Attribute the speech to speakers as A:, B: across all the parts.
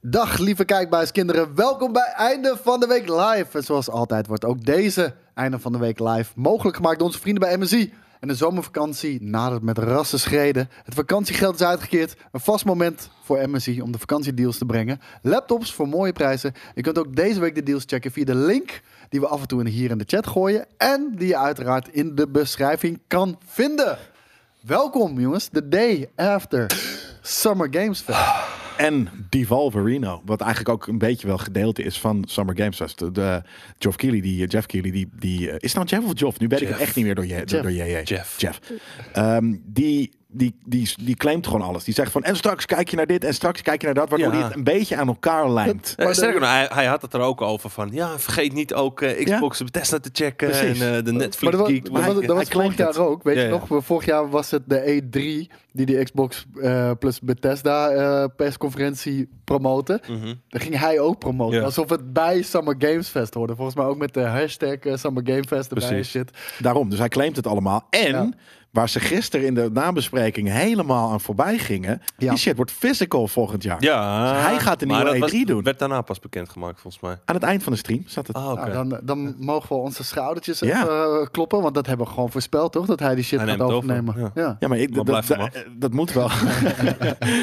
A: Dag lieve kijkbuiskinderen, welkom bij Einde van de Week Live. En zoals altijd wordt ook deze Einde van de Week Live mogelijk gemaakt door onze vrienden bij MSI. En de zomervakantie nadert met rassen schreden. Het vakantiegeld is uitgekeerd. Een vast moment voor MSI om de vakantiedeals te brengen. Laptops voor mooie prijzen. Je kunt ook deze week de deals checken via de link die we af en toe hier in de chat gooien. En die je uiteraard in de beschrijving kan vinden. Welkom jongens, the day after Summer Games Fest.
B: En Devolver Reno, wat eigenlijk ook een beetje wel gedeelte is van Summer Games Fest. De, de Geoff Keighley, die Jeff Keighley, die, die eh, is het nou Jeff of Geoff? Nu ben ik het
C: Jeff.
B: echt niet meer door, je, door, door JJ.
C: Jeff.
B: Jeff. Ehm, die, die, die, die claimt gewoon alles. Die zegt van, en straks kijk je naar dit en straks kijk je naar dat, waardoor
C: Ja.
B: hij het een beetje aan elkaar lijmt.
C: Eh, sterker nog, hij, hij had het er ook over van, ja, vergeet niet ook eh, Xbox Bethesda te checken
B: Precies.
C: en eh, de
A: Maar
C: Netflix
A: dat, wa-
C: geek. te
A: dat, wa-
C: maken.
A: dat was
C: Hij
A: vorig
C: claimt
A: jaar
C: het.
A: ook, weet
C: Ja,
A: je
C: ja.
A: nog? Vorig jaar was het de E3 die die Xbox eh, plus Bethesda eh, persconferentie promoten.
C: Mhm.
A: Dat ging hij ook promoten.
C: Ja.
A: Alsof het bij Summer Games Fest hoorde. Volgens mij ook met de hashtag eh, Summer Game Fest erbij en
C: Precies.
A: shit.
B: Daarom, dus hij claimt het allemaal. En
A: Ja.
B: waar ze gisteren in de nabespreking helemaal aan voorbij gingen,
A: Ja.
B: die shit wordt physical volgend jaar.
C: Ja,
B: Dus hij gaat de
C: maar
B: nieuwe
A: E
C: dat
B: E3
C: was-
B: doen.
C: werd daarna pas bekendgemaakt, volgens mij.
B: Aan het eind van de stream zat het.
C: Ah, oké.
A: Nou, dan, dan mogen we onze schoudertjes
B: Ja.
A: even, eh, kloppen. Want dat hebben we gewoon voorspeld, toch? Dat hij die shit
C: Hij
A: gaat
C: neemt het
A: overnemen.
C: over,
A: Ja.
B: Ja, maar ik,
C: Maar
B: dat,
C: blijf hem
B: dat-
C: af.
B: eh, dat moet wel.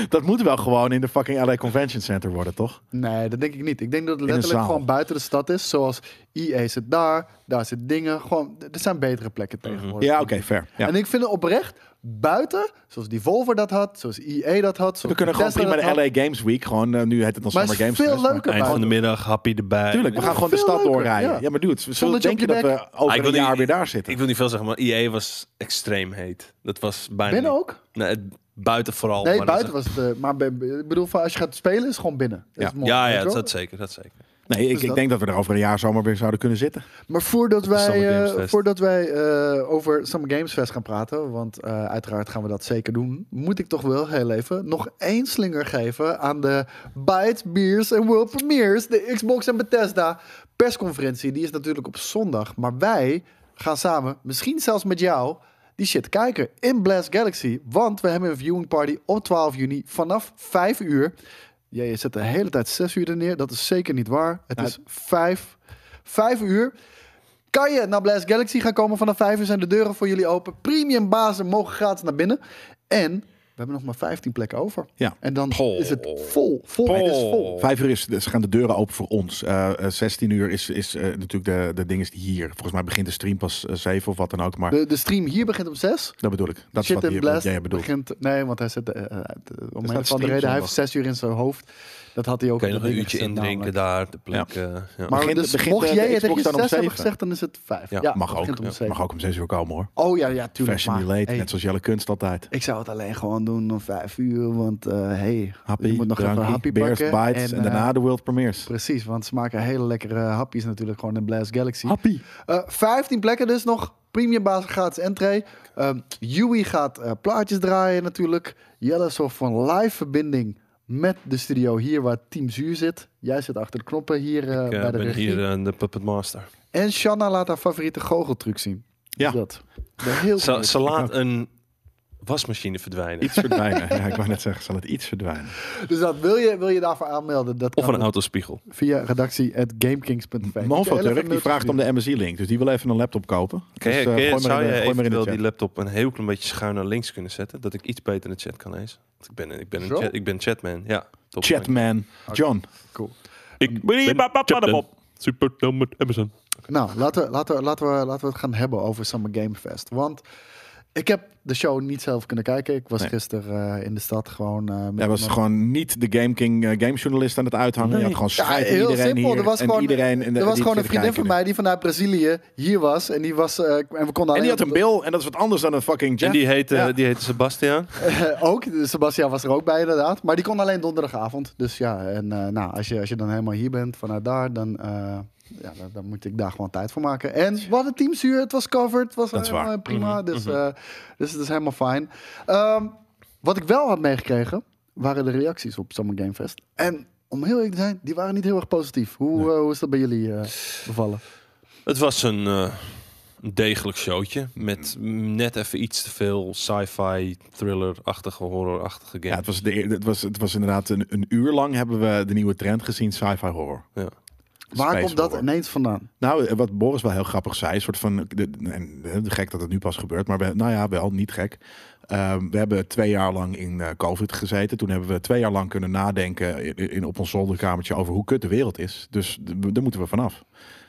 B: dat moet wel gewoon in de fucking LA Convention Center worden, toch?
A: Nee, dat denk ik niet. Ik denk dat het
B: een
A: letterlijk
B: zaal.
A: gewoon buiten de stad is. Zoals EA zit daar, daar zit dingen. Gewoon, er zijn betere plekken
C: Mhm.
A: tegenwoordig.
B: Ja, oké, fair. Ja.
A: En ik vind het oprecht buiten, zoals Devolver dat had, zoals EA dat had.
B: We
A: zoals
B: kunnen gewoon
A: Bethesda
B: prima de
A: dat had.
B: LA Games Week. Gewoon, eh, nu heet het dan
A: Maar
B: Summer
A: het
B: Games
A: is veel
B: Fest, maar-
A: leuker.
C: Eind van de middag, happy erbij.
B: Tuurlijk, we
A: Ja,
B: gaan gewoon de
A: veel
B: stad
A: leuker,
B: doorrijden.
A: ja.
B: Ja, maar dude, zullen
A: Zonder
B: denk je
A: Jumpy
B: dat we
A: Back.
C: Ah,
B: over
C: ik
B: een
C: wil
B: jaar
C: niet-
B: weer daar zitten?
C: Ik wil niet veel zeggen, maar EA was extreem heet. Dat was bijna...
A: Binnen
C: niet-
A: ook?
C: Nee, het- buiten vooral.
B: Oh,
A: Nee,
C: maar dat
A: buiten was het. eh, Maar be- be- ik bedoel, van als je gaat spelen, is het gewoon binnen. Dat
B: Ja.
A: is mooi,
C: is- Ja,
A: weet
C: ja,
A: je
C: dat,
A: wel?
C: dat zeker, dat zeker.
B: nee, ik,
A: Dus
B: ik
A: dat-
B: denk dat we er over een jaar zomaar weer zouden kunnen zitten.
A: Maar voordat
C: is Summer
A: wij,
C: Games
A: eh,
C: Fest.
A: voordat wij eh, over Summer Games Fest gaan praten, want eh, uiteraard gaan we dat zeker doen, moet ik toch wel heel even nog één slinger geven aan de Bytes, Beers en World Premiers, de Xbox en Bethesda persconferentie. Die is natuurlijk op zondag, maar wij gaan samen, misschien zelfs met jou, die shit kijken in Blast Galaxy, want we hebben een viewing party op 12 juni vanaf 5 uur. Jij je zet de hele tijd 6 uur er neer, dat is zeker niet waar. Het
B: Nou,
A: is 5 vijf uur. Kan je naar Blast Galaxy gaan komen? Vanaf 5 uur zijn de deuren voor jullie open. Premium bazen mogen gratis naar binnen. En we hebben nog maar 15 plekken over.
B: Ja.
A: En dan
C: Pol.
A: is het vol. Vol. Het is
C: Oh.
A: vol.
B: Vijf uur is, dus ze gaan de deuren open voor ons. Eh, eh, 16 uur is, is eh, natuurlijk de, de ding is hier. Volgens mij begint de stream pas eh, 7 of wat dan ook. Maar
A: De, de stream hier begint om 6.
B: dat bedoel ik. Dat is
A: Shit
B: wat,
A: en
B: hier, wat
A: Blast
B: jij bedoelt.
A: begint... Nee, want hij zit... eh, eh, uit, eh, om een
B: staat
A: of andere
B: stream
A: reden. Hij heeft
B: zondag.
A: 6 uur in zijn hoofd. Dat had hij ook...
C: Kun je
A: op
C: nog
A: de
C: een
A: dingen
C: uurtje
A: gezet,
C: indrinken
A: namelijk.
C: daar, de plek. eh, Ja.
A: Maar
B: Begint-
A: dus
B: begint,
A: mocht
B: eh,
A: jij
B: de
A: het tegen
B: Xbox
A: je
B: dan om
A: 6 hebben
B: zeven?
A: gezegd, dan is het 5. Ja,
C: Ja,
A: het
B: mag, ook,
A: begint om
B: Ja,
A: zeven.
B: mag ook om 6 uur komen hoor.
A: Oh ja, ja, tuurlijk.
B: Fashion
A: maar,
B: late,
A: hey,
B: net zoals Jelle Kunst altijd.
A: Ik zou het alleen gewoon doen om vijf uur, want eh hey,
B: Happy,
A: je moet nog
B: drankie,
A: even happy
B: beers,
A: pakken.
B: bites en,
A: eh,
B: daarna de world premieres.
A: Precies, want ze maken hele lekkere eh, hapjes natuurlijk gewoon in Blast Galaxy.
B: Happy.
A: Eh 15 plekken dus nog, premium basis gratis entree. Ehm Yui gaat eh, plaatjes draaien natuurlijk. Jelle zorgt voor een live verbinding met de studio hier waar Team Zuur zit. Jij zit achter de knoppen hier eh,
C: Ik eh,
A: bij de
C: ben
A: regie.
C: hier eh, de Puppet Master.
A: En Shanna laat haar favoriete goocheltruc zien.
B: eh.
A: Dus
B: Ja.
A: Dat. Ik ben heel
C: Ze,
A: benieuwd.
C: ze laat een wasmachine verdwijnen.
B: Iets verdwijnen. ja, ik wou net zeggen, zal het iets verdwijnen.
A: Dus dat wil je, wil je daarvoor aanmelden? Dat
C: Of
A: kan
C: een autospiegel.
A: via redactie.gamekings.nl.
B: Mofo Turk, die vraagt om de MSI-link. Dus die wil even een laptop kopen.
C: Kun je,
B: dus, eh,
C: kun je-
B: gooi maar
C: zou
B: in de,
C: je
B: gooi maar in de
C: eventueel
B: chat.
C: die laptop een heel klein beetje schuin naar links kunnen zetten? Dat ik iets beter in de chat kan lezen. Want ik ben, een- ik ben,
A: Zo?
C: een, chat, ik ben chatman. Ja, top.
B: Chatman. John.
A: Cool.
C: Ik ben chatman. Super dom met Amazon.
A: Nou, laten we, laten, we, laten, we, laten we het gaan hebben over Summer Game Fest. Want ik heb de show niet zelf kunnen kijken. Ik was
B: Nee.
A: gisteren eh, in de stad gewoon... eh, met
B: Hij was
A: mijn-
B: gewoon niet de Game King eh, gamejournalist aan het uithangen. Je had gewoon
A: Ja,
B: schijt in
A: heel
B: iedereen
A: simpel.
B: hier
A: er was
B: en
A: gewoon,
B: iedereen... in de-
A: er was
B: die
A: gewoon een
B: zitten
A: vriendin van
B: kijken.
A: mij die vanuit Brazilië hier was. En die was... eh, en we konden
B: En die
A: alleen
B: had een
A: op
B: bil en dat is wat anders dan een fucking
C: En
B: Jeff.
C: die heette,
B: Ja.
C: die heette Sebastian.
A: de- ook. Sebastian was er ook bij inderdaad. Maar die kon alleen donderdagavond. Dus ja, en eh, nou, als, je, als je dan helemaal hier bent vanuit daar, dan... eh, ja, dan, dan moet ik daar gewoon tijd voor maken. En we hadden teamzuur, het was covered, het was
B: Dat is
A: helemaal
B: waar. Mhm,
A: prima. dus, eh, dus het is helemaal fijn. Ehm, wat ik wel had meegekregen, waren de reacties op Summer Game Fest. En om heel eerlijk te zijn, die waren niet heel erg positief. Hoe, eh, hoe is dat bij jullie eh, bevallen?
C: Het was een, eh, een degelijk showtje. Met net even iets te veel sci-fi, thriller-achtige, horror-achtige
B: Ja,
C: game.
B: het was, de, eer- het was, het was inderdaad een, een uur lang hebben we de nieuwe trend gezien, sci-fi horror.
C: Ja.
A: Waar
B: Space
A: komt dat
B: horror.
A: ineens vandaan?
B: Nou, eh, wat Boris wel heel grappig zei, een soort van, de, en eh, gek dat het nu pas gebeurt, maar we, nou ja, wel niet gek. Ehm, we hebben twee jaar lang in eh, COVID gezeten. Toen hebben we twee jaar lang kunnen nadenken in, in- op ons zolderkamertje over hoe kut de wereld is. Dus d- daar moeten we vanaf.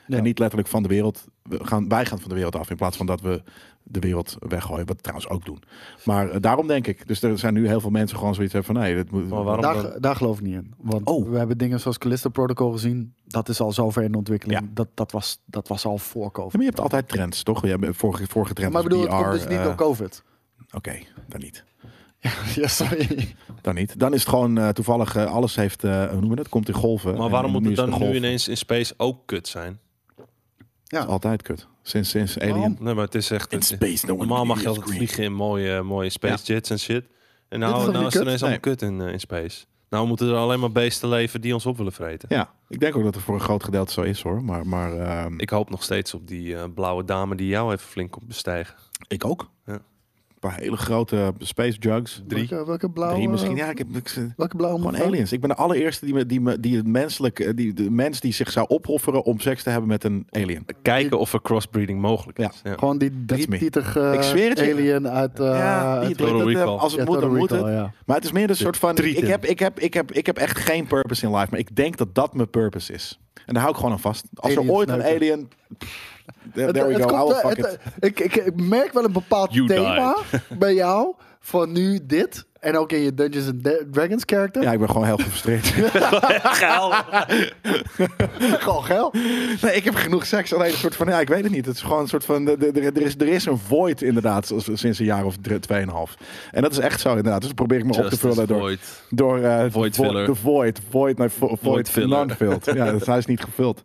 A: Ja.
B: En niet letterlijk van de wereld. We gaan, wij gaan van de wereld af. In plaats van dat we de wereld weggooien. Wat we trouwens ook doen. Maar eh, daarom denk ik. Dus er zijn nu heel veel mensen gewoon zoiets hebben van nee, dat moet.
C: Maar waarom dan?
A: Daar, daar geloof ik niet in. Want
B: Oh.
A: we hebben dingen zoals Callisto Protocol gezien. Dat is al zover in de ontwikkeling.
B: Ja.
A: Dat, dat, was, dat was al voor
B: Ja,
A: COVID.
B: maar Nou, je hebt altijd trends, toch? Je hebt eh, vorige, vorige trend
A: maar ik bedoel,
B: was
A: het komt
B: VR,
A: dus niet
B: eh,
A: door COVID.
B: Oké, dan niet.
A: ja, sorry.
B: Dan niet. Dan is het gewoon eh, toevallig eh, alles heeft, eh, hoe noemen we dat? Komt in golven.
C: Maar
B: En
C: waarom moet het
B: is de
C: dan nu
B: golf
C: ineens in space ook kut zijn?
B: Altijd kut. Sinds, sinds
A: Waarom?
B: Alien.
C: Nee, maar het is echt...
B: In
C: het-
B: space, no one
C: normaal mag je
B: is
C: altijd
B: green.
C: vliegen in mooie, mooie space jets en shit. En
A: Dit is
C: nou,
A: toch niet
C: nou is het
A: kut?
C: ineens allemaal kut in, eh, in space. Nou moeten er alleen maar beesten leven die ons op willen vreten.
B: Ja, ik denk ook dat het voor een groot gedeelte zo is hoor. Maar, maar ehm,
C: Ik hoop nog steeds op die eh, blauwe dame die jou even flink komt bestijgen.
B: ik ook.
C: Ja.
B: Een paar hele grote space jugs.
A: Welke, welke blauwe...
B: Drie misschien. Ja, ik heb ik,
A: Welke blauwe
B: Gewoon
A: mevrouw?
B: aliens. Ik ben de allereerste die, me, die, me, die het menselijk, eh, die, de mens die zich zou opofferen om seks te hebben met een alien.
C: Kijken of er crossbreeding mogelijk is. Ja.
A: Gewoon die drietietige
B: Ik zweer het je.
A: alien uit... eh,
B: ja,
A: uit-
B: die-
C: Total
B: dat, eh,
C: Recall.
B: als het
A: Ja,
B: moet, dan
A: Total
B: moet het.
A: Recall, ja.
B: Maar het is meer een soort van. Ik
C: trieten.
B: heb, ik, heb, ik, heb, ik heb echt geen purpose in life. Maar ik denk dat dat mijn purpose is. En daar hou ik gewoon aan vast. Als er
A: Alien
B: ooit een
A: sneuken.
B: alien. pff, there there
A: Het-
B: we
A: het
B: go.
A: komt
B: Oude
A: wel-
B: fuck it.
A: het- ik, ik, ik merk wel een bepaald
C: You
A: thema bij jou van nu dit. En ook in je Dungeons and Da- Dragons character.
B: Ja, ik ben gewoon heel gefrustreerd.
A: eh, Gewoon geil.
B: nee, ik heb genoeg seks. Alleen een soort van. Ja, ik weet het niet. Het is gewoon een soort van. de- de- de- Er is, er is een void inderdaad. zoals- Sinds een jaar of drie- tweeënhalf. En dat is echt zo inderdaad. Dus dat probeer ik me op te
C: Justice
B: vullen door.
C: Void.
B: Door eh,
C: Void
B: vo-
C: filler.
B: de void. Void, nee, vo- void,
C: filler.
B: non-filled. ja, dus hij is niet gevuld.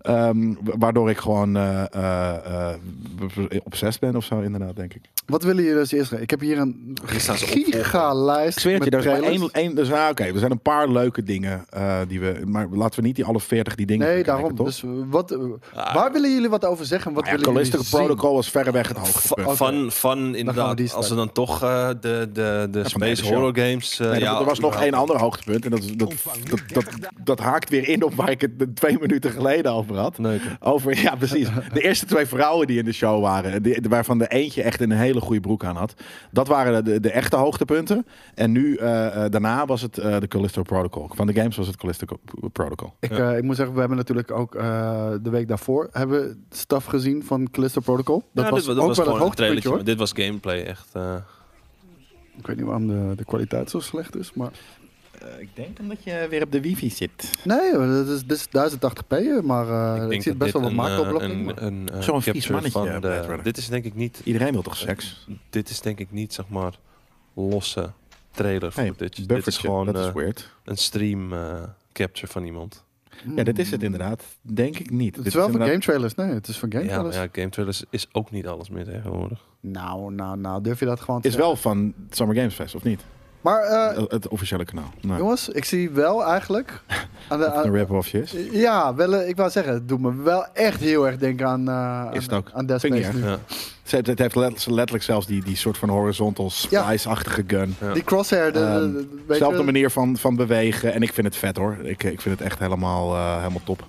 B: Ehm, wa- waardoor ik gewoon eh eh, eh, b- b- obsessed ben of zo, inderdaad, denk ik.
A: Wat willen jullie dus eerst? Ik heb hier een
C: staan ze
A: gigalijst
B: Ik zweer het je,
A: met
B: er is maar
A: trailers.
B: één, één, dus, ah, oké, er zijn een paar leuke dingen eh, die we... Maar laten we niet die alle veertig die dingen
A: Nee,
B: gaan
A: daarom.
B: kijken,
A: dus wat, eh, waar willen jullie wat over zeggen? Wat
B: Nou ja,
A: willen jullie
B: Callisto
A: zien?
B: Protocol was verreweg het hoogste punt.
A: Oké.
C: Van, van
A: we
C: inderdaad,
A: die
C: als
A: starten.
C: we dan toch eh, de, de, de
B: van de hele
C: space
B: show.
C: horror games... eh,
B: Nee, er-
C: ja,
B: er was nog één
C: überhaupt.
B: ander hoogtepunt. En dat, is- dat, dat, dat, dat haakt weer in op waar ik het de twee minuten geleden over had.
C: Neuken.
B: Over, ja, precies. De eerste twee vrouwen die in de show waren, die- waarvan de eentje echt een hele goede broek aan had. Dat waren de, de echte hoogtepunten. En nu, eh, eh, daarna was het eh, de Callisto Protocol. Van de games was het Callisto Co- Protocol.
A: Ik, eh, ik moet zeggen, we hebben natuurlijk ook eh, de week daarvoor hebben we staf gezien van Callisto Protocol. Dat
C: Ja,
A: was ook
C: dit, was
A: wel
C: gewoon
A: het
C: een
A: hoogtepuntje
C: trailertje,
A: hoor.
C: maar dit was gameplay echt. eh.
A: Ik weet niet waarom de, de kwaliteit zo slecht is, maar...
B: Eh, ik denk omdat je weer op de wifi zit.
A: Nee, joh, dat is, dit is 1080p, maar eh, ik,
C: denk
A: zie
C: dat
A: best wel
C: dit
A: wat
C: een, eh,
A: macro-blokking. maar-
C: een- een, eh,
B: Zo'n vies
C: capture
B: mannetje,
C: van
B: eh,
C: de-
B: Blade Runner.
C: Dit is denk ik niet,
B: Iedereen wil toch seks?
C: dit is denk ik niet zeg maar losse trailer
B: Nee,
C: footage. Dit is
B: buffertje.
C: gewoon
B: dat is
C: eh,
B: weird.
C: een stream eh, capture van iemand.
B: Ja, dit is het inderdaad. Denk ik niet.
A: Mm. Het
B: Dit
A: is wel van
B: inderdaad-
A: game trailers. Nee, het is van game
C: ja, maar
A: trailers.
C: ja, game trailers is ook niet alles meer tegenwoordig.
A: Nou, nou, nou, durf je dat gewoon te
B: Is
A: zeggen?
B: wel van Summer Games Fest, of niet?
A: Maar eh,
B: Eh, het officiële kanaal. Nee.
A: jongens, ik zie wel eigenlijk... Aan de,
B: Een
A: aan-
B: rip-offje is.
A: ja, wel, eh, ik wou zeggen, het doet me wel echt heel erg denken aan, eh
B: Is het
A: aan,
B: ook.
A: aan Dead
B: Vind ik
A: Space
B: niet
A: nu.
C: Ja.
B: Ze heeft, het heeft letterlijk, letterlijk zelfs die, die soort van horizontal splice-achtige gun.
C: Ja.
A: Die crosshair, de,
B: Ehm,
A: de- de- weet
B: Zelfde
A: je-
B: manier van, van bewegen. En ik vind het vet hoor. Ik, ik vind het echt helemaal, eh, helemaal top.
C: Er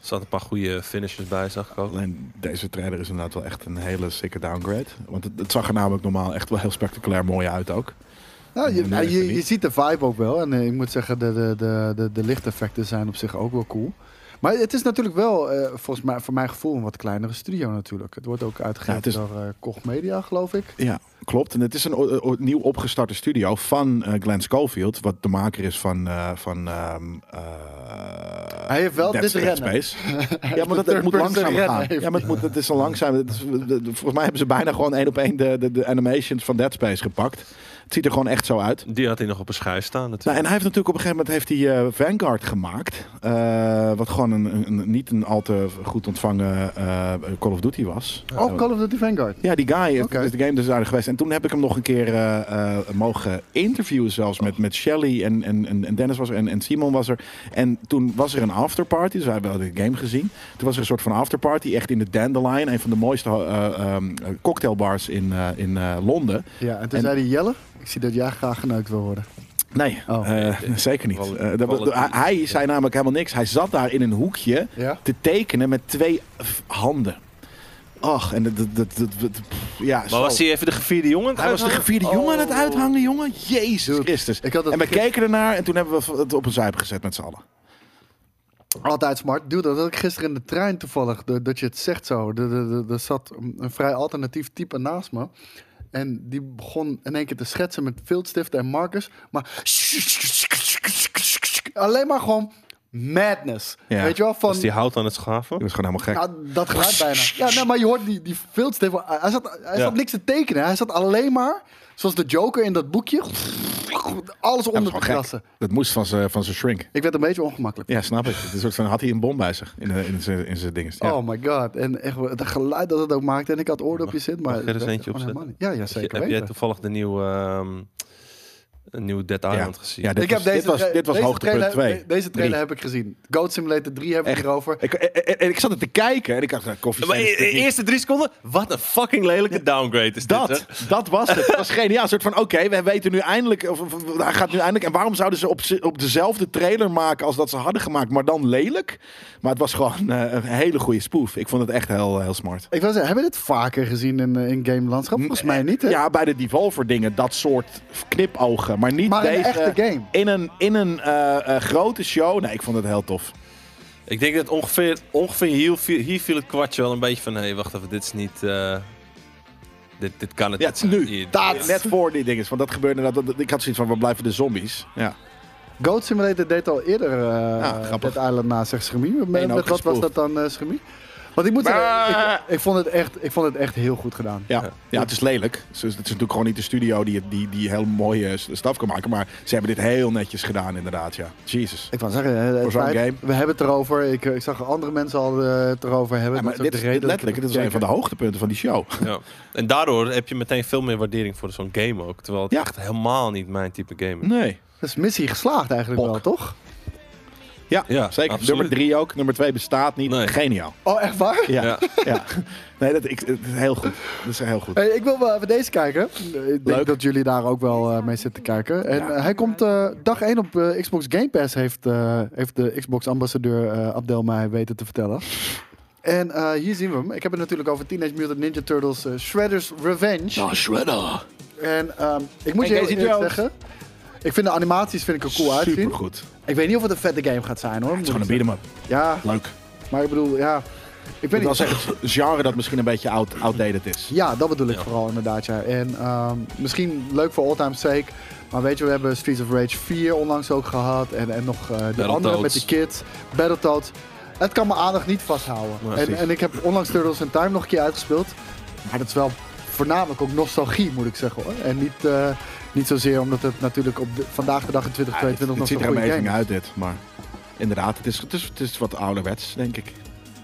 C: zaten een paar goede finishers bij, zag ik ook.
B: Alleen deze trailer is inderdaad wel echt een hele sikke downgrade. Want het, het zag er namelijk normaal echt wel heel spectaculair mooi uit ook.
A: Nou, je,
B: Nee,
A: nou,
B: nee,
A: je,
B: niet.
A: je ziet de vibe ook wel. En eh, ik moet zeggen, de, de, de, de, de lichteffecten zijn op zich ook wel cool. Maar het is natuurlijk wel, eh, volgens mij, voor mijn gevoel, een wat kleinere studio natuurlijk. Het wordt ook
B: Ja,
A: uitgegeven
B: het
A: door eh Koch Media, geloof ik.
B: Ja, klopt. En het is een o- o- nieuw opgestarte studio van eh Glenn Schofield. Wat de maker is van... eh, van ehm, eh,
A: Hij heeft wel
B: Dead
A: dit
B: Space.
A: rennen.
B: Ja, maar dat, het
A: third person
B: moet langzaam
A: rennen
B: gaan.
A: heeft.
B: Ja, maar het, moet, het is een langzaam. het is- de- de- volgens mij hebben ze bijna gewoon één op één de, de, de animations van Dead Space gepakt. Het ziet er gewoon echt zo uit.
C: Die had hij nog op een schijf staan
B: Nou,
C: natuurlijk.
B: en hij heeft natuurlijk op een gegeven moment heeft hij, eh, Vanguard gemaakt. eh, wat gewoon een, een- een- niet een al te goed ontvangen eh, Call of Duty was.
A: Oh, Call of Duty Vanguard.
B: Ja, die guy eh,
A: Oké.
B: is de game designer geweest. En toen heb ik hem nog een keer eh, eh, mogen interviewen zelfs met, met Shelly en, en, en en Dennis was er en, en Simon was er. En toen was er een afterparty, dus wij hebben wel de game gezien. Toen was er een soort van afterparty, echt in de Dandelion. Een van de mooiste eh, ehm, cocktailbars in, eh, in eh, Londen.
A: Ja, en toen
B: En-
A: zei hij Jelle, ik zie dat jij graag geneukt wil worden.
B: Nee,
A: Oh.
B: eh, zeker niet.
C: Kwal-
B: Eh, dat-
C: kwaliteit.
B: hij- hij zei namelijk helemaal niks. Hij zat daar in een hoekje
A: Ja?
B: te tekenen met twee f- handen. Ach, en dat... dat, dat, dat- dat- pff, ja,
C: Maar
B: zo.
C: was hij Oh. even de gevierde jongen?
B: Hij was de gevierde jongen aan het uithangen, jongen. Jezus
A: Dude,
B: Christus.
A: Ik had het
B: En we
A: gisteren-
B: keken ernaar en toen hebben we het op een zuip gezet met z'n allen.
A: Altijd smart. Dude, dat had ik gisteren in de trein toevallig. de- dat je het zegt zo. De- de- de- Er zat een- een vrij alternatief type naast me. En die begon in één keer te schetsen met Viltstift en Marcus. Maar alleen maar gewoon madness.
B: Ja, Dus
A: Weet je wel? Van,
C: Was die hout aan het schaven?
B: Dat is gewoon helemaal gek.
A: Ja, dat geluid bijna. Ja, nee, maar je hoort die, die Viltstift. Hij, zat, hij
C: Ja.
A: zat niks te tekenen. Hij zat alleen maar, zoals de Joker in dat boekje, alles
B: dat is
A: onder te
B: gewoon gek.
A: krassen.
B: Dat moest van zijn van zijn shrink.
A: Ik werd een beetje ongemakkelijk.
B: Ja, snap ik. Het is een soort van, had hij een bom bij zich in, eh, in zijn, in zijn dinges. Ja.
A: Oh my god. En echt, het geluid dat het ook maakte. En ik had oordopjes in, maar...
C: mag ik er eens
A: het
C: eentje
A: werkte gewoon
C: opzetten?
A: helemaal niet. Ja, ja, zeker
C: Heb jij
A: weten.
C: toevallig de nieuwe, ehm, een nieuwe Dead Island gezien?
B: Ja, dit was, dit was, dit was
A: deze
B: hoogtepunt
A: trailer,
B: 2.
A: de- Deze trailer heb ik gezien. Goat Simulator 3 heb ik
B: Echt.
A: erover.
B: Ik, en- en- en ik zat er te kijken en ik dacht, nou, koffie.
C: Maar
B: zijn
C: e-
B: is dit
C: e-
B: niet.
C: eerste drie seconden, wat een fucking lelijke downgrade is dit.
B: dat,
C: hè?
B: dat was het. Dat was geniaal. Een soort van, oké, we weten nu eindelijk, of, of- of- hij gaat nu eindelijk. En waarom zouden ze op, ze- op dezelfde trailer maken als dat ze hadden gemaakt, maar dan lelijk? Maar het was gewoon eh, een hele goede spoof. Ik vond het echt heel, heel smart.
A: Ik wil zeggen, hebben we dit vaker gezien in, eh, in game landschap? Volgens mij niet, hè?
B: Ja, bij de Devolver dingen, dat soort knipogen. Maar niet
A: maar in een
B: deze...
A: echte game.
B: In een, in een eh, eh, grote show. Nee, ik vond het heel tof.
C: Ik denk dat ongeveer, ongeveer hier, viel- hier viel het kwartje wel een beetje van... Hé, hey, wacht even, dit is niet... eh, dit, dit kan het
B: Ja,
C: niet
B: het is nu.
C: Hier-
B: Daar, net voor die dinges. Want dat gebeurde inderdaad. dat- Ik had zoiets van, we blijven de zombies. Ja.
A: Goat Simulator deed al eerder eh
B: grappig.
A: Dead Island na, zegt Schemie. Met,
B: En ook
A: met wat was
B: gespoeld.
A: dat dan, eh Schemie? Want ik moet zeggen, ik, ik, vond het echt, ik vond het echt heel goed gedaan.
B: Ja, ja, het is lelijk. Dus Het is natuurlijk gewoon niet de studio die, die, die heel mooie s- staf kan maken. Maar ze hebben dit heel netjes gedaan, inderdaad. Ja. Jezus.
A: Ik wou zeggen, eh, het
B: Voor zo'n
A: feit-
B: game.
A: we hebben het erover. Ik, eh, ik zag andere mensen al eh, het erover hebben.
B: Ja, maar
A: Dat is ook
B: dit is
A: de reden dat ik
B: letterlijk, dit is
A: het
B: een van de hoogtepunten van die show.
C: Ja. En daardoor heb je meteen veel meer waardering voor zo'n game ook. Terwijl het
B: Ja.
C: echt helemaal niet mijn type game is.
B: Nee.
A: eh, Dat is missie geslaagd eigenlijk
B: Pok.
A: wel, toch?
B: Ja,
C: Ja,
B: zeker.
C: absoluut.
B: Nummer drie ook. Nummer twee bestaat niet.
C: Nee.
B: Geniaal.
A: Oh, echt waar?
B: Ja.
C: Ja.
B: ja. Nee, dat, ik, het is heel goed. Dat is heel goed.
A: Hey, ik wil wel even deze kijken. Ik denk
B: Leuk.
A: dat jullie daar ook wel eh, mee zitten kijken. En
B: Ja.
A: eh, hij komt eh, dag 1 op eh, Xbox Game Pass, heeft, eh, heeft de Xbox-ambassadeur eh Abdel mij weten te vertellen. En eh, hier zien we hem. Ik heb het natuurlijk over Teenage Mutant Ninja Turtles eh, Shredder's Revenge.
B: Shredder.
A: En ehm, ik moet
B: En
A: je heel
B: Casey
A: eerlijk
B: Jones.
A: zeggen, ik vind de animaties vind ik er cool uitzien.
B: Supergoed. Het
A: Ik weet niet of het een vette game gaat zijn hoor.
B: is gewoon een beat 'em up.
A: Ja,
B: Leuk.
A: maar ik bedoel, ja. Ik
B: Ik
A: weet
B: wil
A: niet.
B: zeggen, het genre dat misschien een beetje out, outdated is.
A: Ja, dat bedoel ik
C: Ja.
A: vooral inderdaad. Ja. En ehm, misschien leuk voor all time's sake. Maar weet je, we hebben Streets of Rage 4 onlangs ook gehad. En, en nog eh de andere met de kids. Battletoads. Het kan mijn aandacht niet vasthouden.
C: Ja,
A: en,
B: precies.
A: en ik heb onlangs Turtles in Time nog een keer uitgespeeld. Maar dat is wel voornamelijk ook nostalgie, moet ik zeggen hoor. En niet, eh, niet zozeer omdat het natuurlijk op de- vandaag de dag in
B: Ja, het,
A: 2022
B: het
A: nog
B: ziet
A: zo'n
B: er
A: goede game
B: amazing
A: is.
B: uit dit, maar inderdaad, het is, het is, het is wat ouderwets, denk ik.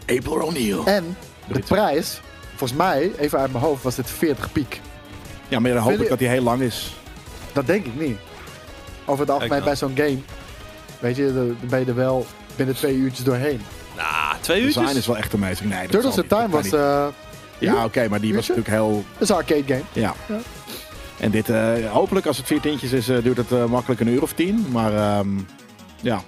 B: April O'Neil.
A: En de
B: Dit-
A: prijs, volgens mij, even uit mijn hoofd, was dit 40 piek.
B: Ja, maar dan hoop
A: Vind
B: ik
A: je-
B: dat hij heel lang is.
A: Dat denk ik niet. Over het algemeen
B: nou.
C: Ik
A: bij zo'n game, weet je, dan ben je er wel binnen twee uurtjes doorheen.
C: Nou, twee
B: De design
C: uurtjes.
B: is wel echt amazing. Nee, dat
A: Turtles
B: zal
A: in
B: niet,
A: Time
B: dat
A: was
B: kan
A: eh
B: niet. Ja, oké, maar die was
A: uurtje?
B: natuurlijk heel...
A: een arcade game.
B: Ja.
A: Ja.
B: En dit, eh, hopelijk als het vier tientjes is, eh, duurt het eh, makkelijk een uur of tien. Maar ehm, ja,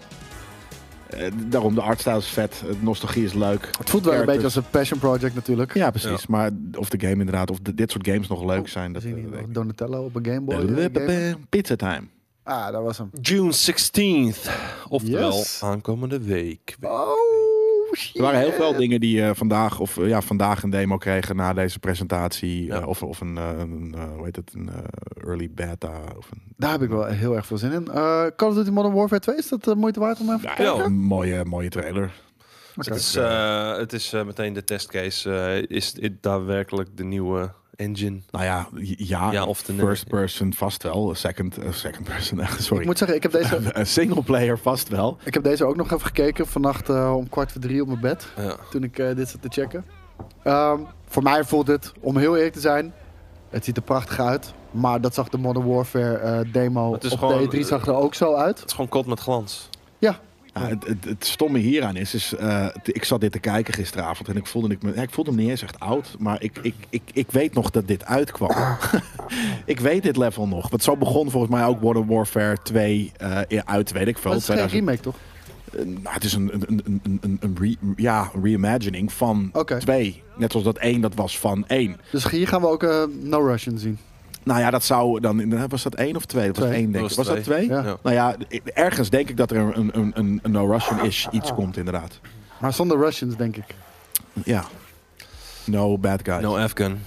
B: Eh, daarom, de artstyle is vet, de nostalgie is leuk.
A: Het voelt wel een
B: Characters.
A: beetje als een passion project natuurlijk.
B: Ja, precies.
C: Ja.
B: Maar of de game inderdaad, of de- dit soort games nog leuk zijn, dat
A: Zie
B: eh,
A: je
B: weet
A: niet,
B: ik niet.
A: Donatello op een Game Boy. eh, game.
B: Pizza time.
A: Ah, dat was hem.
C: June 16th. Oftewel,
A: Yes.
C: aankomende week.
A: Oh, shit.
B: Er waren heel veel dingen die eh, vandaag, of, eh, ja, vandaag een demo kregen na deze presentatie.
C: Ja.
B: eh, of, of een, eh, een, eh, hoe heet het, een eh, early beta. Of een,
A: Daar heb ik wel heel erg veel zin in. Eh Call of Duty Modern Warfare 2, is dat eh, moeite waard om even te
B: ja,
A: kijken?
B: een mooie, mooie trailer.
A: Oké.
C: Het is, eh, het is eh, meteen de testcase. eh, is dit Eh, daadwerkelijk de nieuwe engine.
B: Nou ja, j- ja,
C: Ja, of de-
B: first person vast wel. Second, eh, second person, eh, sorry.
A: Ik moet zeggen, ik heb deze,
B: Eh, Single player vast wel.
A: ik heb deze ook nog even gekeken. Vannacht eh, om kwart voor drie op mijn bed.
C: Ja.
A: Toen ik eh, dit zat te checken. Ehm, voor mij voelt het, om heel eerlijk te zijn, het ziet er prachtig uit. Maar dat zag de Modern Warfare eh, demo op
C: Het is
A: de
C: gewoon,
A: E3
C: eh,
A: zag er ook zo uit.
C: Het is gewoon kot met glans.
A: Ja,
B: Ja, Nou, het, het, het stomme hieraan is, is eh, t- ik zat dit te kijken gisteravond en ik voelde, ik, me, ja, ik voelde me niet eens echt oud, maar ik, ik, ik, ik weet nog dat dit uitkwam. ik weet dit level nog, want zo begon volgens mij ook Modern Warfare 2 eh, ja, uit, weet ik veel.
A: maar het is geen
B: 2000
A: remake toch?
B: Eh, nou, het is een, een, een, een, een, een re- ja, een reimagining van
A: Oké.
B: twee. Net zoals dat één, dat was van één.
A: Dus hier gaan we ook eh, No Russian zien.
B: Nou ja, dat zou dan... in- Was dat één of twee? Dat was
A: Twee.
B: één, denk ik.
C: Dat
B: Was
C: was
B: dat twee?
A: Ja.
C: Ja.
B: Nou ja, ergens denk ik dat er een, een, een, een No Russian-ish iets komt, inderdaad.
A: Maar zonder Russians, denk ik.
B: Ja. No bad guys.
C: No Afghan.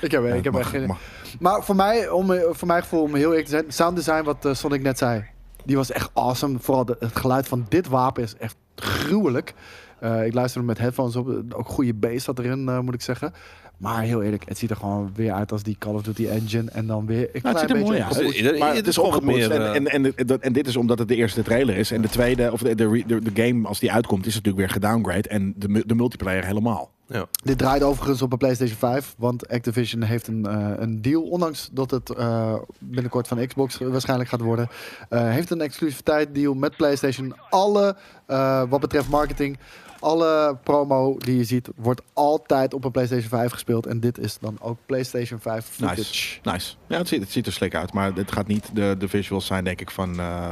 A: Ik heb,
B: Ja,
A: ik heb
B: mag-
A: echt geen
B: mag.
A: Maar voor mij, om, eh, voor mijn gevoel, om heel eerlijk te zijn, sound design wat eh, Sonic net zei, die was echt awesome. Vooral de- het geluid van dit wapen is echt gruwelijk. Eh, ik luisterde met headphones op, eh, ook goede bass zat erin, eh, moet ik zeggen. Maar heel eerlijk, het ziet er gewoon weer uit als die Call of Duty engine en dan weer een
B: Nou,
A: klein
B: het ziet er
A: beetje.
B: mooi
A: opgepoetst.
B: uit.
C: Het is- het is
B: maar het is
C: gewoon wat
B: opgepoetst.
C: meer,
B: En,
A: eh.
B: en, en, dat- en dit is omdat het de eerste trailer is. En de tweede, of de, de, re- de- de game, als die uitkomt, is het natuurlijk weer gedowngrade. En de, mu- de multiplayer helemaal.
C: Ja.
A: Dit draait overigens op een PlayStation 5, want Activision heeft een, eh, een deal, ondanks dat het eh, binnenkort van Xbox waarschijnlijk gaat worden, eh, heeft een exclusiviteit deal met PlayStation. Alle, eh, wat betreft marketing, alle promo die je ziet, wordt altijd op een PlayStation 5 gespeeld. En dit is dan ook PlayStation 5 footage.
B: Nice. nice. Ja, het ziet, het ziet er slik uit. Maar het gaat niet de, de visuals zijn, denk ik, van... eh,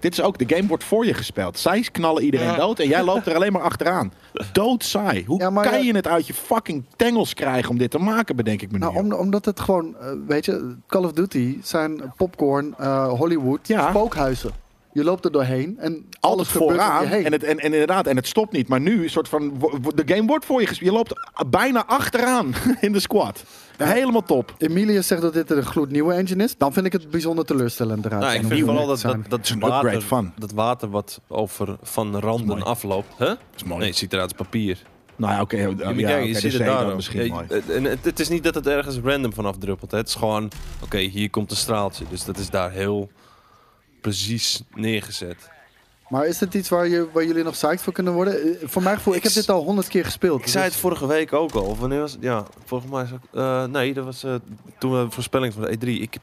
B: dit is ook, de game wordt voor je gespeeld. Zij knallen iedereen
C: Ja.
B: dood en jij loopt er alleen maar achteraan. Doodsaai. Hoe
A: Ja, maar,
B: kan
A: eh,
B: je het uit je fucking tengels krijgen om dit te maken, bedenk ik me nu.
A: Nou, om- omdat het gewoon, eh, weet je, Call of Duty zijn popcorn, eh, Hollywood,
B: Ja.
A: spookhuizen. Je loopt er doorheen en alles
B: alles
A: gebeurt om
B: vooraan.
A: je heen.
B: En, het, en, en inderdaad, en het stopt niet. Maar nu, een soort van, wo- wo- de game wordt voor je gespeeld. Je loopt bijna achteraan in de squad. Helemaal top.
A: Emilius zegt dat dit een gloednieuwe engine is. Dan vind ik het bijzonder teleurstellend eruit.
C: Nou, ik vind vooral dat, dat, dat,
B: is een
C: water,
B: upgrade van.
C: dat water wat over van
B: Dat is
C: randen
B: mooi.
C: afloopt. Hè?
B: Dat is mooi.
C: Nee, het ziet eruit als papier.
B: Nou ja, oké.
C: Ja, dus
B: ja,
C: maar kijk,
B: oké,
C: je
B: de
C: ziet
B: zee
C: het
B: dan
C: daar ook.
B: misschien
C: Ja,
B: mooi.
C: het- en het, het is niet dat het ergens random vanaf druppelt. Hè. Het is gewoon, oké, hier komt een straaltje. Dus dat is daar heel precies neergezet.
A: Maar is dit iets waar, je, waar jullie nog psyched voor kunnen worden? Eh, Voor mijn gevoel, ik heb dit al honderd keer gespeeld.
C: Ik zei het
A: Dus-
C: vorige week ook al. Of wanneer was het? Ja, volgens mij... Is het, eh, nee, dat was eh, toen we de voorspelling van de E3. Ik,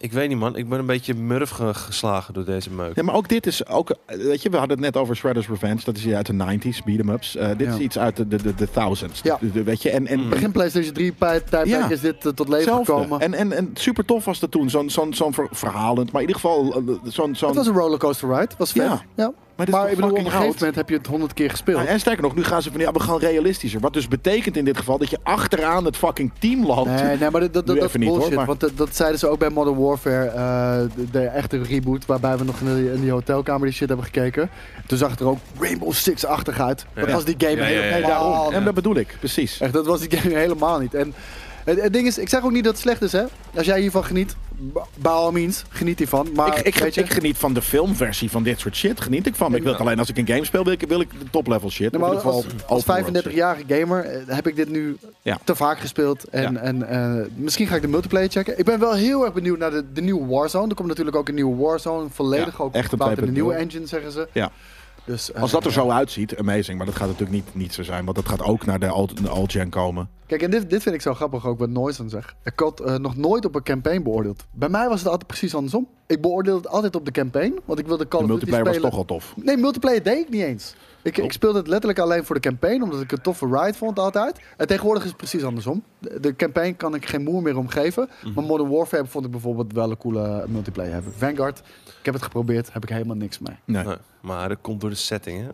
C: ik weet niet, man. Ik ben een beetje murf ge- geslagen door deze meuk.
B: Ja, maar ook dit is ook, eh, weet je, we hadden het net over Shredder's Revenge. Dat is iets uit de 90s, beat 'em ups. Eh, dit
A: Ja.
B: is iets uit de, de, de, de thousands.
A: Ja.
B: De- de- weet je, en, en
C: Mm.
A: Begin PlayStation 3 pa- tijdperk
B: Ja.
A: is dit eh, tot leven
B: hetzelfde.
A: gekomen.
B: En, en, en super tof was dat toen. Zo'n zo'n zo'n ver- verhalend, maar in ieder geval eh, zo'n... zo'n
A: Het was een rollercoaster ride, was vet.
B: Ja.
A: Ja.
B: maar dit is
A: Maar
B: toch
A: ik bedoel, op een
B: fucking
A: gegeven
B: oud?
A: moment heb je het honderd keer gespeeld.
B: Nou, en sterker nog, nu gaan ze van ja, we gaan realistischer. Wat dus betekent in dit geval dat je achteraan het fucking team loopt.
A: Nee, nee, maar dat, dat, dat,
B: Nu
A: dat is
B: even niet, hoor,
A: bullshit.
B: maar-
A: Want dat, dat zeiden ze ook bij Modern Warfare, eh, de, de echte reboot, waarbij we nog in die, in die hotelkamer die shit hebben gekeken. Toen zag het er ook Rainbow Six-achtig uit. Maar
C: Ja.
A: dat was die game
C: Ja, ja, ja, ja.
B: Nee, daarom.
A: helemaal
B: En dat bedoel ik, precies.
A: Echt, dat was die game helemaal niet. En het, het ding is, ik zeg ook niet dat het slecht is, hè. Als jij hiervan geniet, b- by all means, geniet hiervan. Maar
B: ik, ik,
A: weet je,
B: ik geniet van de filmversie van dit soort shit. Geniet ik van. Ik wil het alleen als ik een game speel, wil ik, wil ik de top-level shit.
A: normaal
B: Of in ieder
A: als,
B: geval
A: als
B: open world shit.
A: 35-jarige gamer eh, heb ik dit nu
B: Ja.
A: te vaak gespeeld. En,
B: Ja.
A: en eh, misschien ga ik de multiplayer checken. Ik ben wel heel erg benieuwd naar de, de nieuwe Warzone. Er komt natuurlijk ook een nieuwe Warzone. Volledig
B: Ja,
A: ook
B: echt een
A: gebouwd in de
B: 2.0.
A: nieuwe engine, zeggen ze.
B: Ja.
A: Dus, eh,
B: Als dat er zo uitziet, amazing. Maar dat gaat natuurlijk niet, niet zo zijn. Want dat gaat ook naar de alt- de alt-gen komen.
A: Kijk, en dit, dit vind ik zo grappig ook wat Noise dan zegt. Ik had eh, nog nooit op een campaign beoordeeld. Bij mij was het altijd precies andersom. Ik beoordeelde het altijd op de campaign, want ik wilde Call
B: De
A: of Duty
B: multiplayer was
A: spelen.
B: toch Oh. al tof.
A: Nee, multiplayer deed ik niet eens. Ik, ik speelde het letterlijk alleen voor de campaign, omdat ik een toffe ride vond altijd. En tegenwoordig is het precies andersom. De, de campaign kan ik geen moer meer omgeven.
B: Mhm.
A: Maar Modern Warfare vond ik bijvoorbeeld wel een coole multiplayer hebben. Vanguard, ik heb het geprobeerd, heb ik helemaal niks mee.
B: Nee.
C: Nee, maar dat komt door de setting, hè?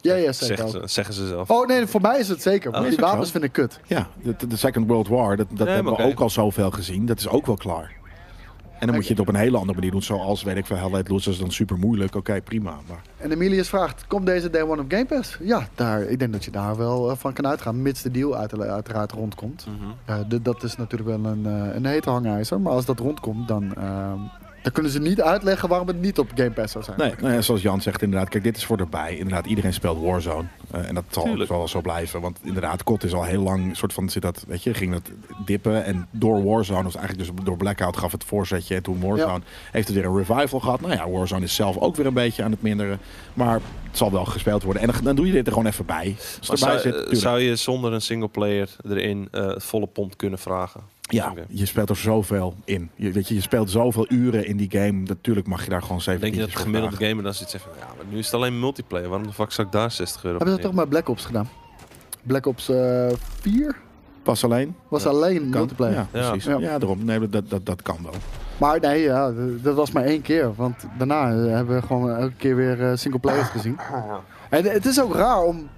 A: Ja, ja, zeker
C: Zeggen
A: ook.
C: ze, zeggen ze zelf.
A: Oh nee, voor mij is het zeker. want
B: is
A: die
B: het
A: wapens
B: zo?
A: vind ik kut.
B: Ja, de, de Second World War, dat, dat
C: maar
B: hebben we
C: oké.
B: ook al zoveel gezien. Dat is ook wel klaar. En dan moet je het op een hele andere manier doen. Zoals, weet ik veel, Hellite Losers is dan super moeilijk. Oké, prima. Maar
A: En Emilius vraagt, komt deze Day One op Game Pass? Ja, daar, ik denk dat je daar wel eh, van kan uitgaan, mits de deal uit- uiteraard rondkomt.
B: Mhm.
A: Eh, d- dat is natuurlijk wel een, eh een hete hangijzer, maar als dat rondkomt, dan, ehm, dan kunnen ze niet uitleggen waarom het niet op Game Pass zou zijn.
B: nee, nou ja, zoals Jan zegt inderdaad. Kijk, dit is voor erbij. Inderdaad, iedereen speelt Warzone. Eh, en dat zal,
C: Tuurlijk.
B: zal wel zo blijven. Want inderdaad, COD is al heel lang soort van zit dat, weet je, ging dat dippen. En door Warzone, of eigenlijk dus door Blackout gaf het voorzetje. En toen Warzone heeft het weer een revival gehad. Nou ja, Warzone is zelf ook weer een beetje aan het minderen. Maar het zal wel gespeeld worden. En dan, dan doe je dit er gewoon even bij. Als
C: Maar
B: het erbij
C: zou,
B: zit,
C: eh,
B: tuurlijk.
C: zou je zonder een singleplayer erin eh, het volle pond kunnen vragen?
B: Ja,
C: Oké.
B: je speelt er zoveel in. Je, weet je, je speelt zoveel uren in die game. Natuurlijk mag je daar gewoon 7
C: Denk je dat de gemiddelde gamer dan zit zegt van ja, maar nu is het alleen multiplayer. Waarom de fuck zou ik daar 60 euro
A: Hebben ze
C: voor
A: dat toch maar Black Ops gedaan? Black Ops eh 4
B: Pas alleen?
A: was
C: Ja,
A: alleen
B: Kan.
A: multiplayer.
B: Ja,
C: Ja.
B: precies. Ja,
A: Ja.
B: daarom. Nee, dat, dat, dat kan wel.
A: Maar nee, ja, d- dat was maar één keer. Want daarna eh, hebben we gewoon elke keer weer eh, singleplayers gezien. En het is ook raar om,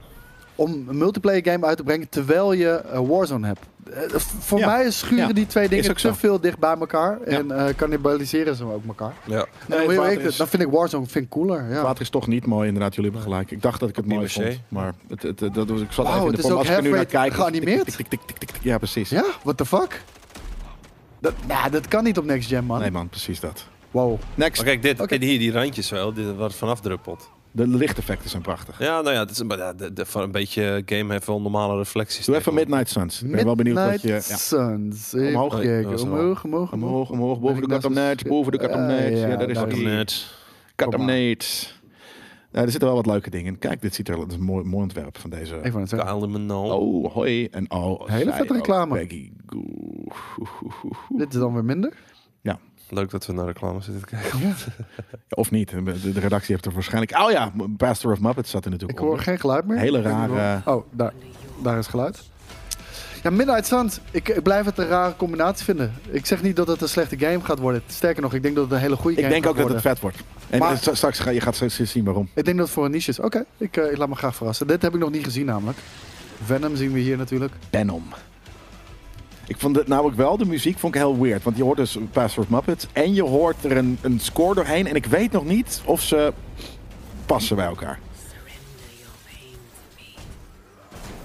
A: om een multiplayer game uit te brengen terwijl je eh, Warzone hebt. Eh, v- voor
B: Ja.
A: mij schuren
B: Ja.
A: die twee dingen
B: ook
A: te
B: zo.
A: veel dicht bij elkaar. En eh cannibaliseren ze ook elkaar.
C: nemen? Ja,
A: en
B: Nee, het
A: hoe
B: water
A: weet ik het?
B: is-
A: Dan vind ik Warzone vind ik cooler. Ja.
B: Water is toch niet mooi, inderdaad. Jullie hebben gelijk. Ik dacht dat ik het
C: Niet
B: mooi
C: per se.
B: vond. Maar het, het, het- dat was, ik zat
A: Wauw,
B: even in de
A: het is
B: vorm.
A: ook
B: Als ik er nu naar
A: halfway
B: kijk...
A: geanimeerd.
B: tik, tik, tik, tik, tik, tik. Ja, precies.
A: Ja, what the fuck? Dat, nou, dat kan niet op Next Gen, man.
B: Nee man, precies dat.
A: Wow.
B: Next.
C: maar kijk, dit,
A: Oké.
C: dit hier, die randjes wel, dit, wat vanaf druppelt.
B: De lichteffecten zijn prachtig.
C: Ja, nou ja, het is, maar ja, de, de- van een beetje eh, game heeft wel normale reflecties.
B: Doe even
C: tegenwoordig.
B: Midnight Suns. Ik ben wel benieuwd wat je...
A: Midnight
B: Ja.
A: Suns. Even
B: Omhoog.
A: kijken.
C: Nee, dat was er al.
A: Omhoog, omhoog, omhoog.
B: Omhoog, omhoog, boven de
A: Ben ik net
B: katamneet,
A: als-
B: boven de katamneet.
A: Eh,
B: Ja,
A: ja,
B: daar is
A: daar
B: die.
A: is
C: Nerds.
B: Katamneet. Nou, er zitten wel wat leuke dingen in. Kijk, dit ziet er dat is een mooi, mooi ontwerp van deze.
A: Ik wou het zeggen.
C: Kyle Manal.
B: Oh, hoi en oh.
A: Hele
B: zij
A: vette
B: ook,
A: reclame.
B: Peggy Goo.
A: Dit is dan weer minder.
C: Leuk dat we naar reclame zitten te kijken.
B: Of niet, de, de redactie heeft er waarschijnlijk... Oh ja, Pastor of Muppets zat er
A: Ik
B: natuurlijk
A: hoor
B: onder.
A: geen geluid meer.
B: Hele
A: Ik weet niet
B: rare-
A: waarom. Oh, daar, daar is geluid. Ja, Midnight Suns. Ik, ik blijf het een rare combinatie vinden. Ik zeg niet dat het een slechte game gaat worden. Sterker nog, ik denk dat het een hele goede
B: Ik
A: game
B: denk
A: gaat
B: ook dat
A: worden.
B: het vet wordt. En
A: Maar-
B: st- straks ga je gaat straks zien waarom.
A: Ik denk dat het voor een niche is. Oké, ik, eh, ik laat me graag verrassen. Dit heb ik nog niet gezien namelijk. Venom zien we hier natuurlijk.
B: Venom. Ik vond het namelijk wel, de muziek vond ik heel weird. Want je hoort dus Pastor of Muppets en je hoort er een, een score doorheen. En ik weet nog niet of ze passen bij elkaar.
D: Surrender your pain to me,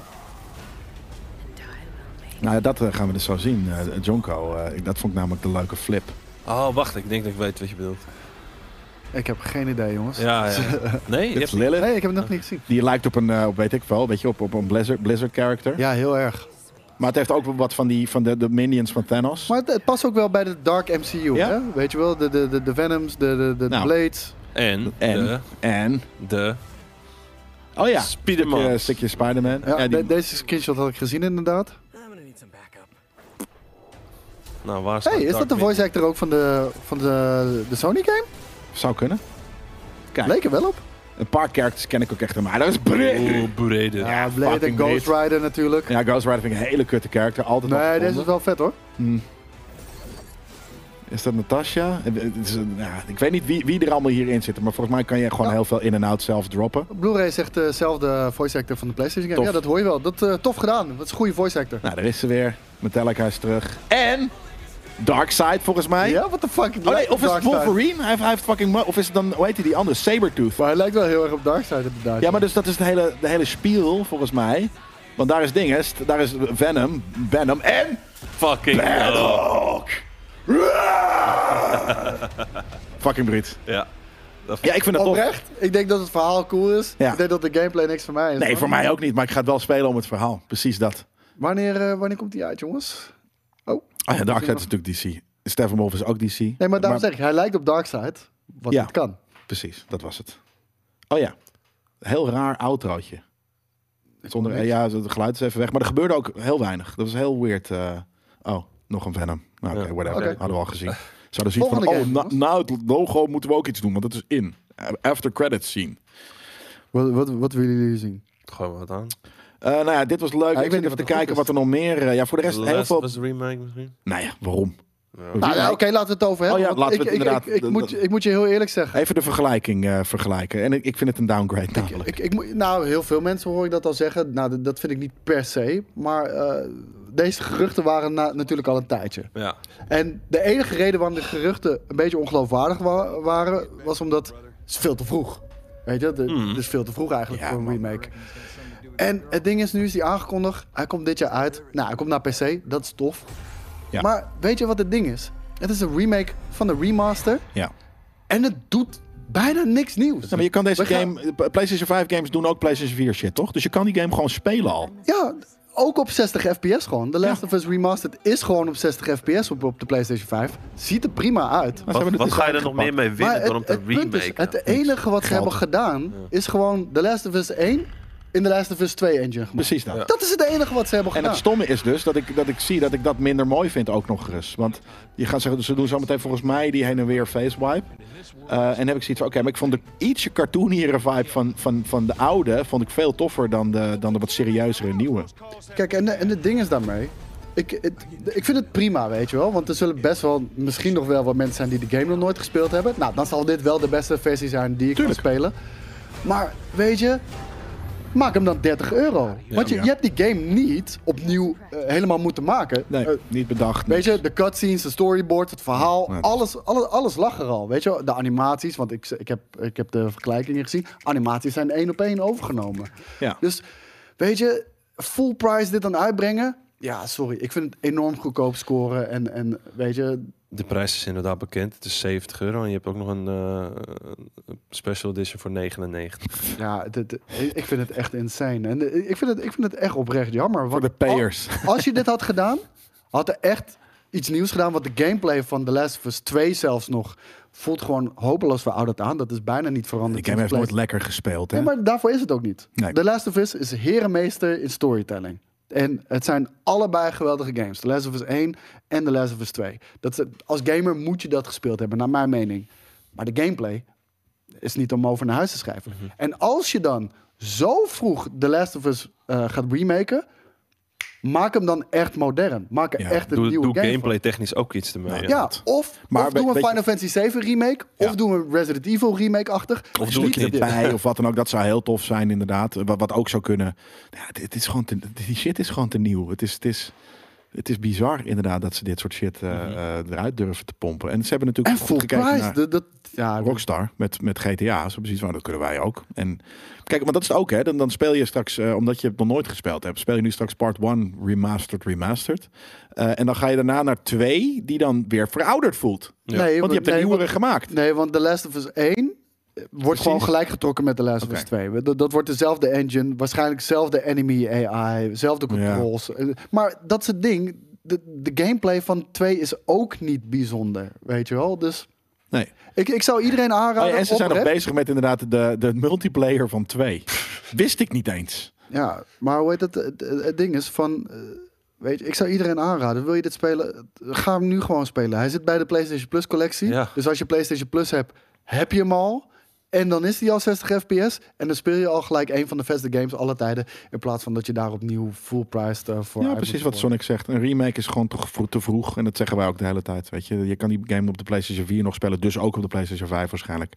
D: and I will make
B: Nou, ja, dat eh, gaan we dus zo zien. eh Jonko, eh, ik- dat vond ik namelijk de leuke flip.
C: Oh, wacht, ik denk dat ik weet wat je bedoelt.
A: Ik heb geen idee, jongens.
C: Ja, ja. Nee, je
B: Dit is
C: hebt-
B: Lilith.
A: Nee, ik heb het nog niet gezien.
B: Die lijkt op een, eh, op, weet ik wel, weet je, op, op een Blizzard, Blizzard character.
A: Ja, heel erg.
B: Maar het heeft ook wel wat van, die, van de, de minions van Thanos.
A: Maar het, het past ook wel bij de Dark MCU,
B: Ja?
A: hè? Weet je wel, de, de, de, de Venoms, de, de, de
B: Nou.
A: Blades.
C: en,
B: En?
C: de,
B: En,
C: de
B: oh ja,
C: Spiderman.
B: een stukje Spider-Man.
A: Ja,
B: Ja, die-
A: de- deze screenshot had ik gezien inderdaad.
D: I'm gonna need some backup.
C: Nou, waar staat
A: Hey, is
C: Dark
A: dat de
C: Knight?
A: voice actor ook van de, van de, de Sony game?
B: zou kunnen. Kijk,
A: Leek er wel op.
B: een paar characters ken ik ook echt helemaal. Dat is Brit.
C: Oeh, Oh, Brede.
A: Ja, Blade en
B: fucking
A: Ghost
B: Blade.
A: Rider natuurlijk.
B: Ja, Ghost Rider vind ik een hele kutte character. Altijd
A: nee,
B: opgevonden.
A: deze is wel vet hoor.
B: Hmm. Is dat Natasha? Eh, het is een- ja, Ik weet niet wie, wie er allemaal hierin zitten, maar volgens mij kan je gewoon
A: Ja.
B: heel veel in en out zelf droppen.
A: Blu-ray is echt dezelfde voice actor van de PlayStation game.
B: Tof.
A: Ja, dat hoor je wel. Dat eh, tof gedaan. Dat is een goede voice actor.
B: Nou, daar is ze weer. Metallica is terug. En Darkseid volgens mij.
A: Ja, what the fuck.
B: Oh nee, of is het
A: Darkseid.
B: Wolverine? Hij heeft, hij heeft fucking... mo- Of is het dan, hoe heet hij die andere? Sabertooth.
A: Maar hij lijkt wel heel erg op Darkseid inderdaad.
B: Ja, maar dus dat is het hele, de hele spiel, volgens mij. Want daar is ding, hè, st- daar is Venom, Venom en...
C: Fucking Oh, hell.
B: Paddock! fucking Brit.
C: Ja. Dat
B: Ja, ik vind dat tof.
A: Oprecht, ik denk dat het verhaal cool is.
B: Ja.
A: Ik denk dat de gameplay niks voor mij is.
B: Nee,
A: hoor.
B: voor mij ook niet, maar ik ga het wel spelen om het verhaal. Precies dat.
A: Wanneer, eh, wanneer komt die uit, jongens? Oh.
B: Oh ja, Darkseid is natuurlijk DC. Steppenwolf is ook DC.
A: Nee, maar daarom zeg ik, hij lijkt op Darkseid. Wat
B: Ja.
A: het kan.
B: Precies, dat was het. Oh ja, heel raar outrootje. Zonder, eh, ja, het geluid is even weg. Maar er gebeurde ook heel weinig. Dat was heel weird. eh, oh, nog een Venom. Nou, oké,
C: Ja.
B: whatever.
A: Oké.
B: Hadden we al gezien. Zouden zien van,
A: Volgende
B: oh,
A: game,
B: na,
A: jongens.
B: na het logo moeten we ook iets doen. Want dat is in. Eh, After credits scene.
A: Wat, wat, wat willen jullie zien?
C: Gooi maar wat aan.
B: Eh, nou ja, dit was leuk.
A: ik
B: ik
A: weet
B: zit
A: niet
B: even
A: wat
B: te
A: er goed
B: kijken
A: is.
B: wat er nog meer... eh, ja, voor de rest
C: De
B: heel
C: Last
B: veel...
C: was remake misschien?
B: Nou ja, waarom?
A: Nou, ja, Oké, laten we het over hebben.
B: Oh ja,
A: want
B: laten
A: ik,
B: we het
A: ik-
B: inderdaad-
A: Ik, ik,
B: dat- dat-
A: moet, ik moet je heel eerlijk zeggen.
B: Even de vergelijking eh, vergelijken. En ik, ik vind het een downgrade namelijk.
A: Ik, ik, moet- nou, heel veel mensen hoor ik dat al zeggen. Nou, dat, dat vind ik niet per se. Maar eh, deze geruchten waren na- natuurlijk al een tijdje.
C: Ja.
A: En de enige reden waarom de geruchten een beetje ongeloofwaardig wa- waren, was omdat het is veel te vroeg. Weet je, de- het is veel te vroeg eigenlijk
B: Hmm. Ja,
A: voor een
B: man.
A: remake. En het ding is, nu is die aangekondigd. Hij komt dit jaar uit. Nou, hij komt naar PC. Dat is tof.
B: Ja.
A: Maar weet je wat het ding is? Het is een remake van de remaster.
B: Ja.
A: En het doet bijna niks nieuws.
B: maar je kan deze
A: We gaan-
B: game... eh, PlayStation 5 games doen ook PlayStation 4 shit, toch? Dus je kan die game gewoon spelen al.
A: Ja, ook op 60 fps gewoon. The Last of Us Remastered is gewoon op 60 fps op, op de PlayStation 5. Ziet er prima uit.
B: Maar ze
C: Wat,
B: hebben het
C: wat
B: dus
C: ga je er nog
B: aangepakt.
C: meer mee winnen dan om te
A: punt is,
C: remaken?
A: het enige wat ze
B: Geld.
A: hebben gedaan, is gewoon The Last of Us 1 in The Last of Us 2 engine gemaakt.
B: Precies dat.
A: Dat is het enige wat ze hebben
B: En
A: gedaan.
B: het stomme is dus dat ik, dat ik zie dat ik dat minder mooi vind ook nog gerust. Want je gaat zeggen, ze doen zometeen volgens mij die heen en weer facewipe. Eh en heb ik zoiets van, oké, maar ik vond de ietsje cartooniere vibe van, van, van de oude... vond ik veel toffer dan de, dan de wat serieuzere nieuwe.
A: Kijk, en, en het ding is daarmee. Ik, het- ik vind het prima, weet je wel. Want er zullen best wel misschien nog wel wat mensen zijn die de game nog nooit gespeeld hebben. Nou, dan zal dit wel de beste versie zijn die ik kan spelen. Maar weet je, maak hem dan 30 euro. Want je,
B: ja.
A: je hebt die game niet opnieuw eh, helemaal moeten maken.
B: Nee,
A: Eh,
B: niet bedacht.
A: Weet je, de cutscenes, de storyboard, het verhaal,
B: Ja, dat is-
A: alles, alles, alles lag er al. Weet je, wel? de animaties, want ik, ik, heb, ik heb de vergelijkingen gezien. Animaties zijn één op één overgenomen.
B: Ja.
A: Dus weet je, full price dit dan uitbrengen? Ja, sorry. Ik vind het enorm goedkoop scoren. En, en weet je,
C: De prijs is inderdaad bekend. Het is 70 euro en je hebt ook nog een eh, een special edition voor 99.
A: ja, het- het- ik vind het echt insane. En eh, ik vind het, ik vind het echt oprecht jammer.
B: Voor
A: want
B: de payers.
A: Als je dit had gedaan, had er echt iets nieuws gedaan. Want de gameplay van The Last of Us 2 zelfs nog voelt gewoon hopeloos verouderd aan. Dat is bijna niet veranderd.
B: Die game
A: sinds
B: heeft nooit
A: Play-
B: lekker gespeeld, hè?
A: Nee, maar daarvoor is het ook niet.
B: Nee.
A: The Last of Us is herenmeester in storytelling. En het zijn allebei geweldige games. The Last of Us 1 en The Last of Us 2. Dat is, als gamer moet je dat gespeeld hebben, naar mijn mening. Maar de gameplay is niet om over naar huis te schrijven.
B: Mhm.
A: En als je dan zo vroeg The Last of Us eh, gaat remaken... maak hem dan echt modern. Maak er
B: Ja,
A: echt een
C: Doe,
A: nieuwe
C: doe
A: game van.
C: gameplay technisch ook iets ermee.
B: Nou,
C: ja.
A: Ja, of,
B: Maar
A: of
B: we-
A: doen we
B: weet je-
A: Final Fantasy 7 remake...
B: Ja.
A: of doen we Resident Evil remake-achtig.
B: Of doe ik
A: Niet
B: knip
A: dit.
B: bij of wat dan ook. Dat zou heel tof zijn, inderdaad. Wat, wat ook zou kunnen. Ja, het, het is gewoon te- die shit is gewoon te nieuw. Het is, het, is, het is bizar, inderdaad, dat ze dit soort shit eh, eh, eruit durven te pompen. En ze hebben natuurlijk
A: Mhm. En
B: goed
A: full
B: gekeken
A: price. dus-
B: naar-
A: Dat, dat, ja,
B: Rockstar met, met GTA. Zo precies van, dat kunnen wij ook. En kijk, maar dat is het ook, hè? Dan, dan speel je straks, eh, omdat je het nog nooit gespeeld hebt, speel je nu straks Part 1 Remastered Remastered. Eh, en dan ga je daarna naar 2, die dan weer verouderd voelt.
C: Ja.
A: Nee,
B: Want je hebt een
A: nee,
B: nieuwere
A: want-
B: gemaakt.
A: Nee, want The Last of Us 1 wordt gewoon gelijk getrokken met The Last of
B: Oké.
A: Us 2. Dat, dat wordt dezelfde engine, waarschijnlijk dezelfde enemy AI, zelfde
B: Ja.
A: controls. Eh, Maar dat is het ding. De, de gameplay van 2 is ook niet bijzonder, weet je wel. Dus
B: Nee.
A: ik, ik zou iedereen aanraden.
B: Oh ja, en ze zijn nog
A: oprecht.
B: bezig met inderdaad de, de multiplayer van 2. Wist ik niet eens.
A: Ja, maar hoe heet het? Het, het- het ding is van. eh, Weet je, ik zou iedereen aanraden. Wil je dit spelen? Ga hem nu gewoon spelen. Hij zit bij de PlayStation Plus collectie.
C: Ja.
A: Dus als je PlayStation Plus hebt, heb je hem al. En dan is die al 60 fps. En dan speel je al gelijk een van de beste games alle tijden. In plaats van dat je daar opnieuw full priced eh, voor
B: Ja,
A: uit
B: precies
A: moet
B: wat Sonic zegt. Een remake is gewoon te, gevro- te vroeg. En dat zeggen wij ook de hele tijd. Weet je, je kan die game op de PlayStation 4 nog spelen. Dus ook op de PlayStation 5 waarschijnlijk.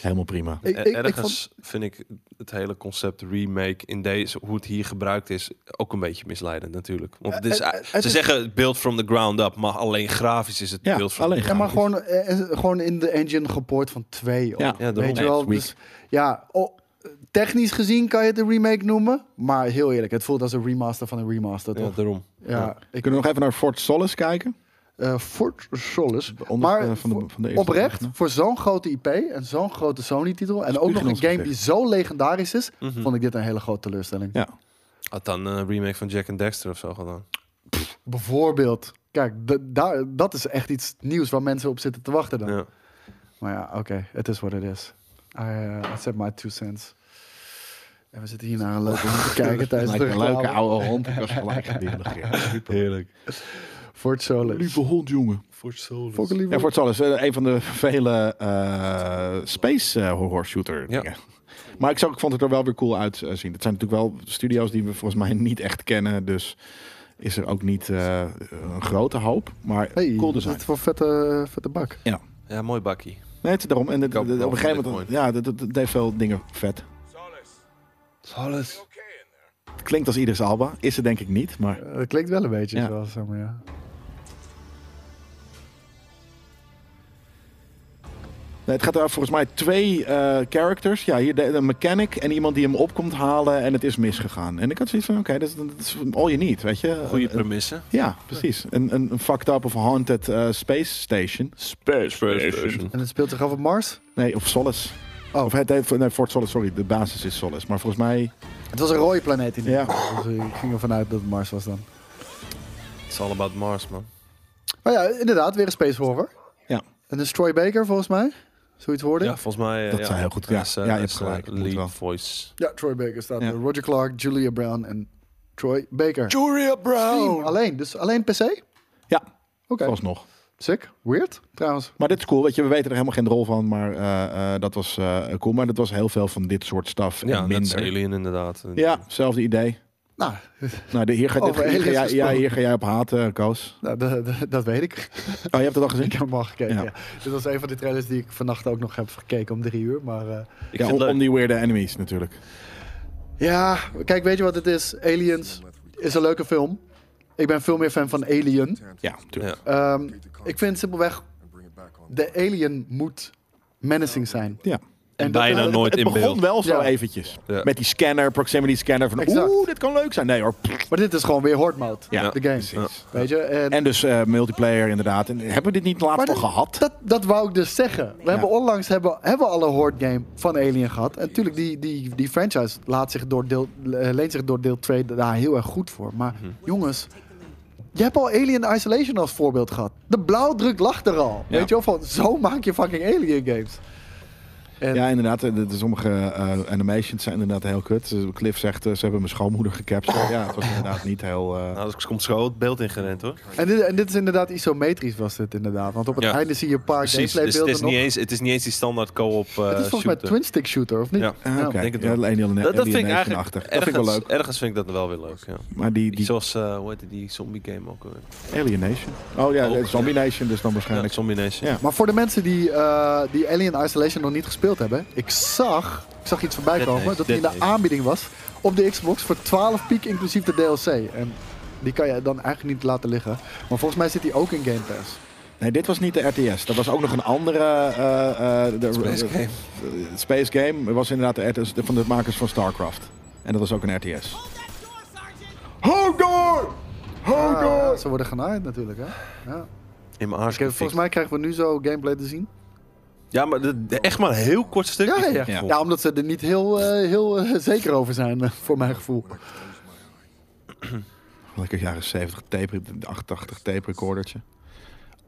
B: Helemaal prima.
A: worden. Ik, ik, ik vond-
C: E- Ergens vind ik het hele concept remake in deze, hoe het hier gebruikt is, ook een beetje misleidend natuurlijk. Want het is,
A: Eh, eh, het
C: ze
A: is-
C: zeggen build from the ground up, maar alleen grafisch is het
B: Ja,
C: build from
B: alleen
C: the
A: Ja, maar
C: ground
A: gewoon, eh, eh, gewoon in de engine gepoord van 2.
B: Ja,
C: ja, daarom.
A: weet je wel.
C: Nee,
B: het is
A: Dus, ja, oh, technisch gezien kan je het een remake noemen. Maar heel eerlijk, het voelt als een remaster van een remaster,
C: up. Ja,
A: toch?
C: daarom.
A: Ja, ik,
B: Kunnen we nog even naar Fort Solace kijken?
A: eh Fort Solace.
B: Onder-
A: Maar
B: eh, van de-
A: voor-
B: van de eerste
A: oprecht,
B: pagina.
A: voor zo'n grote IP en zo'n grote Sony-titel... en ook
B: puur
A: nog een
B: genoeg
A: game
B: gezegd.
A: die zo legendarisch is... vond ik dit een hele grote teleurstelling.
B: Ja.
C: Had dan een remake van Jack and Dexter of zo gedaan.
A: Bijvoorbeeld, kijk, d- daar, dat is echt iets nieuws... waar mensen op zitten te wachten dan.
C: Ja.
A: Maar ja, oké, het is wat het is. I, uh, I said my two cents. En we zitten hier naar een leuke hond te kijken tijdens de
B: Oh. Lijkt een leuke
A: reclame.
B: oude hond. Ik was gelijk gedierig.
C: Heerlijk.
A: Fort Solace.
B: hond, jongen.
A: Fuck een lieve
B: Ja, Fort Solace, eh, een van de vele eh, space eh, horror shooter
C: Ja.
B: dingen. Maar ik, zag, ik vond het er wel weer cool uitzien. Het zijn natuurlijk wel studio's die we volgens mij niet echt kennen. Dus is er ook niet eh, een grote hoop. Maar
A: Hey,
B: cool
A: wat is
B: design.
A: dit voor vette, vette bak?
B: Ja.
C: Ja, mooi bakkie.
B: Nee, het is daarom. En het-
C: Ik hoop
B: op een
C: wel
B: gegeven
C: dat
B: moment,
C: dit
B: ja, dat, dat, dat deed veel dingen vet.
C: Alles.
B: Het klinkt als Idris Alba. Is het denk ik niet, maar...
A: Eh, Dat klinkt wel een beetje
B: Ja.
A: zoals, zeg maar, ja.
B: Nee, het gaat daar volgens mij twee eh, characters. Ja, hier de, een mechanic en iemand die hem op komt halen en het is misgegaan. En ik had zoiets van, oké, dat, is- dat is all you need, weet je.
C: Goede
B: Eh, eh,
C: premisse.
B: Ja, precies. Een, een, een fucked up of haunted eh, space station. Space
A: En het speelt zich af op Mars?
B: Nee, of Solace.
A: Oh.
B: Of het heet, nee, Fort Solace, sorry. De basis is Solace. Maar volgens mij,
A: Het was een rode planeet in ieder
B: Ja.
A: geval. Dus ik ging ervan uit dat het Mars was dan.
C: It's all about Mars, man.
A: Maar Oh ja, inderdaad, weer een space horror.
B: ja.
A: En dus Troy Baker volgens mij. Zoiets hoorde ik.
C: Ja, volgens mij... eh,
B: Dat
C: ja.
B: zou heel goed- ja,
C: Hij is, eh,
B: ja, je
C: hij
B: hebt
C: is, eh,
B: gelijk. Dat moet wel.
C: Lead voice.
A: Ja, Troy Baker staat
B: Ja.
A: er. Roger Clark, Julia Brown en Troy Baker.
B: Julia
A: Steam alleen, dus alleen PC? Oké.
B: Ja,
C: Eh.
B: alsnog.
A: Sick. Weird, trouwens.
B: Maar dit is cool, weet je, we weten er helemaal geen rol van, maar eh, eh, dat was eh, cool. Maar dat was heel veel van dit soort stuff en
C: Ja, dat is
B: minder.
C: Alien inderdaad.
B: ja, hetzelfde idee.
A: Nou,
B: Nou, de, hier,
C: Oh,
B: gaat, dit,
A: Over
B: hier, ga
A: aliens
B: jij, ja,
A: gesproken.
B: hier ga jij op haten, Koos.
A: nou, d- d- dat weet ik.
B: Oh, je hebt het al gezien?
A: ik heb hem al gekeken.
B: Ja.
A: ja. Dit was een van de trailers die ik vannacht ook nog heb gekeken om drie uur. Maar eh,
C: Ik
B: ja, om,
C: vind het
B: om
C: leuk.
B: die weirde enemies natuurlijk.
A: ja, kijk, weet je wat het is? Aliens is een leuke film. Ik ben veel meer fan van Alien.
B: Ja, natuurlijk.
C: Ja.
A: Ehm, ik vind simpelweg, de alien moet menacing zijn.
B: Ja.
A: En
C: bijna
A: dat-
C: nooit
B: Het
C: in
B: begon
C: beeld.
B: wel zo
A: Ja.
B: eventjes.
C: Ja.
B: Met die scanner, proximity scanner. Van,
A: Exact.
B: oeh, dit kan leuk zijn. Nee hoor. Pff,
A: Maar dit is gewoon weer horde mode.
B: Ja,
A: de game.
B: precies.
A: Weet je? En,
B: En dus eh, multiplayer inderdaad. En hebben we dit niet laatst
A: Maar
B: al
A: dat-
B: gehad?
A: Dat, dat wou ik dus zeggen. We hebben onlangs hebben, hebben we al een horde game van Alien gehad. En natuurlijk, die, die, die franchise laat zich door deel, eh, leent zich door deel 2 daar heel erg goed voor. Maar jongens, je hebt al Alien Isolation als voorbeeld gehad. De blauwdruk lag er al.
B: Ja.
A: Weet je wel, van zo maak je fucking Alien games. En,
B: Ja, inderdaad. eh, De, de sommige eh, animations zijn inderdaad heel kut. Eh, Cliff zegt, eh, ze hebben mijn schoonmoeder gecaptured. Ja, het was inderdaad niet heel... eh,
C: Nou, dus komt zo het beeld ingerend, hoor.
A: en, dit, en dit is inderdaad isometrisch was dit inderdaad. Want op het
C: Ja.
A: einde zie je een paar
C: Precies,
A: gameplaybeelden
C: dus het
A: nog.
C: is, niet eens, het is niet eens die standaard co-op
A: het
C: eh
A: is volgens mij
C: shooter.
A: twin-stick shooter, of niet? Nou,
C: Ja.
B: Ah, Oké,
C: denk het
B: ja,
C: wel.
B: alleen die
C: Dat, dat vind ik eigenlijk
B: animation-achtig. Dat vind ik wel leuk.
C: Ergens vind ik dat wel weer leuk, ja.
B: Maar die, die
C: Zoals, eh, hoe heette die zombie game ook alweer?
B: Alienation. Oh ja,
C: Ook.
B: Zombie Nation dus dan
C: Ja,
B: waarschijnlijk.
C: zombie Nation.
B: Ja.
A: Maar voor de mensen die, eh, die Alien Isolation nog niet gespeeld hebben, ik zag, ik zag iets voorbij
C: Dead
A: komen
C: Days,
A: dat die in
C: Dead
A: de
C: Days.
A: aanbieding was op de Xbox voor 12 piek inclusief de DLC. En die kan je dan eigenlijk niet laten liggen. Maar volgens mij zit die ook in Game Pass.
B: Nee, dit was niet de RTS. Dat was ook nog een andere... eh, eh, de,
C: Space game.
B: eh, Space Game was inderdaad de RTS van de makers van StarCraft. En dat was ook een RTS. Hold door! Hold
A: Ah,
B: door!
A: ze worden genaaid natuurlijk, hè? Ja.
C: In mijn
A: Oké,
C: aardige
A: volgens mij krijgen we nu zo gameplay te zien.
C: Ja, maar de- de- echt maar een heel kort stukje.
A: Ja, ja,
C: vond ik
A: ja.
C: vol.
A: ja omdat ze er niet heel, eh, heel eh, zeker over zijn, eh, voor mijn gevoel.
B: Lekker jaren 70 tape, 88 tape recordertje.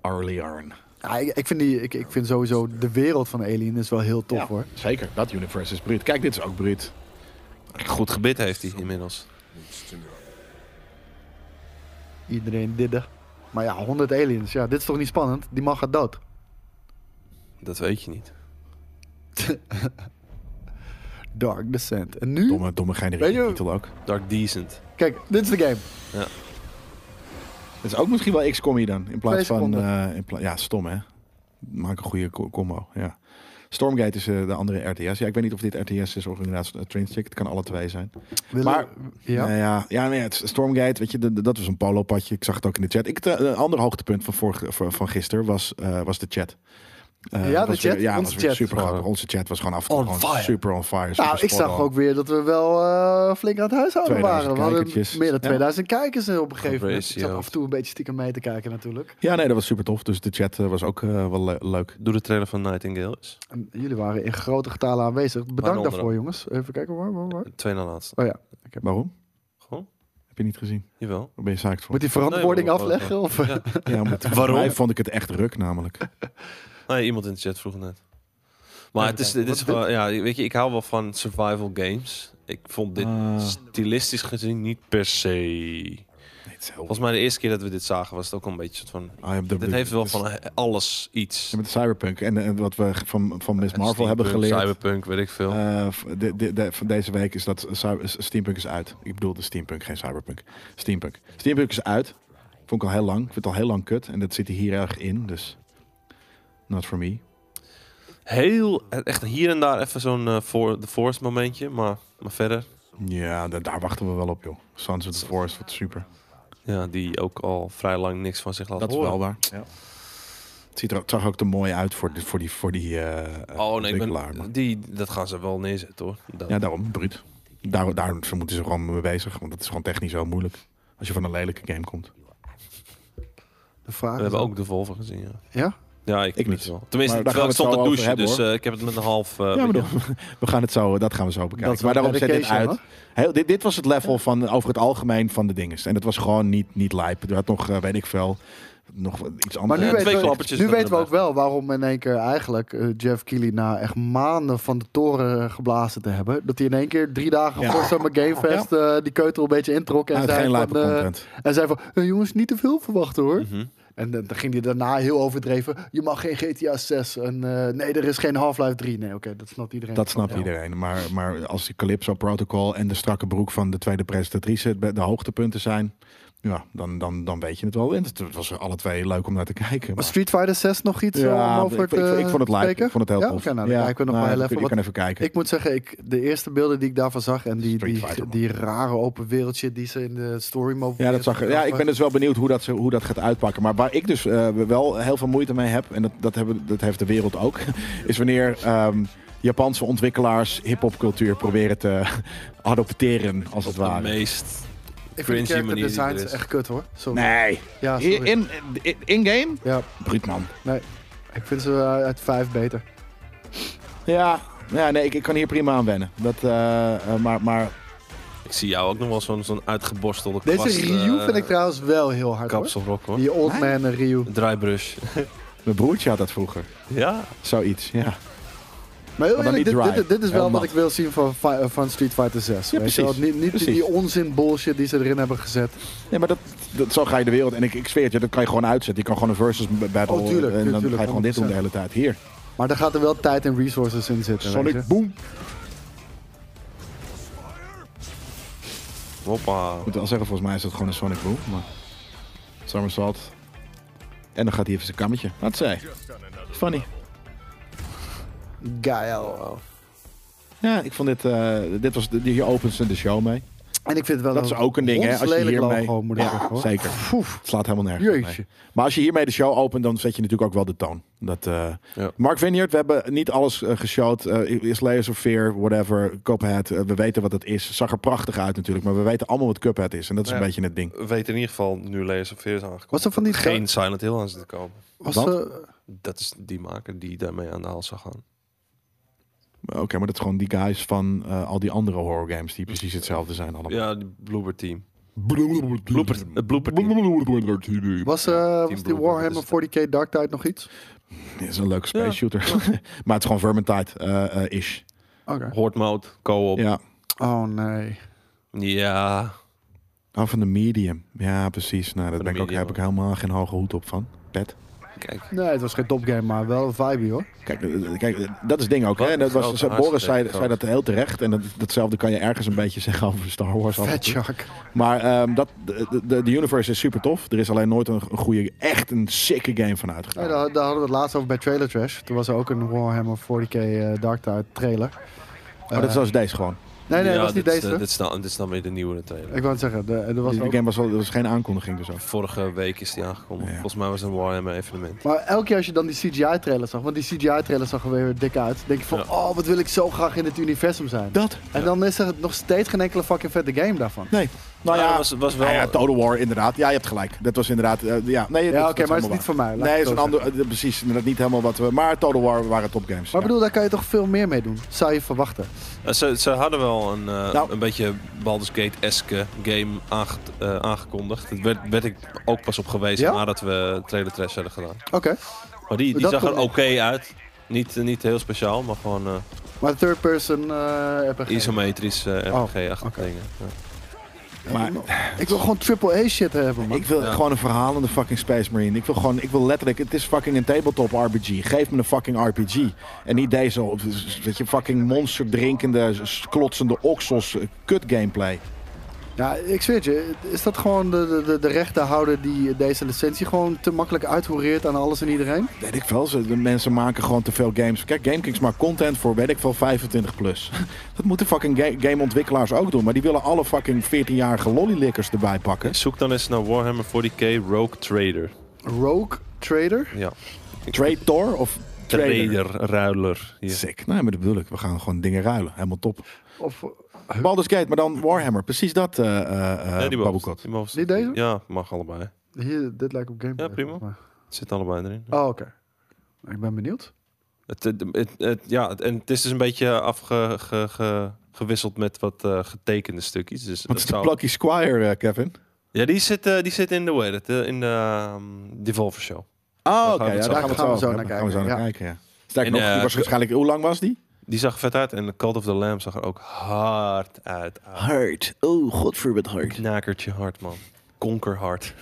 B: Arlie Arn.
A: Ja, ik, ik, vind die, ik, ik vind sowieso de wereld van Alien is wel heel tof, hoor.
B: Zeker, dat universe is bruut. Kijk, dit is ook bruut.
C: Goed gebit heeft hij inmiddels.
A: Iedereen didde. Maar ja, 100 aliens. Ja, dit is toch niet spannend? Die man gaat dood.
C: Dat weet je niet.
A: Dark Descent. En nu?
B: Domme, domme
A: Weet
B: generieke
A: je-
B: titel ook.
C: Dark Decent.
A: Kijk, dit is de game.
B: Het is ook misschien wel XCOM hier dan. In plaats
A: Twee
B: van...
A: seconden.
B: eh, in pla- ja, stom hè. Maak een goede co- combo. Ja. Stormgate is eh, de andere RTS. Ja, ik weet niet of dit RTS is of inderdaad uh, Trainstick. Het kan alle twee zijn.
A: Willen-
B: Maar-
A: ja.
B: Nou ja, ja, nee, het is Stormgate, weet je, de- de- dat was een polopadje. Ik zag het ook in de chat. Ik, eh, een ander hoogtepunt van, vorige, van, van gisteren was, eh, was de chat. Eh,
A: Ja, de
B: was weer-
A: chat,
B: ja,
A: onze
B: was weer
A: chat.
B: Super grappig. Onze chat was gewoon af en toe
A: On
B: gewoon
A: fire.
B: super on fire. super
A: nou, ik
B: spot
A: zag
B: on.
A: ook weer dat we wel eh, flink aan het huishouden
B: 2000
A: waren. We hadden
B: kijkertjes.
A: meer dan
B: Ja.
A: 2000 kijkers eh, op een gegeven moment. Ik zat
C: Ratio.
A: af en toe een beetje stiekem mee te kijken natuurlijk.
B: Ja, nee, dat was super tof. Dus de chat eh, was ook eh, wel le- leuk.
C: Doe de trailer van Nightingale eens.
A: En jullie waren in grote getalen aanwezig. Bedankt
C: Waaronder
A: daarvoor
C: ook.
A: jongens. Even kijken waar, waar, waar.
C: De tweede na laatste.
A: Oh ja.
B: Waarom?
C: Gewoon?
B: Heb je niet gezien?
C: Jawel.
B: Waar ben je zaakt voor?
A: Moet die verantwoording
C: Nee, maar-
A: afleggen? Of? eh,
C: Ja.
B: Ja, omdat-
C: Waarom?
B: Mij vond ik het echt ruk namelijk.
C: Nee, iemand in de chat vroeg net. Maar
A: Even
C: het is,
A: kijken,
C: dit is
A: wat
C: gewoon, ja, weet je, ik hou wel van survival games. Ik vond dit
B: Ah.
C: stilistisch gezien niet per se.
B: Nee, het is heel...
C: Volgens mij de eerste keer dat we dit zagen was het ook al een beetje soort van.
B: Ah, ja, de-
C: Dit heeft wel
B: het is-
C: van eh, alles iets.
B: Met Cyberpunk en, en wat we van, van Miss Marvel hebben
C: Steampunk,
B: geleerd.
C: Cyberpunk, weet ik veel.
B: Eh, v- de, de, de- van deze week is dat cy- Steampunk is uit. Ik bedoel de Steampunk, geen Cyberpunk. Steampunk. Steampunk is uit. Vond ik al heel lang. Ik vind het al heel lang kut. En dat zit hier erg in, dus... Not for me.
C: Heel, echt hier en daar even zo'n eh, voor The Force momentje, maar, maar verder.
B: Ja, da- daar wachten we wel op, joh. Sons of the Forest, wat super.
C: Ja, die ook al vrij lang niks van zich laat
B: Dat is
C: horen.
B: wel waar. Ja. Het, ziet er, het zag ook te mooi uit voor, die- voor die, voor die eh
C: Oh nee, ik
B: ontwikkelaar, maar-
C: ben, die, dat gaan ze wel neerzetten hoor. Dat-
B: Ja, daarom, bruut. Daar, daar moeten ze gewoon mee bezig, want het is gewoon technisch heel moeilijk. Als je van een lelijke game komt.
A: De vraag
C: we
A: is
C: hebben
A: dan-
C: ook de Volvo gezien. Ja,
A: Ja?
C: ja ik,
B: Ik
C: ik
B: niet.
C: wel. Tenminste,
B: Maar daar gaan
C: terwijl ik
B: we het
C: stond
B: zo
C: te
B: over
C: douchen,
B: hebben,
C: dus
B: hoor.
C: eh, ik heb het met een half. eh,
B: ja, maar
C: beetje-
B: dan- we gaan het zo, dat gaan we zo
A: Dat
B: bekijken.
A: is
B: maar
A: wel
B: daarom zet dit
A: dedication,
B: uit. Heel, dit, dit was het level van eh, over het algemeen van de dinges. En dat was gewoon niet, niet lijp. Er had nog, eh, weet ik veel, nog wat- iets
A: Maar
B: anders.
A: nu
C: Ja, Eh, twee
A: weten we,
C: klappertjes
A: nu
C: erbij.
A: weten we ook wel waarom in één keer eigenlijk eh, Jeff Keighley na echt maanden van de toren geblazen te hebben, dat hij in één keer drie dagen
B: Ja.
A: voor Summer Game Fest eh, die keutel een beetje introk en
B: Uit
A: zei
B: geen
A: van,
B: lijpe
A: eh,
B: content.
A: en zei van "Eh, jongens niet te veel verwachten hoor.
C: Mhm.
A: En dan dan ging hij daarna heel overdreven. Je mag geen GTA 6. En, eh, nee, er is geen Half-Life 3. Nee, oké, dat snapt iedereen.
B: Dat snapt
A: Ja.
B: iedereen. Maar, maar als die Calypso Protocol en de strakke broek van de tweede presentatrice de de hoogtepunten zijn, ja, dan, dan, dan weet je het wel. En het, het was alle twee leuk om naar te kijken.
A: Maar
B: maar-
A: Street Fighter 6 nog iets eh,
B: Ja,
A: om
B: ik,
A: over
B: ik, ik,
A: te
B: vond het live.
A: spreken?
B: Ik vond het heel
A: Ja?
B: tof.
A: Oké, nou, dan kijken we nog
B: nou,
A: maar heel
B: je-
A: even.
B: Je
A: wat-
B: kan even kijken.
A: Ik moet zeggen, ik, de eerste beelden die ik daarvan zag... en die,
B: Street
A: die,
B: Fighter, man.
A: die rare open wereldje die ze in de story mode...
B: ja, dat zag, er- ja, ik ben dus wel benieuwd hoe dat, ze- hoe dat gaat uitpakken. Maar waar ik dus eh, wel heel veel moeite mee heb, en dat, dat, hebben, dat heeft de wereld ook, is wanneer ehm, Japanse ontwikkelaars hip-hopcultuur proberen te adopteren, als het
C: Op de
B: ware.
C: meest.
A: Ik vind
C: cringy
A: de character
C: manier die er
A: designs
C: is.
A: echt kut, hoor. Sorry.
B: Nee.
A: Ja, sorry.
B: In- in- In-game?
A: Ja,
B: Bruut man.
A: nee. Ik vind ze eh, uit 5 beter.
B: Ja, ja nee, ik, ik kan hier prima aan wennen. Dat, eh, eh, maar, maar
C: Ik zie jou ook nog wel zo'n zo'n uitgeborstelde
A: Deze
C: kwast,
A: Ryu
C: eh,
A: vind ik trouwens wel heel hard, hoor.
C: Kapselrok hoor.
A: Die old man eh, Ryu.
C: Een Draaibrush.
B: mijn broertje had dat vroeger.
C: ja.
B: Zoiets, ja.
A: Maar heel
B: Maar dan
A: eerlijk,
B: niet
A: dit,
B: dry.
A: dit, dit is
B: Heel
A: wel wat
B: nat.
A: ik wil zien van, Fi- eh, van Street Fighter 6.
B: Ja,
A: weet je wel.
B: precies.
A: Niet, niet
B: Precies.
A: die onzin bullshit die ze erin hebben gezet.
B: Nee, maar dat, dat, zo ga je de wereld. En ik, ik zweer het je, dat kan je gewoon uitzetten. Je kan gewoon een versus b- battle.
A: Oh, tuurlijk,
B: en dan
A: tuurlijk,
B: ga je gewoon dit doen de
A: 100%.
B: hele tijd. Hier,
A: Maar daar gaat er wel tijd en resources in zitten. weet je.
B: Sonic Boom.
C: Hoppa.
B: Ik moet wel zeggen, volgens mij is dat gewoon een Sonic Boom. Maar... Somersault. En dan gaat hij even zijn kammetje. Wat zei? Funny.
A: Geil.
B: Ja, ik vond dit... eh, dit was, de- hier opent ze de show mee.
A: En ik vind het wel
B: Dat is ook een ding, hè. Als je
A: hondslelijk
B: hiermee...
A: logo, moet ik zeggen, hoor.
B: zeker.
A: Poef.
B: Het slaat helemaal nergens op,
A: Jeetje.
B: nee. Maar als je hiermee de show opent, dan zet je natuurlijk ook wel de toon. Dat, eh,
C: Ja.
B: Mark Vineyard, we hebben niet alles eh, geshowd. Eh, is Layers of Fear, whatever, Cuphead. eh, we weten wat het is. Zag er prachtig uit natuurlijk, maar we weten allemaal wat Cuphead is. En dat is
C: Ja.
B: een beetje het ding.
C: We weten in ieder geval nu Layers of Fear is aangekomen.
A: Was er van die-
C: dat geen Silent Hill aan zit te komen.
A: Was,
B: Wat?
A: eh,
C: Dat is die maker die daarmee aan de haal zou gaan.
B: Oké, maar dat is gewoon die guys van eh, al die andere horror games die precies hetzelfde zijn allemaal.
C: Ja, die Blooper Team.
B: Blooper-
C: Blooper, het Blooper Team.
A: was, eh, was die
C: Blooper,
A: Warhammer
C: dat
A: 40k Dark Tide nog iets?
B: Dit is een leuke space
C: Ja.
B: shooter. maar het is gewoon Vermintide eh, eh, ish.
A: Oké.
C: Horde mode, co-op. Ja.
B: Ja.
A: Oh nee.
B: Oh, van de medium. Ja, precies. Nou, dat
C: de
B: ben ik ook,
C: medium,
B: heb ik helemaal geen hoge hoed op van. Pet.
C: Kijk,
A: Nee, het was geen topgame, maar wel een vibe hoor.
B: Kijk, eh, kijk, eh, dat is het ding ook. Hè?
C: Wat
B: Dat
C: een
B: was,
C: grote
B: zei-
C: haast,
B: Boris zei,
C: eh,
B: zei dat heel terecht. En dat, datzelfde kan je ergens een beetje zeggen over Star Wars. af en
A: Fat
B: toe.
A: Shark.
B: Maar ehm, dat, de, de, de universe is super tof. Er is alleen nooit een goede, echt een sicke game van
A: Nee,
B: uitgegaan.
A: daar, daar hadden we het laatst over bij Trailer Trash. Toen was er ook een Warhammer 40k eh, Dark Tide trailer. Eh,
B: maar Oh, dat is als deze gewoon.
A: Nee, nee,
C: ja,
A: dat was niet
C: dit is
A: deze.
C: de- dit, is nou, dit is nou weer de nieuwe trailer.
A: Ik wou het zeggen, de, er was
B: Die
A: ook...
B: game was, al, er was geen aankondiging dus ook.
C: Vorige week is die aangekomen.
B: Ja.
C: Volgens mij was het een Warhammer evenement.
A: Maar elke keer als je dan die CGI-trailer zag, want die CGI-trailer zag er weer dik uit, denk je van,
C: Ja.
A: oh, wat wil ik zo graag in het universum zijn.
B: Dat?
A: En dan is er nog steeds geen enkele fucking vette game daarvan.
B: Nee. Nou
C: Maar
B: ja,
C: was, was wel...
B: nou ja, Total War inderdaad. Ja, je hebt gelijk. Dat was inderdaad... eh, ja, nee,
A: Ja,
B: dat-
A: oké, maar
B: dat is
A: het is
B: helemaal
A: niet voor mij.
B: waar.
A: laat
B: Nee,
A: ik
B: is een
A: het zo
B: ander... eh, precies, inderdaad niet helemaal wat we... Maar Total War waren topgames.
A: zeggen. Maar
B: ja.
A: bedoel, daar kan je toch veel meer mee doen, zou je verwachten.
C: Eh, ze, ze hadden wel een, eh,
B: Nou.
C: een beetje Baldur's Gate-eske game aange- eh, aangekondigd. Daar werd, werd ik ook pas op gewezen
A: Ja?
C: nadat we trailer trash hadden gedaan.
A: Oké,
C: Maar die, die
A: Dat
C: zag er oké
A: kon-
C: uit. Niet, eh, niet heel speciaal, maar gewoon eh,
A: maar third-person eh RPG.
C: isometrisch eh
A: Oh,
C: RPG-achtige
A: oké.
C: dingen. Ja.
B: maar
A: Ik wil gewoon AAA-shit hebben, man.
B: Ik wil
C: Ja.
B: gewoon een verhalende fucking Space Marine. Ik wil gewoon, ik wil letterlijk, het is fucking een tabletop RPG. Geef me een fucking RPG. En niet deze, weet je, fucking monster drinkende, klotsende oksels, eh, kut gameplay.
A: Ja, ik zweer het je, is dat gewoon de, de- de, de rechterhouder die deze licentie gewoon te makkelijk uithoereert aan alles en iedereen?
B: Weet ik veel, ze, de mensen maken gewoon te veel games. Kijk, GameKings maakt content voor, weet ik veel, 25 plus. Dat moeten fucking ga- gameontwikkelaars ook doen. Maar die willen alle fucking 14-jarige lollylikkers erbij pakken.
C: Zoek dan eens naar Warhammer 40k Rogue Trader.
A: Rogue Trader?
C: Ja.
B: Traitor of trader?
C: Trader, ruiler. hier.
B: Sick. Nee, maar dat bedoel ik. We gaan gewoon dingen ruilen. Helemaal top.
A: Of,
B: Baldur's Gate, maar dan Warhammer. Precies dat, eh eh,
C: Nee,
B: eh
C: die mogen-
B: Babbelkot.
C: die mogen-
A: Niet deze?
C: Ja, mag allebei. Het
A: hier, dit lijkt op gameplay.
C: Ja, prima.
A: volgens mij.
C: zit allebei erin.
A: Oh, oké. Ik ben benieuwd.
C: Het, het, het- het- ja, het- en het is dus een beetje afgewisseld met wat eh, getekende stukjes. Dus
B: Wat
C: dat
B: is de
C: zou-
B: Plucky Squire, eh, Kevin?
C: Ja, die zit, eh, die zit in de, hoe heet het, eh, in de ehm, Devolver Show.
B: Oh,
C: oké, ja, daar
A: gaan we zo naar
B: Daar gaan we zo
A: kijken,
B: naar
A: ja.
B: kijken, ja. Sterker
C: En,
B: nog, die
C: eh,
B: was waarschijnlijk... Hoe lang was die?
C: Die zag er vet uit en Cult of the Lamb zag er ook hard uit. Ah,
B: Hard. Oh, godverdomme hard.
C: Knakertje hard, man. Konkerhard.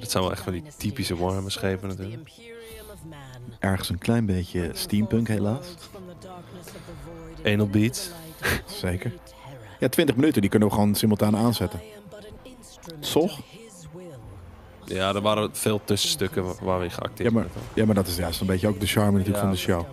D: dat zijn wel echt van die typische warme
C: Warhammer
D: schepen
C: schepen
D: natuurlijk.
C: natuurlijk.
B: Ergens een klein beetje steampunk, helaas.
D: Anal beats.
B: Zeker. Ja, 20 minuten, die kunnen we gewoon simultaan aanzetten. Toch?
C: Ja, er waren veel tussenstukken wa- waar we in geacteerd
B: Ja, maar,
C: werden.
B: ja, maar dat is juist een beetje ook de charme natuurlijk
C: Ja.
B: van de show.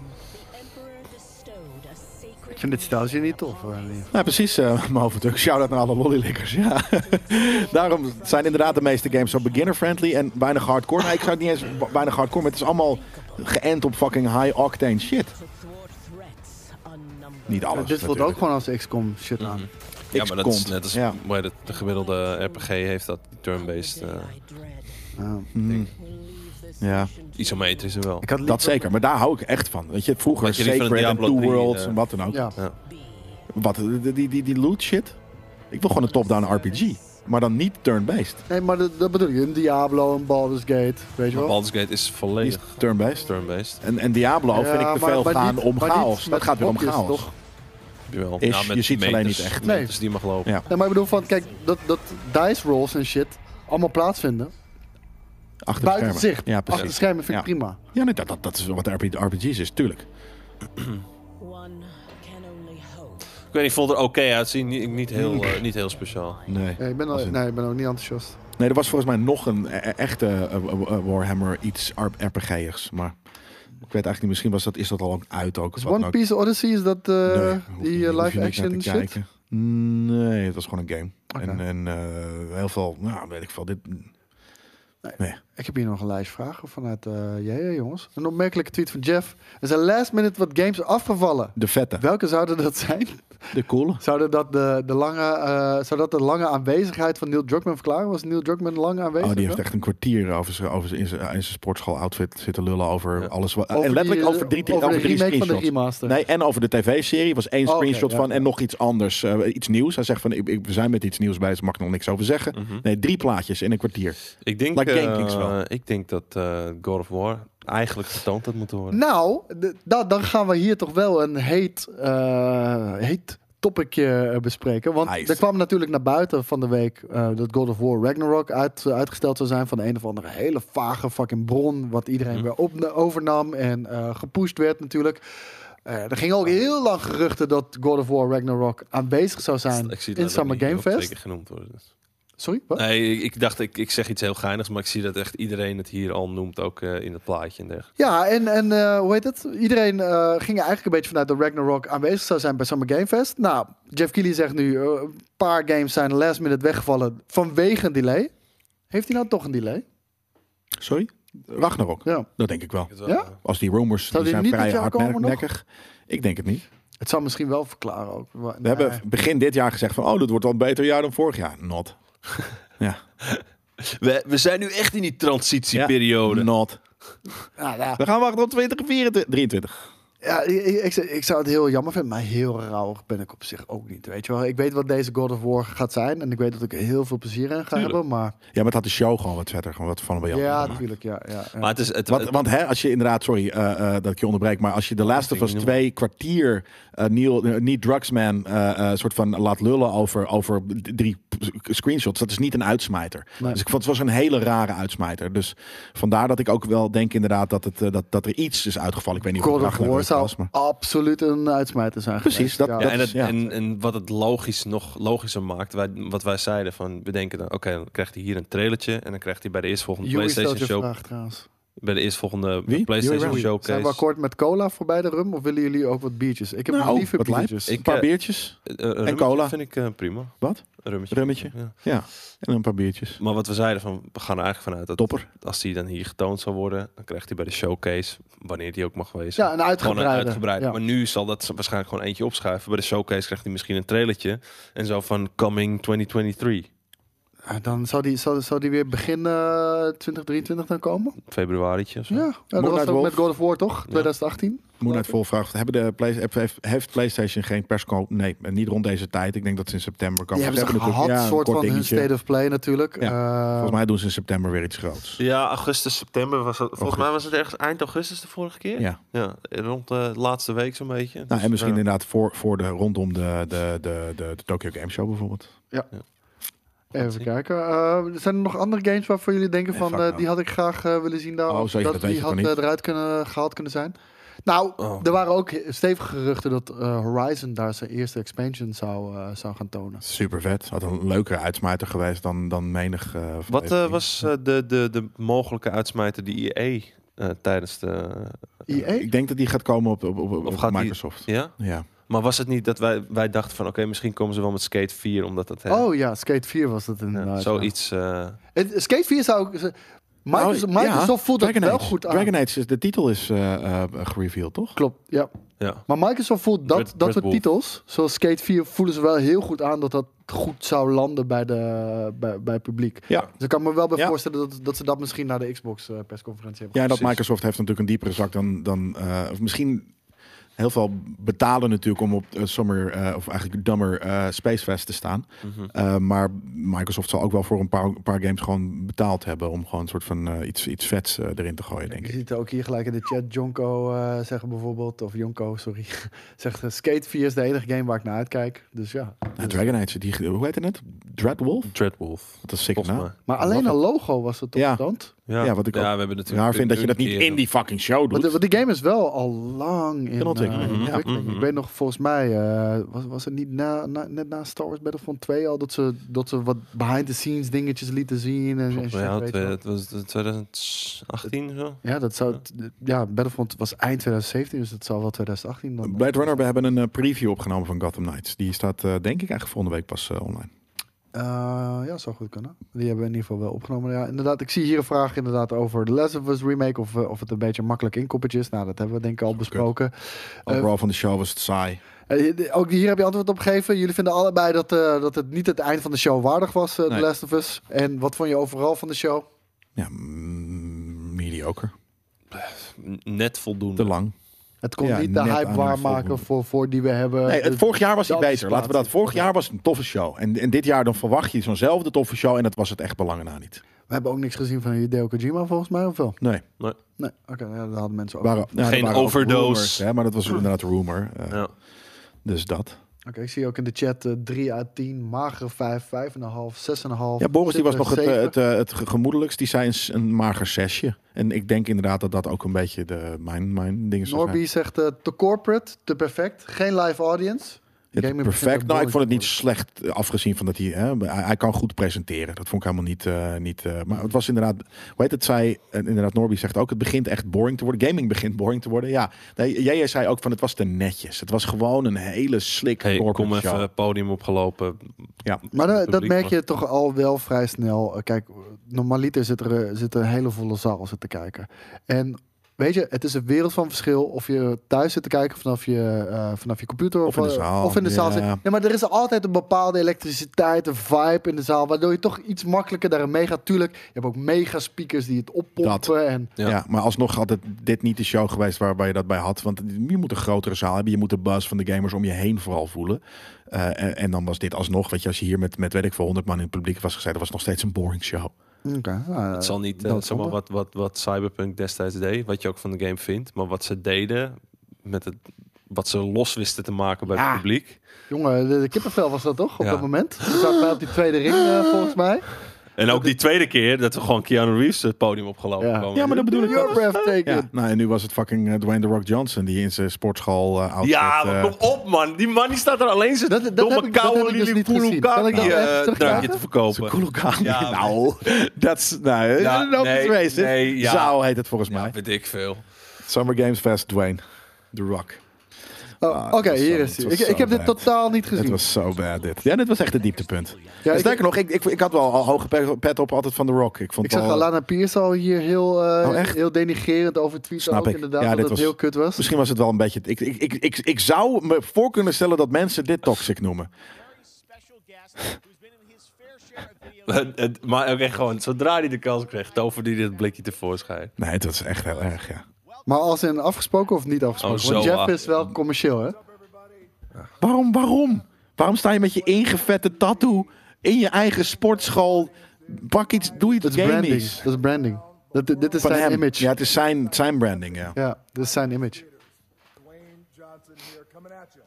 A: Ik vind dit stijltje niet tof. hoor, in ieder geval.
B: Nou, precies, eh maar overdruk. Shout-out naar alle lollylikkers, ja. Daarom zijn inderdaad de meeste games zo beginner-friendly en weinig hardcore. Nou, ik zou het niet eens wa- weinig hardcore, maar het is allemaal geënt op fucking high-octane shit. Niet alles,
A: dit voelt ook
B: natuurlijk.
A: gewoon als XCOM shit aan.
C: Ja, maar dat is
B: XCOM,
C: net als
B: ja.
C: hoe heet het, de gemiddelde RPG heeft dat turn-based eh
A: Ja.
B: Mm, Ja.
C: isometrische wel.
A: Ik had
B: dat zeker, maar daar hou ik echt van. Weet je, vroeger
C: Wat je liever een
B: Sacred en
C: Diablo
B: Two
C: 3,
B: Worlds
C: eh,
B: en wat dan ook.
A: Ja.
B: Wat, die, die, die, die loot shit? Ik wil gewoon een top-down RPG, maar dan niet turn-based.
A: Nee, maar dat, dat bedoel ik. Een Diablo, een Baldur's Gate. Weet je wel?
C: Baldur's Gate is
B: Die is
C: volledig
B: turn-based.
C: turn-based.
B: En, en Diablo
A: Ja,
B: vind ik te
A: maar-
B: veel
A: maar
B: gaan
A: niet-
B: om
A: maar niet
B: chaos.
A: met
B: Dat gaat weer om
A: blokjes,
B: chaals.
A: toch?
C: Jawel.
B: Is- je ziet het alleen niet echt.
A: Nee.
C: Nee. Dus die mag lopen.
B: Ja.
A: Nee, maar ik bedoel van, kijk, dat, dat dice rolls en shit allemaal plaatsvinden.
B: Achter de
A: Buiten
B: schermen.
A: zicht.
B: Ja,
A: Achter de
B: precies.
A: schermen vind ik
B: Ja.
A: prima.
B: Ja, nee, dat, dat, dat is wat de RPG RPG's is, tuurlijk.
C: Ik weet niet, ik vond er oké uitzien. Niet, niet, heel, eh, niet heel speciaal.
B: Nee.
A: Ja, ik ben al-
B: Was in-
A: nee, ik ben ook niet enthousiast.
B: nee, er was volgens mij nog een e- e- echte eh, eh, eh, Warhammer iets RPG'ers. Maar ik weet eigenlijk niet, misschien was dat, is dat al lang uit ook. of
A: Is
B: wat dan
A: One
B: ook.
A: Piece Odyssey, is dat eh,
B: nou- Nee, hoef je-
A: die eh,
B: hoef je
A: live
B: niks naar te
A: action shit?
B: kijken. Nee, het was gewoon een game.
A: Oké.
B: En, en eh, heel veel, nou weet ik veel, dit...
A: Ik heb hier nog een lijst vragen vanuit eh jij, jongens. Een opmerkelijke tweet van Jeff. Er zijn last minute wat games afgevallen.
B: De vette,
A: Welke zouden dat zijn?
B: de coole.
A: Zouden dat de, de lange, eh, zou dat de lange aanwezigheid van Neil Druckmann verklaren? Was Neil Druckmann lang aanwezig?
B: Oh, die heeft
A: dan?
B: echt een kwartier over zijn, over zijn, in zijn, in zijn sportschool outfit zitten lullen over
C: Ja.
B: alles. Wat,
A: Over
B: en eh, letterlijk
A: die, eh,
B: over drie,
A: over de
B: over drie
A: remake van de
B: screenshots.
A: remaster.
B: Nee, en over de tv-serie was één
A: Oh, oké,
B: screenshot
A: ja.
B: van en nog iets anders. eh, iets nieuws. Hij zegt van, ik, ik- we zijn met iets nieuws bij, dus mag ik nog niks over zeggen. Nee, drie plaatjes in een kwartier.
C: Ik denk,
B: Like
C: eh,
B: Jenkins wel.
C: ik denk dat eh, God of War eigenlijk getoond had moeten worden.
A: Nou, d- da- dan gaan we hier toch wel een heet, eh, heet topicje eh, bespreken. Want
B: Nice.
A: er kwam natuurlijk naar buiten van de week eh, dat God of War Ragnarok uit, eh, uitgesteld zou zijn van een of andere hele vage fucking bron. Wat iedereen
C: Mhm.
A: weer op, overnam en eh gepusht werd natuurlijk. Eh, er ging ook heel lang geruchten dat God of War Ragnarok aanwezig zou zijn
C: Ik zie
A: in
C: het
A: Summer
C: niet
A: Game
C: heel
A: Fest.
C: zeker genoemd worden. dus.
A: Sorry, wat?
C: Nee, ik, ik dacht, ik, ik zeg iets heel geinigs, maar ik zie dat echt iedereen het hier al noemt, ook eh, in het plaatje en dergelijke.
A: Ja, en, en eh, hoe heet het? Iedereen eh, ging er eigenlijk een beetje vanuit dat Ragnarok aanwezig zou zijn bij Summer Game Fest. Nou, Jeff Keighley zegt nu, eh, een paar games zijn last minute weggevallen vanwege een delay. Heeft hij nou toch een delay?
B: Sorry? Ragnarok.
A: Ja.
B: Dat denk ik wel.
C: Het wel,
A: Ja?
C: eh,
B: Als die rumors
A: Zou
B: die
A: die
B: zijn
A: niet
B: vrij
A: dit jaar komen nog?
B: hardnekkig. Ik denk het niet.
A: Het zou misschien wel verklaren ook. We
B: We hebben begin dit jaar gezegd van, oh, dat wordt wel een beter jaar dan vorig jaar. Not. ja.
C: We, we zijn nu echt in die transitieperiode.
B: Not.
A: Ja, nou,
B: We gaan wachten op 2023.
A: ja, ik, ik, ik zou het heel jammer vinden, maar heel rauwig ben ik op zich ook niet. Weet je wel, ik weet wat deze God of War gaat zijn en ik weet dat ik er heel veel plezier aan ga
C: Tuurlijk.
A: hebben, maar
B: Ja, maar het had de show gewoon wat verder, gewoon wat van bij jou.
A: ja, natuurlijk, ja, ja, ja.
C: Maar het is, het,
B: Want,
C: het-
B: want hè, als je inderdaad, sorry eh, eh, dat ik je onderbreek, maar als je de Last of Us 2 kwartier eh Neil, eh, Neil Drucksman eh, eh, soort van laat lullen over, over d- drie p- screenshots, dat is niet een uitsmijter.
A: Nee.
B: Dus ik vond het was een hele rare uitsmijter. Dus vandaar dat ik ook wel denk inderdaad dat, het, eh, dat, dat er iets is uitgevallen. Ik weet niet
A: God
B: het
A: of
B: Ragnarok
A: War zou
B: was, maar
A: absoluut een uitsmijter zijn
B: Precies,
A: geweest,
B: dat-
A: ja.
C: ja,
B: dat
C: en,
B: is-
C: het-
B: ja.
C: En, en wat het logisch nog logischer maakt, wij, wat wij zeiden van, we denken dan, oké, dan krijgt hij hier een trailertje en dan krijgt hij bij de eerstvolgende
A: Joey stelt
C: PlayStation
A: je
C: Show
A: vraag trouwens.
C: Bij de eerstvolgende
B: Wie?
C: PlayStation
B: Joey
C: Showcase.
A: Zijn we akkoord met cola voorbij de rum? Of willen jullie ook wat biertjes? Ik heb
B: Nou,
A: liever
B: wat lijp.
A: biertjes.
C: Ik-
B: een paar
C: eh,
B: biertjes
C: Eh, eh, rummetje
B: cola.
C: vind ik eh, prima.
B: Wat?
C: Rummetje.
B: Rummetje.
C: Ja.
B: en een paar biertjes.
C: Maar wat we zeiden, van, we gaan er eigenlijk vanuit dat
B: Topper.
C: als die dan hier getoond zal worden, dan krijgt hij bij de showcase, wanneer die ook mag wezen.
A: ja, een
C: Gewoon een
A: uitgebreide.
C: uitgebreid.
A: Ja.
C: Maar nu zal dat waarschijnlijk gewoon eentje opschuiven. Bij de showcase krijgt hij misschien een trailertje. En zo van Coming 2023,
A: Ja, dan zou die, zou, zou die weer begin eh, 2023 dan komen?
C: februarietje of zo.
A: Ja, ja dat was
B: Moonlight
A: het ook
B: Wolf.
A: met God of War toch? 2018?
B: Moonlight Vol vraagt, hebben de Play- heb- heeft, heeft PlayStation geen persco? Nee, niet rond deze tijd. Ik denk dat ze in september
A: Die
B: komen.
A: hebben ze
B: Ze
A: gehad,
B: natuurlijk- ja,
A: een soort
B: kort
A: van hun
B: dingetje.
A: State of Play natuurlijk.
B: Ja,
A: Eh,
B: Volgens mij doen ze in september weer iets groots.
C: Ja, augustus, september was het. Volgens mij was
B: Augustus.
C: het ergens eind augustus de vorige keer.
B: Ja.
C: Ja, rond de laatste week zo'n beetje.
B: Nou,
C: Dus,
B: en misschien
C: ja.
B: inderdaad voor, voor de, rondom de, de, de, de, de Tokyo Game Show bijvoorbeeld.
A: Even kijken. Eh, zijn er nog andere games waarvoor jullie denken
B: Nee,
A: van...
B: fuck
A: eh,
B: no.
A: die had ik graag eh, willen zien daar?
B: Oh,
A: of
B: zeker, dat weet
A: die
B: je
A: had
B: toch niet?
A: eh, eruit kunnen, gehaald kunnen zijn? Nou,
C: Oh.
A: er waren ook stevige geruchten dat eh, Horizon daar zijn eerste expansion zou, eh, zou gaan tonen.
B: Super vet. Had een leukere uitsmijter geweest dan, dan menig. eh, van
C: Wat
B: deze
C: eh,
B: dingen.
C: was eh, de, de, de mogelijke uitsmijter die EA eh, tijdens de...
A: EA?
B: Ik denk dat die gaat komen op, op, op, op
C: gaat die-
B: Microsoft.
C: ja?
B: Ja.
C: Maar was het niet dat wij, wij dachten van... Oké, misschien komen ze wel met Skate 4, omdat dat... hè,
A: Oh ja, Skate 4 was dat
C: ja,
A: inderdaad. ja.
C: zoiets... eh,
A: Het- Skate 4 zou ook... ze- Microsoft,
B: Nou, ja,
A: Microsoft voelt dat
B: Dragon
A: wel
B: Age.
A: goed aan.
B: Dragon Age, is- de titel is eh, eh, gereveeld, toch?
A: Klopt, ja.
C: ja.
A: Maar Microsoft voelt dat,
C: Red-
A: dat
C: Red
A: soort
C: Wolf.
A: titels, zoals Skate 4, voelen ze wel heel goed aan dat dat goed zou landen bij, de, bij, bij het publiek.
B: Ja.
A: Dus ik kan me wel bij
B: Ja.
A: voorstellen dat, dat ze dat misschien naar de Xbox-persconferentie hebben.
B: Ja, dat
C: Precies.
B: Microsoft heeft natuurlijk een diepere zak dan. dan eh, of misschien heel veel betalen natuurlijk om op eh, Summer, eh, of eigenlijk Dummer eh, Space Fest te staan.
C: Mhm.
B: Eh, maar Microsoft zal ook wel voor een paar, een paar games gewoon betaald hebben om gewoon een soort van eh, iets, iets vets eh, erin te gooien, denk
A: Je
B: ik.
A: ziet ook hier gelijk in de chat Jonko eh, zeggen bijvoorbeeld, of Jonko, sorry, zegt eh, Skate 4 is de enige game waar ik naar uitkijk. Dus ja.
B: Nou, Dragon Age, die, hoe heette het? Dreadwolf?
C: Dreadwolf,
B: Dat is sick
C: volgens
B: naam.
C: mij.
A: Maar alleen
B: Love
A: al logo was het toch
B: Ja.
A: getoond?
C: Ja,
B: nou. Ja, wat ik ook
C: we hebben natuurlijk...
B: Raar vind dat je
C: een
B: dat niet
C: keer
B: in die fucking show
A: Want, de-
B: doet.
A: want die game is wel al lang in, eh,
B: ontwikkeling,
A: in
C: ja.
A: ontwikkeling.
C: Mhm.
A: Ik weet nog, volgens mij, eh, was, was het niet na, na- net na Star Wars Battlefront 2 al dat ze, dat ze wat behind-the-scenes dingetjes lieten zien? En, en
C: Volgens
A: shit,
C: mij, eh, ja,
A: weet je
C: twee-
A: wel.
C: het was 2018 zo.
A: Ja, dat zou. t- Ja, Battlefront was eind 2017, dus dat zal wel 2018 dan.
B: Blade Runner, we hebben een eh, preview opgenomen van Gotham Knights. Die staat eh, denk ik eigenlijk volgende week pas eh, online.
A: Eh, ja, zou goed kunnen. Die hebben we in ieder geval wel opgenomen. Ja, inderdaad, ik zie hier een vraag inderdaad over de Last of Us remake. Of, eh, of het een beetje makkelijk inkoppertje is. Nou, dat hebben we denk ik al besproken.
C: Eh,
B: Overal van de show was het saai.
A: Eh, de- ook hier heb je antwoord op gegeven. Jullie vinden allebei dat, eh, dat het niet het eind van de show waardig was, eh The
B: Nee.
A: Last of Us. En wat vond je overal van de show?
B: Ja, mm, mediocre.
C: Net voldoende.
B: Te lang.
A: Het kon
B: Ja,
A: niet de
B: net
A: hype
B: aan de
A: waarmaken
B: volgende.
A: voor, voor die we hebben. Dus
B: Nee, het
A: De-
B: vorig jaar was hij
A: de
B: beter. Laten we dat.
A: anticipatie.
B: Vorig jaar was het een toffe show. En, en dit jaar dan verwacht je zo'nzelfde toffe show. En dat was het echt belangen na niet.
A: We hebben ook niks gezien van Hideo Kojima volgens mij, of wel?
B: Nee.
A: Nee, oké, ja, dat hadden mensen ook.
B: Waren, ja, er
C: Geen
B: waren ook
C: overdose.
B: rumors, hè, maar dat was inderdaad rumor. eh,
C: Ja.
B: Dus dat.
A: Oké, ik zie ook in de chat eh, 3 uit 10, magere 5, 5,5, 6,5.
B: Ja, Boris die was nog het, eh,
A: 7.
B: het, eh, het ge- gemoedelijkst. Die zei een, s- een mager zesje. En ik denk inderdaad dat dat ook een beetje de, mijn, mijn ding is.
A: Norby zegt eh, te corporate, te perfect, geen live audience. De game begint
B: perfect.
A: te
B: Nou, ik vond het niet
A: boring
B: slecht, eh, afgezien van dat hij, hè, hij... hij kan goed presenteren. Dat vond ik helemaal niet... eh, niet eh, maar het was inderdaad... Hoe heet het? Zij, en inderdaad, Norby zegt ook... Het begint echt boring te worden. Gaming begint boring te worden. Ja, nee, jij zei ook van... Het was te netjes. Het was gewoon een hele slik
C: Hey,
B: corporate
C: kom even
B: show.
C: het podium opgelopen.
B: Ja.
A: worden. Maar eh, dat
C: Publiek,
A: merk je toch al wel vrij snel. Eh, Kijk, normaliter zit er, eh, zit er een hele volle zaal zitten kijken. En weet je, het is een wereld van verschil of je thuis zit te kijken vanaf je, eh, vanaf je computer
B: Of in de
A: eh,
B: zaal,
A: Of in de zaal
B: ja.
A: zit. Nee, maar er is altijd een bepaalde elektriciteit, een vibe in de zaal, waardoor je toch iets makkelijker daarin meegaat. Tuurlijk, je hebt ook mega speakers die het oppompen. En
C: Ja.
B: Ja. maar alsnog had het dit niet de show geweest waar, waar je dat bij had. Want je moet een grotere zaal hebben. Je moet de buzz van de gamers om je heen vooral voelen. Eh, en, en dan was dit alsnog, weet je, als je hier met, met weet ik veel, 100 man in het publiek was gezeten, was het nog steeds een boring show.
A: Oké, nou,
C: Het zal niet eh,
A: dat
C: zomaar
A: zonde.
C: wat, wat, wat Cyberpunk destijds deed, wat je ook van de game vindt, maar wat ze deden met het wat ze los wisten te maken bij
A: Ja.
C: het publiek.
A: Jongen, de, de kippenvel was dat toch op
C: Ja.
A: dat moment? Toen zat wij op die tweede ring eh, volgens mij.
C: En ook die tweede keer dat we gewoon Keanu Reeves het podium opgelopen
A: Ja.
C: kwamen.
B: Ja, maar dat bedoel ik.
A: Your breath taken.
B: Ja, nou en nu was het fucking eh, Dwayne The Rock Johnson die in zijn sportschool eh outfit...
C: Ja, maar
B: eh,
C: kom op man. Die man die staat er alleen zijn
A: Dat-
C: dat,
A: dat heb
C: domme
A: ik- dat heb
C: koude
A: ik dus
C: Lili
A: niet gezien. Kan ik dat even terugkijken?
C: drankje te verkopen.
B: Zijn koelokaan.
C: Ja,
B: nou, dat is... Nou, eh,
C: Ja,
B: dat is
C: nee,
B: racist.
C: nee, ja.
B: Zou heet het volgens
C: Ja,
B: mij.
C: weet ik veel.
B: Summer Games Fest, Dwayne. The Rock.
A: Oh, Oké,
B: het Ah, was
A: hier
B: zo-
A: is
B: het
A: hij.
B: was
A: Ik, ik
B: zo
A: heb dit
B: bad.
A: totaal niet
B: Het
A: gezien.
B: was zo bad dit. Ja, dit was echt het dieptepunt.
A: Ja,
B: Ja,
A: ik,
B: Sterker nog, ik, ik, ik had wel al hoge pe- pet op altijd van The Rock. Ik vond
A: ik zag
B: wel-
A: Alana Pierce al hier heel, eh,
B: Oh, echt?
A: heel denigerend over tweeten.
B: Snap
A: ook
B: ik.
A: inderdaad,
B: Ja,
A: dat
B: dit
A: het
B: was-
A: heel kut was.
B: Misschien was het wel een beetje... Ik, ik, ik, ik, ik zou me voor kunnen stellen dat mensen dit toxic noemen.
C: Het- het- maar ook echt gewoon, zodra hij de kans kreeg, toverde hij dit blikje tevoorschijn.
B: Nee, het was echt heel erg, ja.
A: Maar als in afgesproken of niet afgesproken?
C: Oh,
A: Want
C: zo,
A: Jeff
C: ah.
A: is wel commercieel, hè?
B: Waarom, waarom? Waarom sta je met je ingevette tattoo in je eigen sportschool? Pak iets, doe iets
A: Dat is branding.
B: gamies.
A: Dat is branding. Dat, dit is
B: Van
A: zijn
B: hem.
A: image.
B: Ja,
A: Ja.
B: het is zijn, het zijn branding, ja.
A: dit is zijn image.
E: Dwayne Johnson here coming at you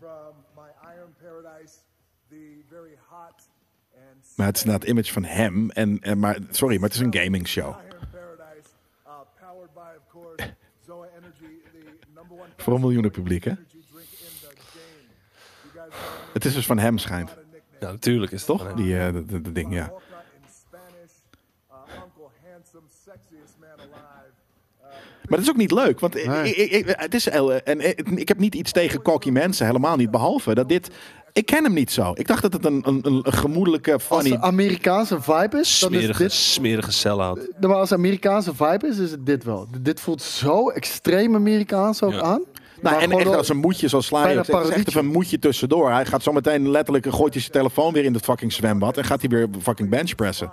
E: from my Iron Paradise, the very hot and
B: Maar het is inderdaad image van hem. En, en, maar, sorry, maar het is een gaming show.
E: Iron Paradise, uh, powered by, of course, Zoa Energy, the number one
B: Voor een miljoenen publiek, hè?
E: energy drink in the game. You guys know
B: Het is dus van hem, schijnt.
C: Ja, natuurlijk is het toch?
B: Die, eh, dat- dat- dat ding, ja.
E: Walker in Spanish, uh, Uncle Handsome, sexiest man alive.
B: Maar dat is ook niet leuk, want i-
A: Nee.
B: i- i- het is heel, eh, en eh, ik heb niet iets tegen cocky mensen, helemaal niet, behalve dat dit, ik ken hem niet zo. Ik dacht dat het een, een, een gemoedelijke,
A: Als
B: funny,
A: de Amerikaanse vibe is, dan is
C: Smerige,
A: dit...
C: smerige sell-out.
A: Maar als de Amerikaanse vibe is, is het dit wel. D- Dit voelt zo extreem Amerikaans ook
C: Ja.
A: aan. Maar
B: nou, en
A: gewoon
B: echt
A: wel-
B: als een moedje zoals Slayer,
A: Bijna
B: het is echt
A: parodietje.
B: even een moedje tussendoor. Hij gaat zo meteen letterlijk, gooit hij zijn telefoon weer in dat fucking zwembad en gaat hij weer fucking benchpressen.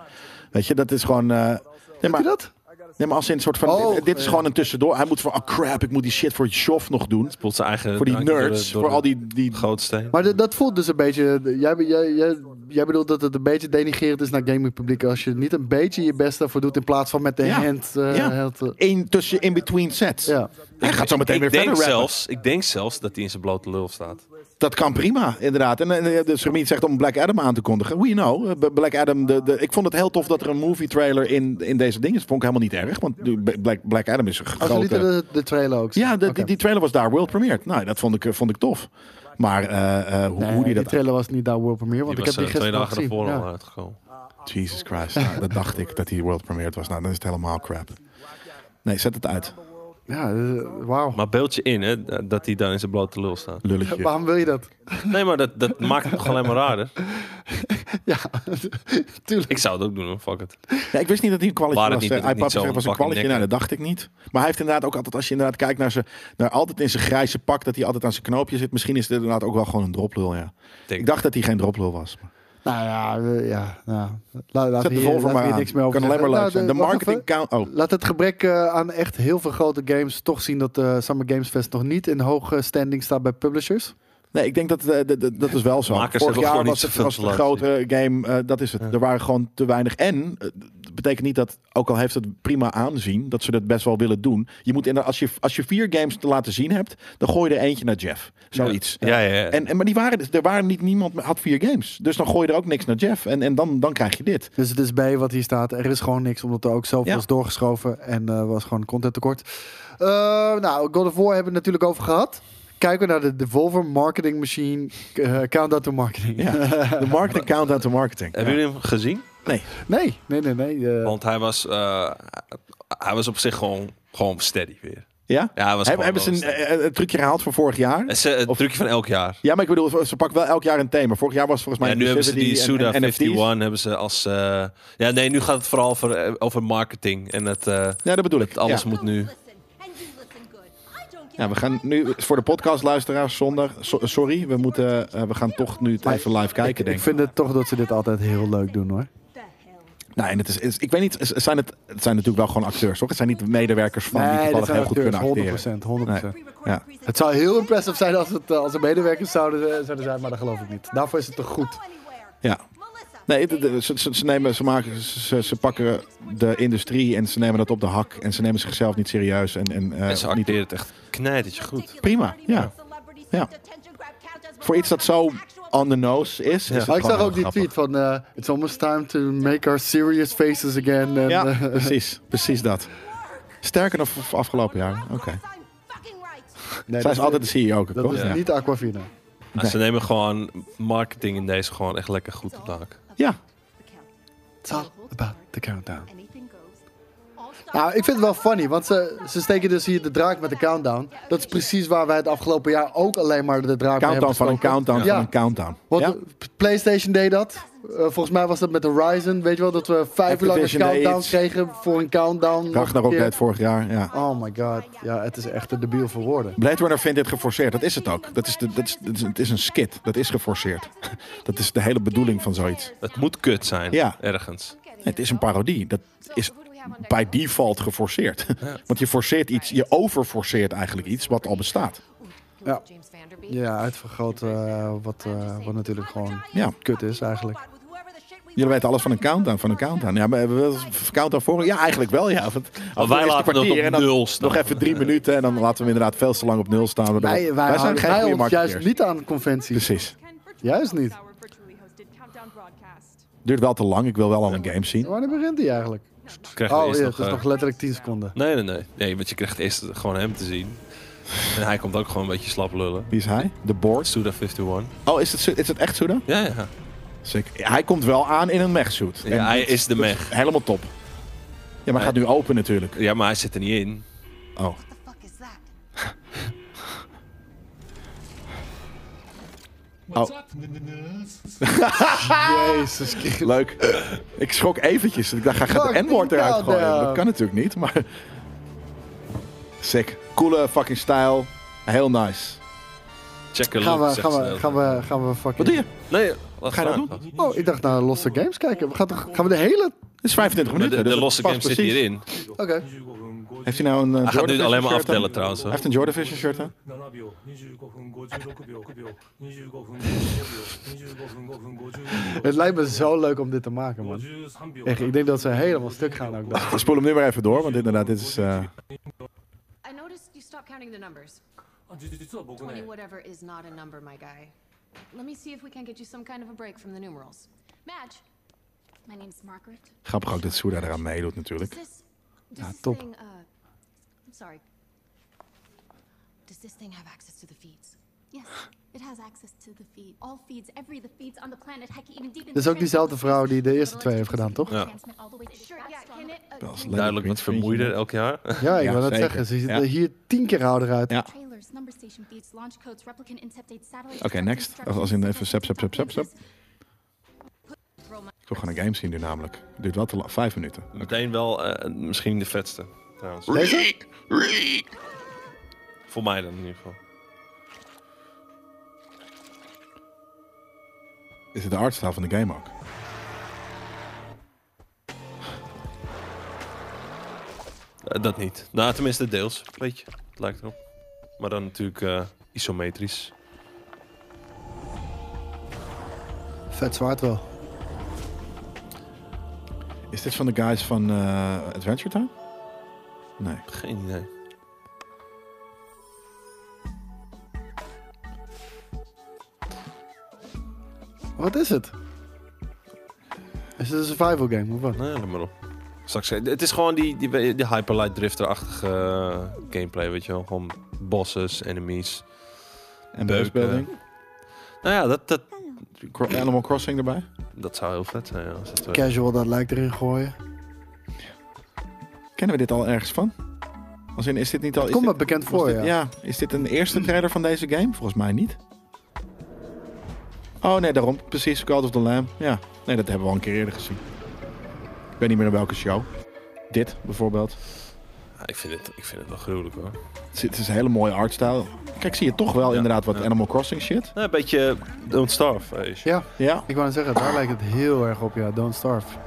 B: Weet je, dat is gewoon... eh, nee,
A: Doet
B: maar,
A: hij dat?
B: Nee, maar als in een soort van,
A: Oh,
B: dit is
A: ja.
B: gewoon een tussendoor. Hij moet van, oh crap, ik moet die shit voor Joff nog doen.
C: Spoelt zijn eigen
B: Voor die
C: drankje door de-
B: nerds,
C: door
B: voor
C: de
B: al die, die
C: gootsteen.
A: Maar d- dat voelt dus een beetje. d- Jij, be- jij, jij, jij bedoelt dat het een beetje denigerend is naar gamingpubliek als je niet een beetje je best daarvoor doet in plaats van met de
B: Ja.
A: hand. eh,
B: Ja.
A: hand, eh,
B: in, tussen in-between sets.
A: ja.
B: Hij gaat zo meteen
C: Ik
B: weer verder
C: denk,
B: rappen.
C: zelfs, ik denk zelfs dat hij in zijn blote lul staat.
B: Dat kan prima, inderdaad. En eh, de Sermiet zegt om Black Adam aan te kondigen. We know. Eh, B- Black Adam, de, de, ik vond het heel tof dat er een movie trailer in, in deze ding is. Vond ik helemaal niet erg, want de- B- Black, Black Adam is een
A: Als we Oh, lieten
B: grote...
A: de, de trailer ook. zien.
B: Ja, de-
A: Oké.
B: die, die trailer was daar world premiered. Nou, dat vond ik, eh, vond ik tof. Maar eh, eh, hoe,
A: Nee,
B: hoe
A: die
B: die dat...
A: trailer was niet daar World Premiere, want
C: Die
A: ik
C: was
A: heb die
C: eh, twee
A: gisteren nog
C: dagen
A: gezien.
C: ervoor
A: Ja.
C: al uitgekomen.
B: Jesus Christ, nou, dat dacht ik, dat die world premiered was. Nou, dan is het helemaal crap. Nee, zet het uit.
A: Ja, eh, wauw.
C: Maar beeld je in, hè, d- dat hij dan in zijn blote lul staat.
B: Lulletje.
A: Waarom wil je dat?
C: Nee, maar dat, dat maakt het nog alleen maar raarder.
A: Ja, tuurlijk.
C: Ik zou het ook doen, hoor. fuck it.
B: Ja, ik wist niet dat hij een kwalletje
C: Waar
B: was.
C: het
B: Hij
C: niet- dat het
B: papa
C: niet
B: zegt,
C: zo'n
B: was een
C: fucking
B: kwalletje. Nou, dat dacht ik niet. Maar hij heeft inderdaad ook altijd, als je inderdaad kijkt naar zijn, naar altijd in zijn grijze pak, dat hij altijd aan zijn knoopje zit. Misschien is het inderdaad ook wel gewoon een droplul, ja.
C: Denk-
B: Ik dacht dat hij geen droplul was.
A: Nou ja, eh, ja. Nou, laat, laat
B: Zet de
A: hier,
B: volver
A: laat
B: maar
A: hier
B: aan.
A: niks meer over
B: kan alleen maar leuk
A: zeggen.
B: zijn.
A: Nou,
B: De
A: wacht
B: marketing
A: even.
B: count... Oh,
A: Laat het gebrek eh, aan echt heel veel grote games toch zien dat eh Summer Games Fest nog niet in hoge standing staat bij publishers.
B: nee, ik denk dat eh, dat- dat- dat is wel zo.
C: Makers
B: Vorig
C: hebben
B: jaar
C: gewoon
B: was
C: niet
B: het,
C: zoveel
B: was het een
C: te laten
B: grote game, eh, dat is het. Er waren gewoon te weinig. En, eh, dat betekent niet dat, ook al heeft het prima aanzien, dat ze dat best wel willen doen. Je moet inderdaad, als je, als je vier games te laten zien hebt, dan gooi je er eentje naar Jeff. Zoiets.
C: Ja, ja, ja.
B: En, en, maar die waren, er waren niet, niemand had vier games. Dus dan gooi je er ook niks naar Jeff. En, en dan, dan krijg je dit.
A: Dus het is bij wat hier staat. Er is gewoon niks, omdat er ook zoveel
B: Ja.
A: is doorgeschoven en eh, was gewoon content tekort. nou, God of War hebben we het natuurlijk over gehad. Kijken we naar de Devolver Marketing Machine eh, Countdown to Marketing.
B: Ja. De marketing countdown to marketing.
C: Hebben jullie hem gezien?
B: Nee.
A: Nee, nee, nee, nee. eh,
C: Want hij was, eh, hij was op zich gewoon, gewoon steady weer.
B: Ja?
C: Ja, hij was
B: Hebben-
C: gewoon
B: hebben ze
C: wel
B: een,
C: steady.
B: eh, eh, een trucje gehaald van vorig jaar?
C: Het is, eh, het
B: Of-
C: trucje van elk jaar.
B: Ja, maar ik bedoel, ze pakken wel elk jaar een thema. Vorig jaar was het volgens mij
C: en nu hebben ze die
B: inclusivity
C: Suda
B: en- en NFT's.
C: 51 hebben ze als... eh, ja, nee, nu gaat het vooral over, eh, over marketing. En het, eh,
B: Ja, dat bedoel ik.
C: alles
B: ja.
C: moet nu...
B: Ja, we gaan nu voor de podcastluisteraars zondag. so- sorry, we, moeten, eh, we gaan toch nu het even live kijken, denk
A: ik
B: ik.
A: vind het toch dat ze dit altijd heel leuk doen hoor.
B: Nou, en het is, is- ik weet niet, het zijn, het, het zijn natuurlijk wel gewoon acteurs, toch? Het zijn niet de medewerkers van die toevallig heel goed kunnen acteren.
A: 100%, 100%.
B: Ja.
A: Het zou heel impressive zijn als, het, eh, als er medewerkers zouden, eh, zouden zijn, maar dat geloof ik niet. Daarvoor is het te goed.
B: Ja. Nee, de- de- ze, ze, ze nemen, ze, maken, ze, ze pakken de industrie en ze nemen dat op de hak. En ze nemen zichzelf niet serieus. En, en, eh,
C: en ze
B: niet-
C: acteren het echt knijtertje goed.
B: Prima, ja. Ja. Voor iets dat zo on the nose is. is
A: Maar
B: het
A: Dus Ah, ik zag
B: gewoon
A: ook die
B: heel grappig.
A: tweet van... eh, It's almost time to make our serious faces again. En, eh,
B: Ja, precies. Precies dat. Sterker dan v- afgelopen jaar. Oké.
A: nee,
B: Zij
A: dat
B: is
A: is-
B: altijd de CEO ook,
A: Dat
B: toch?
A: is
B: Ja.
A: niet Aquafina.
C: Nou, Ze nemen gewoon marketing in deze gewoon echt lekker goed op de haak.
B: ja.
A: It's all about the countdown. Nou, ik vind het wel funny, want ze, ze steken dus hier de draak met de countdown. Dat is precies waar wij het afgelopen jaar ook alleen maar de draak mee
B: Countdown
A: hebben
B: van een
A: gestoken.
B: countdown
A: Ja.
B: van een countdown.
A: Want
B: Ja?
A: de PlayStation deed dat. Eh, volgens mij was dat met Horizon. Weet je wel, dat we vijf uur lang een
B: Activision deed
A: countdown
B: iets.
A: kregen voor een countdown. nog een
B: Ragnarok
A: keer.
B: deed het vorig jaar, ja.
A: Oh my god. Ja, het is echt een debiel voor woorden.
B: Blade Runner vindt dit geforceerd. Dat is het ook. Dat is de, dat is, dat is, het is een skit. Dat is geforceerd. Dat is de hele bedoeling van zoiets.
C: Het moet kut zijn,
B: Ja.
C: ergens.
B: Het is een parodie. Dat is by default geforceerd. Want je forceert iets, je overforceert eigenlijk iets wat al bestaat.
A: Ja. Ja, uitvergroot eh, wat, eh, wat natuurlijk gewoon
B: Ja.
A: kut is eigenlijk.
B: Jullie weten alles van een countdown, van een countdown. Ja, maar hebben we wel een countdown vorig? Ja, eigenlijk wel, ja. Want
C: Maar wij laten het op nul staan.
B: Nog even drie minuten en dan laten we hem inderdaad veel te lang op nul staan. waardoor-
A: Wij, wij, wij
B: zijn
A: houden,
B: geen
A: wij
B: goede
A: ons juist
B: marketeers.
A: niet aan conventies.
B: Precies.
A: Juist niet.
B: Duurt wel te lang. Ik wil wel al een game zien.
A: Wanneer begint die eigenlijk?
C: Krijg je
A: Oh,
C: eerst
A: ja,
C: nog,
A: het is
C: eh,
A: nog letterlijk 10 seconden.
C: Nee, nee, nee. Nee, want je krijgt eerst gewoon hem te zien. En hij komt ook gewoon een beetje slap lullen.
B: Wie is hij? De board.
C: Suda51.
B: Oh, is het, Su- is het echt Suda?
C: Ja, ja.
B: Sick. Hij komt wel aan in een mechsuit.
C: ja
B: En
C: hij
B: dit-
C: is de
B: dat
C: mech.
B: Helemaal top. Ja, maar hij gaat nu open natuurlijk.
C: Ja, maar hij zit er niet in.
B: Oh. Oh.
A: Jezus Christus.
B: Leuk. Ik schrok eventjes. Ik dacht, hij gaat de
A: Fucking
B: N-woord eruit
A: goddamn.
B: gooien. Dat kan natuurlijk niet, maar... Sick. Coole fucking stijl. Heel nice.
C: Check a
A: Gaan
C: look,
A: we,
C: zegt
A: gaan
C: ze
A: we, gaan we, gaan we fucking...
B: Wat doe je?
C: Nee, wat
B: Ga je dat doen?
A: Oh, ik dacht naar losse games kijken. We gaan, toch, gaan we de hele...
B: Het is 25
C: De,
B: minuten.
C: de
B: dus het
C: losse
B: past
C: game zit
B: precies.
C: hierin.
A: Oké.
B: Heeft hij nou een eh,
C: Hij gaat
B: Jordan
C: nu
B: Fisher
C: alleen maar
B: shirt
C: aftellen
B: aan?
C: trouwens. hoor.
B: Hij heeft een Jordan Fisher shirt aan.
F: 7秒25分56秒9秒25分55秒25分55秒
A: Het lijkt me zo leuk om dit te maken, man.
F: 53秒
A: Echt, ik denk dat ze helemaal stuk gaan ook. daar.
B: Ik spoel hem nu maar even door, want inderdaad, dit is... eh,
G: I noticed you stopped counting the numbers.
F: あじ実は僕
G: Twenty
F: ね
G: whatever is not a number, my guy. Let me see if we can get you some kind of a break from the numerals. Madge,
H: My name's Margaret.
B: Grappig ook dat Suda eraan meedoet
H: Does
B: natuurlijk.
H: this, does this
A: top.
H: thing, uh, I'm sorry. Does this thing have access to the feeds?
I: Yes, it has access to the feed. All feeds, every the feeds on the planet. Heck, even deep in
A: Dit is
I: the
A: ook diezelfde vrouw die de eerste twee heeft gedaan, toch?
C: Ja.
I: transmit all the way to the
H: Sure,
I: fat
H: yeah,
I: strong-
H: can it, uh,
B: Dat is
H: can-
B: leuk.
C: Duidelijk wat vermoeider elk jaar.
A: Ja, ik
B: Ja,
A: wil net
B: zeker.
A: zeggen. Ze ziet
B: Ja.
A: er hier tien keer ouder uit.
B: Ja.
I: trailers, number station feeds, launch codes, replicant inceptates, satellite.
B: Oké, next. Als- als in even sep, sep, sep, sep, sep. Ik wil gewoon een game zien nu namelijk. Duurt wel te lang. Vijf minuten.
C: Meteen wel eh, misschien de vetste. Trouwens.
A: Deze?
C: Voor mij dan in ieder geval.
B: Is het de artstyle van de game ook?
C: Eh, dat niet. Nou, tenminste deels. Weet je, het lijkt erop. Maar dan natuurlijk eh, isometrisch.
A: Vet zwaard wel.
B: Is dit van de guys van eh, Adventure Time? Nee.
C: Geen idee.
A: Wat is het? Is het een survival game of wat?
C: Nee, let maar op. Straks, eh, het is gewoon die, die, die Hyperlight Drifter-achtige eh, gameplay, weet je wel. Gewoon bosses, enemies.
B: En
C: Beuken.
B: Beukbeelding.
C: Nou ja, dat, dat,
B: eh, Cro- Animal Crossing erbij.
C: dat zou heel vet zijn. Ja, als dat eh, werkt.
A: Casual, dat lijkt erin gooien.
B: Kennen we dit al ergens van? Als in, is dit niet al... is
A: Komt me
B: dit-
A: bekend
B: was
A: voor,
B: dit-
A: ja.
B: Is dit een eerste trailer van deze game? Volgens mij niet. Oh nee, daarom. Precies, Call of the Lamb. Ja. Nee, dat hebben we al een keer eerder gezien. Ik weet niet meer in welke show. Dit, bijvoorbeeld.
C: Ja, ik, vind het, ik vind het wel gruwelijk hoor. Nou,
B: Het is- Het is een hele mooie artstijl. Kijk, zie je toch wel inderdaad wat Animal Crossing shit.
C: Nou, een beetje Don't Starve. eh, is-
A: Ja,
B: Ja.
A: ik wou net zeggen, daar lijkt het heel erg op, ja. Don't Starve.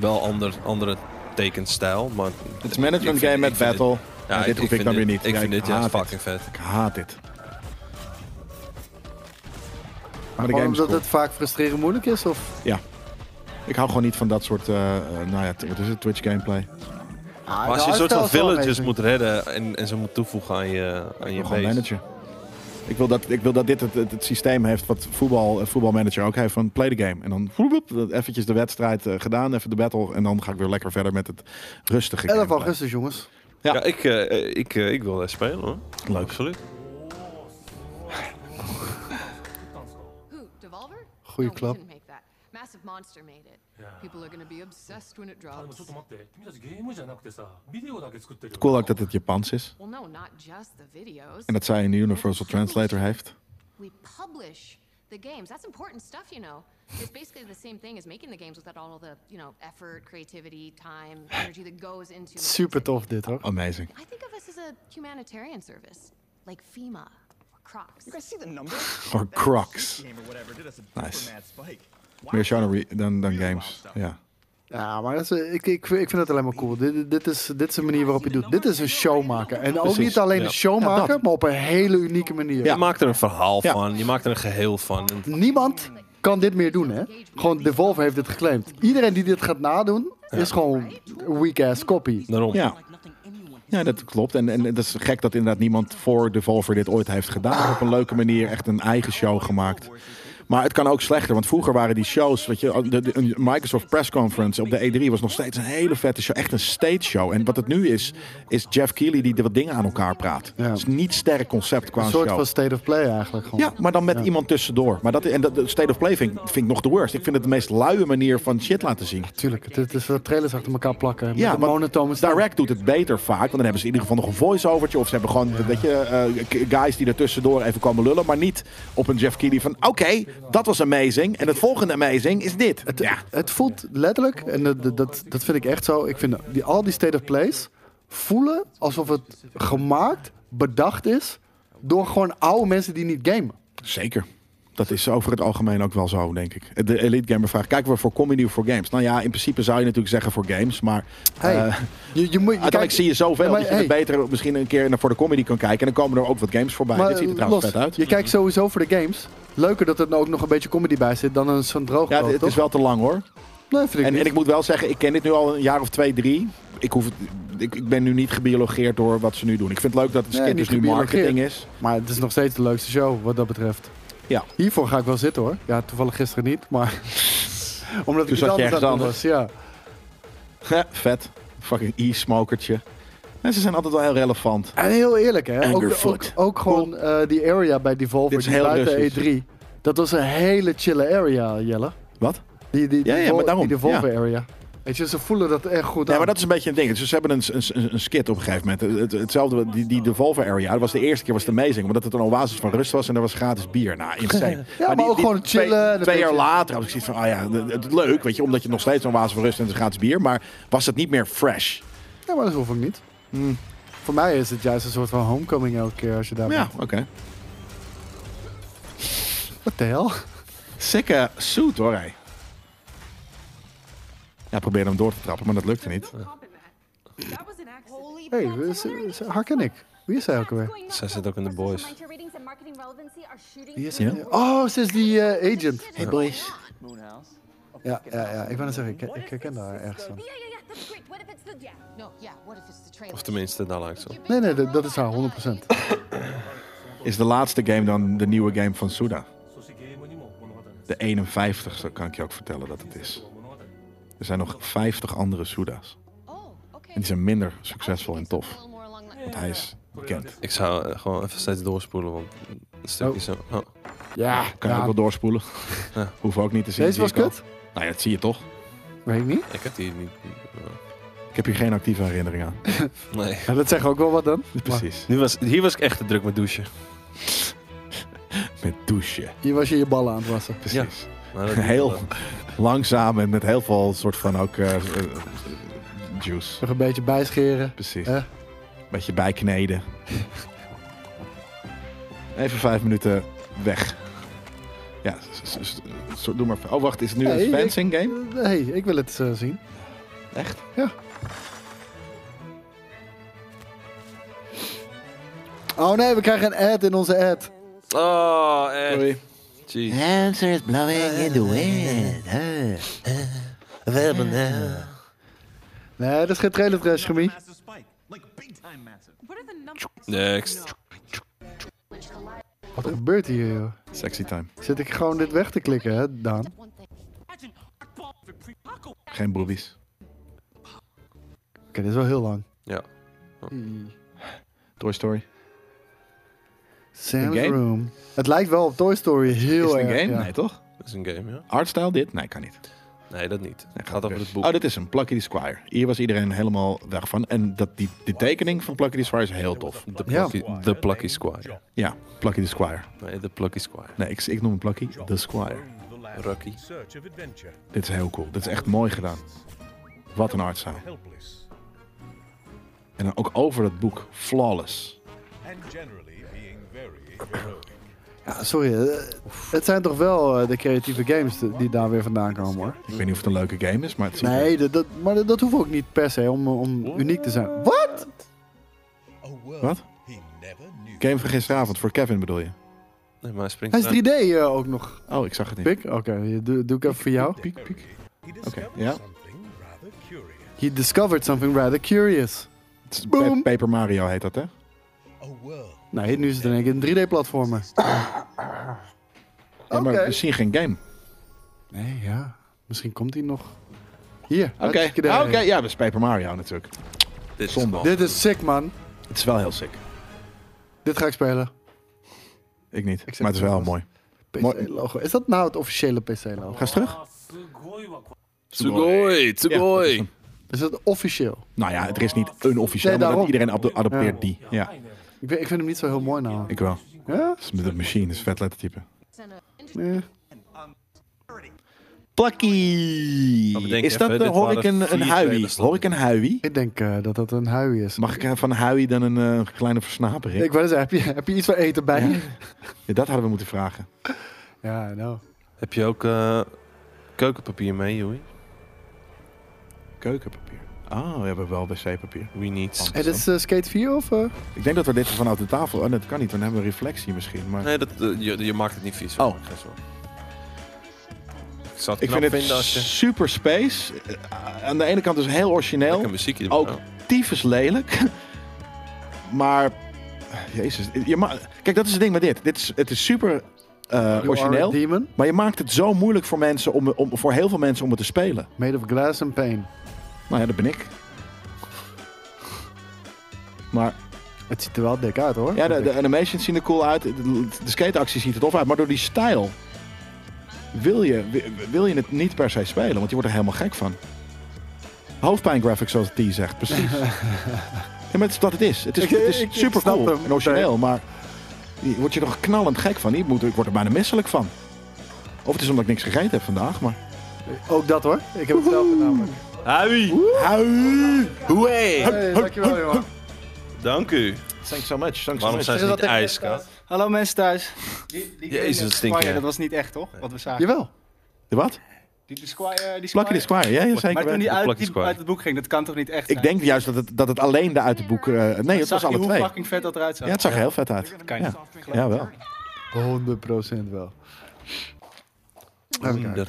C: Wel ander, andere tekenstijl, maar...
B: Het is management game met battle. Ja, dit hoef ik, dan weer niet.
C: Ik
B: Ja,
C: vind dit juist
B: haat
C: fucking vet.
B: Ik haat dit. Maar de
A: Gewoon
B: game is
A: omdat
B: cool.
A: het vaak frustrerend moeilijk is, of...
B: Ja. Ik hou gewoon niet van dat soort, eh, eh, nou ja, t- wat is het, Twitch gameplay.
A: Ah,
C: Maar als je een soort van villagers moet redden en, en ze moet toevoegen aan je, aan je
B: gewoon
C: base.
B: managen. Ik wil dat, ik wil dat dit het, het, het systeem heeft wat voetbal, eh, voetbalmanager ook heeft van play the game. En dan woep, woep, eventjes de wedstrijd eh, gedaan, even de battle. En dan ga ik weer lekker verder met het rustige
A: 11
B: gameplay.
A: augustus, jongens.
B: Ja.
C: Ja, ik, eh, eh, ik, eh, ik wil daar spelen hoor.
B: Leuk.
C: Absoluut.
G: Who? Devolver?
A: Goeie
G: no, we
A: klap.
G: didn't make that. Massive Monster made it.
F: Yeah.
G: People are gonna be obsessed when it
F: あでも
G: drops.
F: ちょっと待って君たちゲームじゃなくてさビデオだけ作ってるよ
B: Cool ook dat het Japans is.
G: Well, no, not just the videos.
B: En dat zij een Universal Translator heeft.
G: We publish the games. That's important stuff, you know. It's basically the same thing as making the games without all the, you know, effort, creativity, time, energy that goes into. making
A: Super
G: something.
A: tof dit, hoor.
B: Amazing.
G: I think of us as a humanitarian service, like FEMA or Crocs.
J: You guys see the numbers?
B: Or
J: That
B: Crocs.
J: shoot game or whatever did us a
B: Nice.
J: super mad spike. Wow.
B: Meer genre dan, dan games. Ja.
A: Ja, maar dat is, eh, ik, ik, ik vind het alleen maar cool. Dit, dit, is, dit is een manier waarop je het doet. Dit is een show maken. En ook
B: Precies,
A: niet alleen
C: ja.
A: een show maken, maar op een hele unieke manier.
C: Je maakt er een verhaal
B: Ja.
C: van, je maakt er een geheel van. En
A: Niemand kan dit meer doen, hè? Gewoon Devolver heeft dit geclaimd. Iedereen die dit gaat nadoen, is gewoon weak-ass copy.
C: daarom.
B: Ja. Ja, dat klopt. En, en het is gek dat inderdaad niemand voor Devolver dit ooit heeft gedaan. Op een leuke manier echt een eigen show gemaakt. Maar het kan ook slechter, want vroeger waren die shows, weet je, de, de- een Microsoft Press Conference op de E3 was nog steeds een hele vette show, echt een stage show. En wat het nu is, is Jeff Keighley die de wat dingen aan elkaar praat.
A: Ja.
B: Het is een niet sterk concept qua
A: Een soort
B: show.
A: van state of play eigenlijk. Gewoon.
B: Ja, maar dan met iemand tussendoor. Maar dat, en dat, dat State of Play vind, ik- vind ik nog de worst. Ik vind het de meest luie manier van shit laten zien.
A: Tuurlijk, dit is wat trailers achter elkaar plakken. Met
B: Ja,
A: een
B: want
A: monotone stijl.
B: Direct doet het beter vaak, want dan hebben ze in ieder geval nog een voice-overtje. Of ze hebben gewoon, weet je, eh, k- guys die er tussendoor even komen lullen. Maar niet op een Jeff Keighley van, oké, dat was amazing. En het volgende amazing is dit. ja,
A: Het voelt letterlijk, en dat, dat- dat, dat vind ik echt zo. Ik vind die, al die state of plays voelen alsof het gemaakt, bedacht is door gewoon oude mensen die niet gamen.
B: zeker. Dat is over het algemeen ook wel zo, denk ik. De Elite Gamer vraagt, kijken we voor comedy of voor games? Nou ja, in principe zou je natuurlijk zeggen voor games, maar...
A: Hey,
B: eh,
A: je, je moet, je
B: Uiteindelijk
A: kijkt-
B: zie je zoveel
A: Ja, maar
B: dat je het
A: hey,
B: beter misschien een keer naar voor de comedy kan kijken. En dan komen er ook wat games voorbij.
A: maar
B: Dit ziet er trouwens
A: los,
B: vet uit.
A: Je kijkt sowieso voor de games. Leuker dat er nou ook nog een beetje comedy bij zit dan een zo'n droog.
B: Ja, het, het
A: toch?
B: is wel te lang hoor.
A: Nee, vind ik
B: En,
A: niet.
B: en ik moet wel zeggen, ik ken dit nu al een jaar of twee, drie. Ik, hoef, het- ik, ik ben nu niet gebiologeerd door wat ze nu doen. Ik vind het leuk dat het
A: Nee,
B: skit
A: niet
B: dus nu marketing
A: gebiologeerd.
B: is.
A: Maar het is nog steeds de leukste show wat dat betreft.
B: Ja.
A: Hiervoor ga ik wel zitten hoor. Ja, toevallig gisteren niet, maar omdat
B: Toen
A: ik
B: zat je
A: iets anders
B: ergens
A: aan het doen was. Ja.
B: Ja, vet. Fucking e-smokertje. En ze zijn altijd wel heel relevant.
A: En heel eerlijk hè, ook, de- ook,
B: Angerfoot.
A: ook gewoon eh, die area bij Devolver,
B: Dit is
A: die
B: heel
A: buiten
B: Russisch.
A: E3. Dat was een hele chille area, Jelle.
B: Wat?
A: Die, die,
B: Ja, ja,
A: Devol-
B: maar daarom,
A: die Devolver area. Weet je, ze voelen dat echt goed
B: Ja,
A: aan.
B: maar dat is een beetje een ding. Dus ze hebben een, een, een, een skit op een gegeven moment. Het- het- hetzelfde, die, die Devolver area. Dat was de eerste keer was het amazing. Omdat het een oasis van rust was en er was gratis bier. Nou, insane.
A: Ja, maar
B: die-
A: ook
B: die
A: gewoon
B: twee-
A: chillen,
B: Twee,
A: een
B: jaar
A: beetje-
B: later had ik zoiets van, ah ja, het- het, leuk. Weet je, omdat je nog steeds een oasis van rust en het is gratis bier. Maar was het niet meer fresh?
A: Ja, maar dat hoef ik niet. Voor mij is het juist een soort van homecoming elke keer als je daar
B: Hmm. Ja,
A: bent.
B: oké.
A: Wat de hel?
B: Sikke suit hoor hij. Ja, probeerde hem door te trappen, maar dat lukte niet.
H: Holy
A: Hé, hey, haar ken ik. Wie is hij ook alweer?
C: Zij zit ook in de boys.
A: Wie is hij? Oh, ze is die eh, agent.
B: Hey boys.
J: Moonhouse.
A: Ja, ja, ja, ik wou net zeggen, ik, ik herken daar ergens van.
G: No, yeah. What if it's the trailer?
C: Of tenminste, daar lijkt het op.
A: Nee, nee, dat, dat is haar 100%.
B: Is de laatste game dan de nieuwe game van Suda?
F: そしてゲームにも物語です
B: De 51ste kan ik je ook vertellen dat het is.
F: 物語
B: Er zijn nog 50 andere Suda's.
G: Oh, okay.
B: En die zijn minder succesvol en
G: It's a
B: tof.
G: little more along the-
B: Want hij is bekend.
C: Ik zou eh, gewoon even steeds doorspoelen, want een stukje
A: Oh.
C: zo... Oh.
A: Ja,
B: Kan je ook wel doorspoelen.
C: Ja.
B: Hoef ook niet te zien.
A: Deze
B: zie
A: was
B: ik al.
A: kut?
B: Nou ja, dat zie je toch.
A: Weet ik niet.
C: Ik heb die niet... eh,
B: Ik heb hier geen actieve herinnering aan.
C: Nee.
A: Ja, dat zegt ook wel wat dan.
B: Precies.
C: Nu was, hier was ik echt te druk met douchen.
B: Met douchen.
A: Hier was je je ballen aan het wassen.
B: Precies.
C: Maar Nou, dat-
B: Heel langzaam en met heel veel soort van ook eh, eh, juice.
A: Nog een beetje bijscheren.
B: Precies.
A: Hè?
B: Beetje bijkneden. Even vijf minuten weg. Ja, s- s- s- zo- doe maar. Oh, wacht, is het nu
A: Hey,
B: een
A: ik-
B: fencing game?
A: Hé, hey, ik wil het eh, zien.
B: Echt?
A: Oh nee, we krijgen een ad in onze ad.
C: Oh, echt. Jeez.
B: Hamster is blowing in the wind.
C: We hebben... eh,
A: Nee, dat is geen trailer trash, Gemie.
J: Massive spike. Like big time massive.
C: Next.
A: Wat Wat gebeurt hier, joh?
B: Sexy time.
A: Zit ik gewoon dit weg te klikken, hè, Daan?
B: Geen boobies.
A: Oké, dit is wel heel lang. Hm.
C: Ja.
B: Toy Story.
A: Sam's
B: Een game?
A: Room. Het lijkt wel op Toy Story heel
B: is
A: erg.
B: het een game?
A: ja.
B: Nee, toch?
C: Dat is een game, ja.
B: Artstyle dit? Nee, kan niet.
C: Nee, dat niet. Het
B: Gaat
C: gaat over
B: dus.
C: het boek.
B: Oh, dit is een Plucky the Squire. Hier was iedereen helemaal weg van. En dat, die, de tekening van Plucky the Squire is heel tof.
C: De
A: Ja.
C: Plucky, the plucky Squire.
B: Ja, Plucky the Squire.
C: Nee, de Plucky Squire.
B: Nee, ik, ik noem hem Plucky the Squire.
C: Rocky.
F: Search of adventure.
B: Dit is heel cool. Dit is echt mooi gedaan. Wat een artstyle.
F: Helpless.
B: En dan ook over het boek. Flawless.
J: And generally being very heroic.
A: Ja, sorry. eh, het zijn toch wel eh, de creatieve games de- die daar weer vandaan komen, hoor.
B: Ik weet niet of het een leuke game is, maar het ziet er-
A: Nee, dat, dat, maar dat, dat hoeft ook niet per se om, om uniek te zijn. Wat?
J: A world
B: Wat?
J: he never knew.
B: Game van gisteravond voor Kevin bedoel je?
C: Nee, maar hij springt
A: Hij is
C: eraan.
A: 3D eh, ook nog.
B: Oh, ik zag het niet.
A: Pik? Oké, doe, doe ik even voor jou.
B: Piek, piek.
J: He
B: Oké,
J: discovered
B: ja.
J: something rather curious.
A: He discovered something rather curious.
B: Het is
A: Boom.
B: Pa- Paper Mario heet dat, hè?
J: A world.
A: Nee, nu is het in één keer een 3D-platformer.
B: Ja, maar
A: Oké.
B: we zien geen game.
A: Nee, ja. Misschien komt hij nog. Hier.
B: Oké,
A: hartstikke idee.
B: Ah, oké, ja, dat is Paper Mario natuurlijk.
C: Dit is
B: Zonde.
C: gewoon-
A: Dit is sick, man.
B: Het is wel heel sick.
A: Dit ga ik spelen.
B: Ik niet,
A: zet
B: maar het is
A: het
B: wel
A: vast.
B: mooi. Mooi.
A: PC-logo. Is dat nou het officiële PC-logo?
B: Ga eens terug.
C: Sugoi,
B: Ja, dat is
C: Sugoi.
B: hem.
A: Is dat officieel?
B: Nou ja, er is niet een officieel,
A: Nee,
B: maar
A: daarom.
B: dat iedereen ado- adopteert die. Ja,
A: Ik vind, ik vind hem niet zo heel mooi nou.
B: ik wel.
A: Ja?
B: Dat is met een machine, dat is een vet lettertype.
A: Nee.
B: Plucky!
C: Maar bedenk
B: Is dat,
C: even,
B: eh,
C: dit
B: hoor
C: waren
B: ik een, een
C: vier
B: huiwie?
C: trailers dan.
B: Hoor ik een huiwie?
A: Ik denk eh, dat dat een hui is.
B: Mag ik eh, van huiwie dan een eh, kleine versnapering?
A: Ik wou zeggen, heb je, heb je iets van eten bij je?
B: Ja, dat hadden we moeten vragen.
A: Ja, nou.
C: Heb je ook eh, keukenpapier mee, Joey?
B: Keukenpapier. Oh, we hebben wel wc-papier.
C: We need.
A: Hey, dit is eh, Skate 4 of... eh?
B: Ik denk dat we dit vanuit de tafel... Oh, dat kan niet, dan hebben we reflectie misschien. Maar
C: Nee, dat, eh, je, je maakt het niet vies.
B: Oh.
C: Geen zorgen. Ik zou het
B: ik
C: knap
B: vind het
C: vinden als je...
B: super space. Eh, aan de ene kant dus heel origineel.
C: Lekker muziekje erbij.
B: Ook tyfus lelijk. Maar, jezus. Je ma- Kijk, dat is het ding met dit. dit is, het is super eh,
A: You are a
B: origineel.
A: Demon,
B: Maar je maakt het zo moeilijk voor mensen om, om, voor heel veel mensen om het te spelen.
A: made of glass and pain.
B: Nou ja, dat ben ik. Maar
A: Het ziet er wel dik uit, hoor.
B: ja, de,
A: Vind
B: de
A: ik.
B: animations zien er cool uit. De, de skateactie ziet er tof uit. Maar door die stijl wil je, wi- wil je het niet per se spelen. Want je wordt er helemaal gek van. Hoofdpijn graphics, zoals die zegt. Precies. ja, maar het is wat het is. Het is,
A: Ik-
B: het is
A: ik- ik
B: super
A: snap
B: cool
A: hem.
B: en origineel. Maar je wordt je toch knallend gek van. Je moet, ik word er bijna misselijk van. Of het is omdat ik niks gegeten heb vandaag. Maar...
A: Ook dat, hoor. Ik heb hetzelfde namelijk.
C: Hui!
B: Hui!
C: Hoeé!
A: Hey, dankjewel, jongen.
C: Dank u.
B: Thanks so much. Thanks so
C: Waarom
B: much.
C: zijn ze
K: Is
C: niet
K: dat echt-
C: ijskoud?
K: Hallo mensen thuis. Die, die
C: Jezus,
K: die
C: stinkt,
K: Squire,
C: ja.
K: Dat was niet echt, toch? Wat we zagen.
A: Jawel.
B: De wat?
K: Die, die Squire, die
B: Plakje
K: Squire.
B: de Squire. Ja, ja, zeker.
K: Maar toen
B: weten.
K: die, uit,
C: Plakje
K: die
C: Squire.
K: uit het boek ging, dat kan toch niet echt
B: Ik
K: zijn?
B: denk juist dat het, dat het alleen de uit het boek... eh, nee, het
K: Zag
B: was
K: je
B: alle
K: hoe
B: twee.
K: fucking vet dat eruit zag?
B: Ja, het zag er heel vet uit.
K: Kan je
B: Ja.
K: niet soft drinken?
B: ja, wel.
A: 100% wel. Even kijken.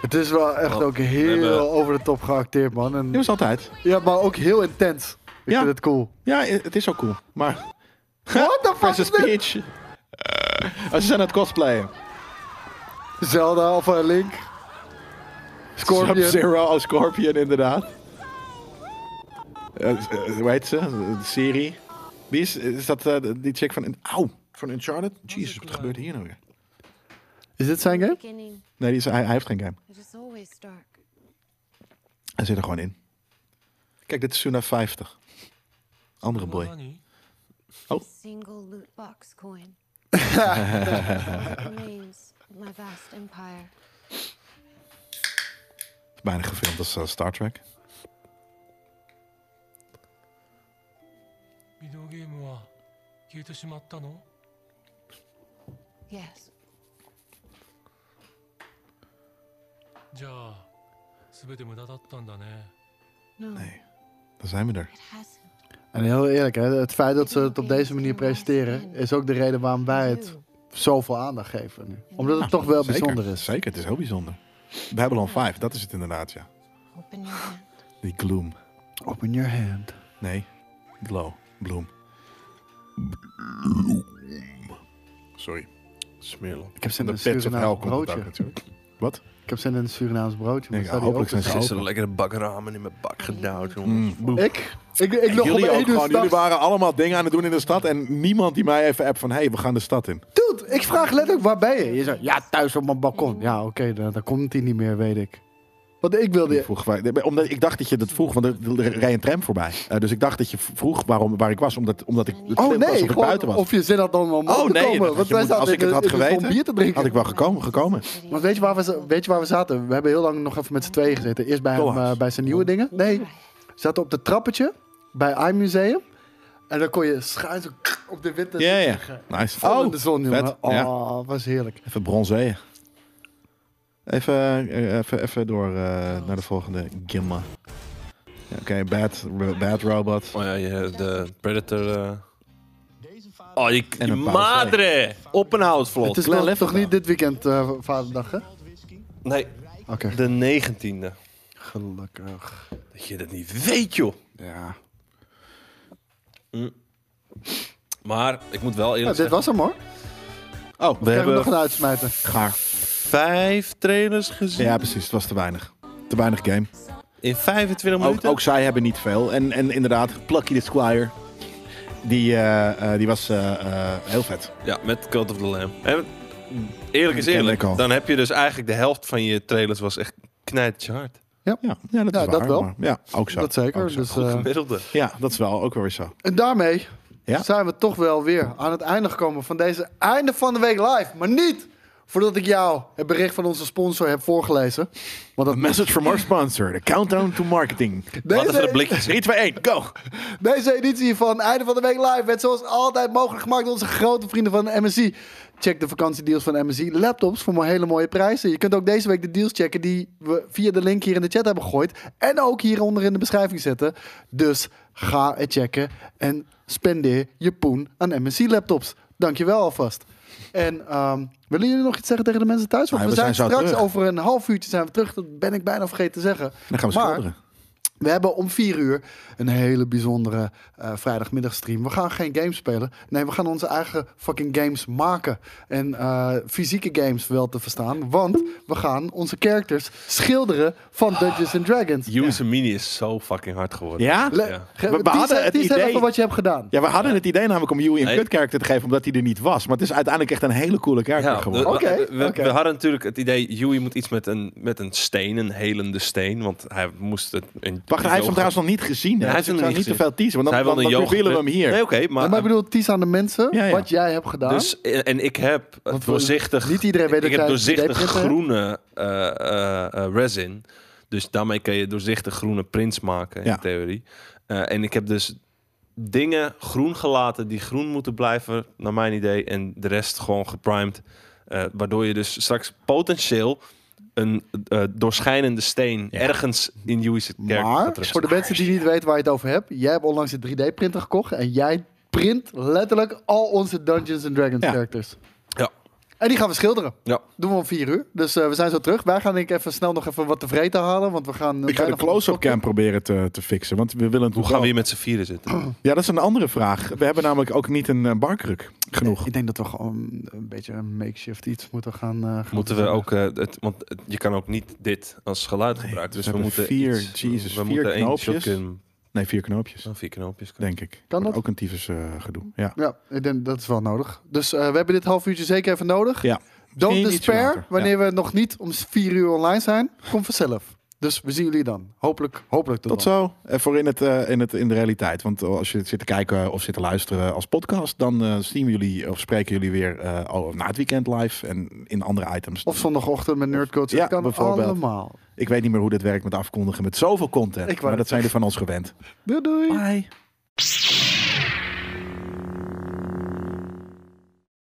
A: Het is wel echt ook heel
C: hebben-
A: over de top geacteerd, man. En,
B: Dit was altijd.
A: ja, maar ook heel intens. Ik
B: Ja.
A: vind het cool.
B: Ja, het is ook cool. Maar...
A: What the fuck
B: Princess
A: is dit?
B: Peach. Eh, ze zijn aan het cosplayen.
A: Zelda of eh, Link. Scorpion.
B: Sub-Zero als Scorpion, inderdaad. Eh, eh, hoe heet ze? Eh, Siri. Wie is, is dat eh, die chick van... Auw, van Uncharted? Jezus, wat gebeurt hier nou weer?
A: Is dit zijn game?
H: Beginning,
B: Nee, die is, hij, hij heeft geen game.
H: it is always dark.
B: Hij zit er gewoon in. Kijk, dit is Suna 50. Andere boy.
H: Single loot box coin. Remains of my vast empire.
B: Bijna gefilmd als eh, Star Trek.
F: ビデオゲームは消えてしまったの
H: Yes,
F: じゃあ、すべて無駄だったんだね。
H: no,
B: Nee, dan zijn we er.
H: it hasn't.
A: En heel eerlijk, hè, het feit dat ze het op deze manier presenteren... is ook de reden waarom wij het
H: You.
A: zoveel aandacht geven nu. Omdat het toch wel
B: Nou, Zeker,
A: bijzonder is.
B: Zeker, het is heel bijzonder. Babylon 5, dat is het inderdaad, ja.
H: Open your hand.
B: Die gloom.
A: Open your hand.
B: Nee, glow. Bloem. Sorry. Smeerlap.
A: Ik heb zin
B: de
A: in een
B: pets of hel
A: Surinaams
B: komt het
A: broodje.
B: ook natuurlijk. Wat?
A: Ik heb zin in een Surinaams broodje. maar
B: Nee,
A: zou die
B: hopelijk
A: open
B: zijn ze
C: Gisteren
B: open.
C: lekkere bak ramen in mijn bak gedouwd, jongens.
B: Boef.
A: Ik? Ik, ik nog om
B: jullie ook
A: één uur
B: gewoon. Jullie
A: s'nachts.
B: waren allemaal dingen aan het doen in de stad en niemand die mij even app van, hé, hey, we gaan de stad in.
A: Dude, ik vraag letterlijk, waar ben je? Je zegt, ja, thuis op mijn
B: Mm.
A: balkon. Ja, oké, dan, dan komt hij niet meer, weet ik. Want ik wilde...
B: Vroeg waar- nee, omdat ik dacht dat je dat vroeg, want er er reed een tram voorbij. Eh, dus ik dacht dat je vroeg waarom, waar ik was, omdat, omdat ik het
A: Oh
B: slim was
A: nee,
B: of ik
A: gewoon
B: buiten was.
A: of je zin had om om
B: oh
A: op te
B: nee,
A: komen.
B: dat had
A: want
B: je
A: wij zaten
B: moeten- als
A: in
B: ik het
A: de-
B: had
A: in de
B: geweten,
A: bier te drinken.
B: had ik wel gekomen. gekomen.
A: Want weet je, waar we, za- weet je waar we zaten? We hebben heel lang nog even met z'n tweeën gezeten. Eerst bij, hem,
B: Koolhaas.
A: eh, bij zijn nieuwe dingen. Nee, we zaten op de trappetje bij iMuseum. En dan kon je schuin zo op de witte...
B: Ja, ja. Nice.
A: Vol in de zon, jongen.
B: vet.
A: Oh,
B: Ja.
A: was heerlijk.
B: Even bronzeeën. Even, eh, even, even door eh, naar de volgende Gimma. Ja, Oké, bad, bad Robot.
C: Oh ja, je, de Predator. eh. Oh, je,
B: En
C: je
B: een pauze.
C: madre! Op een houtvlot.
A: Het is wel toch niet dit weekend eh, vaderdag, hè?
C: Nee,
A: Oké.
C: de negentiende.
A: Gelukkig.
C: Dat je dat niet weet, joh.
A: Ja.
C: Maar ik moet wel
A: Nou,
C: eerlijk
A: dit
C: zeggen,
A: was hem, hoor.
B: Oh,
A: We
C: we
A: hebben
C: hebben
A: nog een uitsmijter.
B: gaar.
C: vijf trailers gezien
B: Ja, precies. Het was te weinig. Te weinig game.
C: in 25
B: Ook,
C: minuten.
B: ook zij hebben niet veel. En, en inderdaad, Plucky the Squire. Die, eh, eh, die was eh, eh, heel vet.
C: Ja, met Cult of the Lamb. En eerlijk is
B: Ken
C: eerlijk,
B: ik al.
C: dan heb je dus eigenlijk de helft van je trailers was echt knijtje hard.
B: Ja, ja dat
A: Ja,
B: is
A: dat
B: waar,
A: wel.
B: maar- ja, ook zo.
A: Dat zeker.
B: Ook zo.
A: Dus, eh,
C: Gemiddelde.
B: Ja, dat is wel ook wel weer zo.
A: en daarmee
B: Ja.
A: zijn we toch wel weer aan het einde gekomen van deze einde van de week live. Maar niet voordat ik jou het bericht van onze sponsor heb voorgelezen. Want dat
B: Message from our sponsor. The countdown to marketing.
A: Nee,
C: Wat even
A: nee.
C: de blikjes.
B: 3, 2, 1, go!
A: Deze editie van Einde van de Week Live werd zoals altijd mogelijk gemaakt door onze grote vrienden van de MSI. Check de vakantiedeals van de MSI laptops voor maar hele mooie prijzen. Je kunt ook deze week de deals checken die we via de link hier in de chat hebben gegooid. En ook hieronder in de beschrijving zetten. Dus ga het checken en spendeer je poen aan MSI laptops. Dankjewel alvast. En ehm, willen jullie nog iets zeggen tegen de mensen thuis? Want
B: Nee,
A: we,
B: we
A: zijn,
B: zijn zo
A: straks
B: terug.
A: over een half uurtje zijn we terug. Dat ben ik bijna vergeten te zeggen.
B: Dan gaan we
A: Maar-
B: schilderen.
A: we hebben om vier uur een hele bijzondere eh, vrijdagmiddagstream. We gaan geen games spelen. Nee, we gaan onze eigen fucking games maken. En eh, fysieke games wel te verstaan. Want we gaan onze characters schilderen van Dungeons and Dragons.
C: User Mini is zo fucking hard geworden.
B: Ja?
A: Le-
B: we,
A: Ge-
B: we
A: tease-
B: hadden het
A: tease
B: idee...
A: even wat je hebt gedaan.
B: Ja, we hadden het idee namelijk om Yui een
C: Nee.
B: kut character te geven, omdat hij er niet was. Maar het is uiteindelijk echt een hele coole character
C: Ja,
B: geworden.
C: we-
A: Oké,
C: we, we-
A: oké.
C: we hadden natuurlijk het idee, Joey moet iets met een, met een steen, een helende steen, want hij moest het... een-
B: Wacht, hij heeft hem trouwens nog niet gezien. Hè?
C: hij heeft
B: Dus ik zou
C: hem nog
B: niet
C: niet
B: te veel teasen, want
C: Zij
B: dan, dan,
C: wilde
B: dan
C: een yoga-
B: revealen we hem hier.
C: Nee, oké, maar...
A: Maar, ik bedoel, tease aan de mensen
B: Ja, ja.
A: wat jij hebt gedaan.
C: dus, en ik heb
A: Want we-
C: doorzichtig...
A: niet iedereen weet dat
C: Ik heb
A: jij
C: doorzichtig
A: het idee hebt, hè?
C: groene eh, eh, eh, resin. Dus daarmee kan je doorzichtig groene prints maken, in
B: Ja.
C: theorie. Eh, en ik heb dus dingen groen gelaten die groen moeten blijven, naar mijn idee. En de rest gewoon geprimed. eh, waardoor je dus straks potentieel een eh, doorschijnende steen
B: Ja.
C: ergens in Joey's kerk
A: Maar
C: gaat terug.
A: voor de mensen die niet weten waar je het over hebt, jij hebt onlangs een 3D-printer gekocht en jij print letterlijk al onze Dungeons and Dragons
B: Ja.
A: characters.
C: Ja.
A: En die gaan we schilderen.
C: Ja.
A: Doen we om vier uur. Dus eh, we zijn zo terug. Wij gaan denk ik even snel nog even wat te vreten halen, want we gaan. eh,
B: Ik ga de
A: bijna van
B: close-up
A: stokje.
B: cam proberen te, te fixen, want we willen het
C: Hoe gaan we hier met z'n vieren zitten?
B: Ja, dat is een andere vraag. We hebben namelijk ook niet een eh, barkruk genoeg.
A: Ik denk dat we gewoon een beetje een makeshift iets moeten gaan. eh, gaan
C: Moeten we
A: verzinnen.
C: ook, eh, het, want het- je kan ook niet dit als geluid gebruiken. Dus
B: we
C: we,
B: hebben
C: moeten
B: vier-
C: iets-
B: Jezus,
C: we
B: vier
C: moeten één
B: knoopjes.
C: shotgun-
B: Nee, vier knoopjes,
C: oh, vier knoopjes.
B: denk ik.
A: Kan dat?
B: Ook een tyfus eh, gedoe. Ja.
A: Ja, ik denk dat is wel nodig. Dus eh, we hebben dit half uurtje zeker even nodig.
B: Ja.
A: Don't
B: Misschien ietsje
A: despair.
B: later.
A: Wanneer we nog niet om vier uur online zijn, komt vanzelf. Dus we zien jullie dan. Hopelijk, hopelijk tot,
B: Tot
A: dan.
B: zo. En voor in, het, eh, in, het, in de realiteit. Want eh, als je zit te kijken of zit te luisteren als podcast, dan eh, zien we jullie of spreken jullie weer eh, al na het weekend live en in andere items.
A: Of zondagochtend met Nerdcoach.
B: Ja,
A: Ja, kan
B: bijvoorbeeld.
A: allemaal.
B: Ik weet niet meer hoe dit werkt met afkondigen met zoveel content.
A: Ik wou
B: maar
A: net
B: dat zijn jullie van ons gewend.
A: Doei doei.
B: Bye.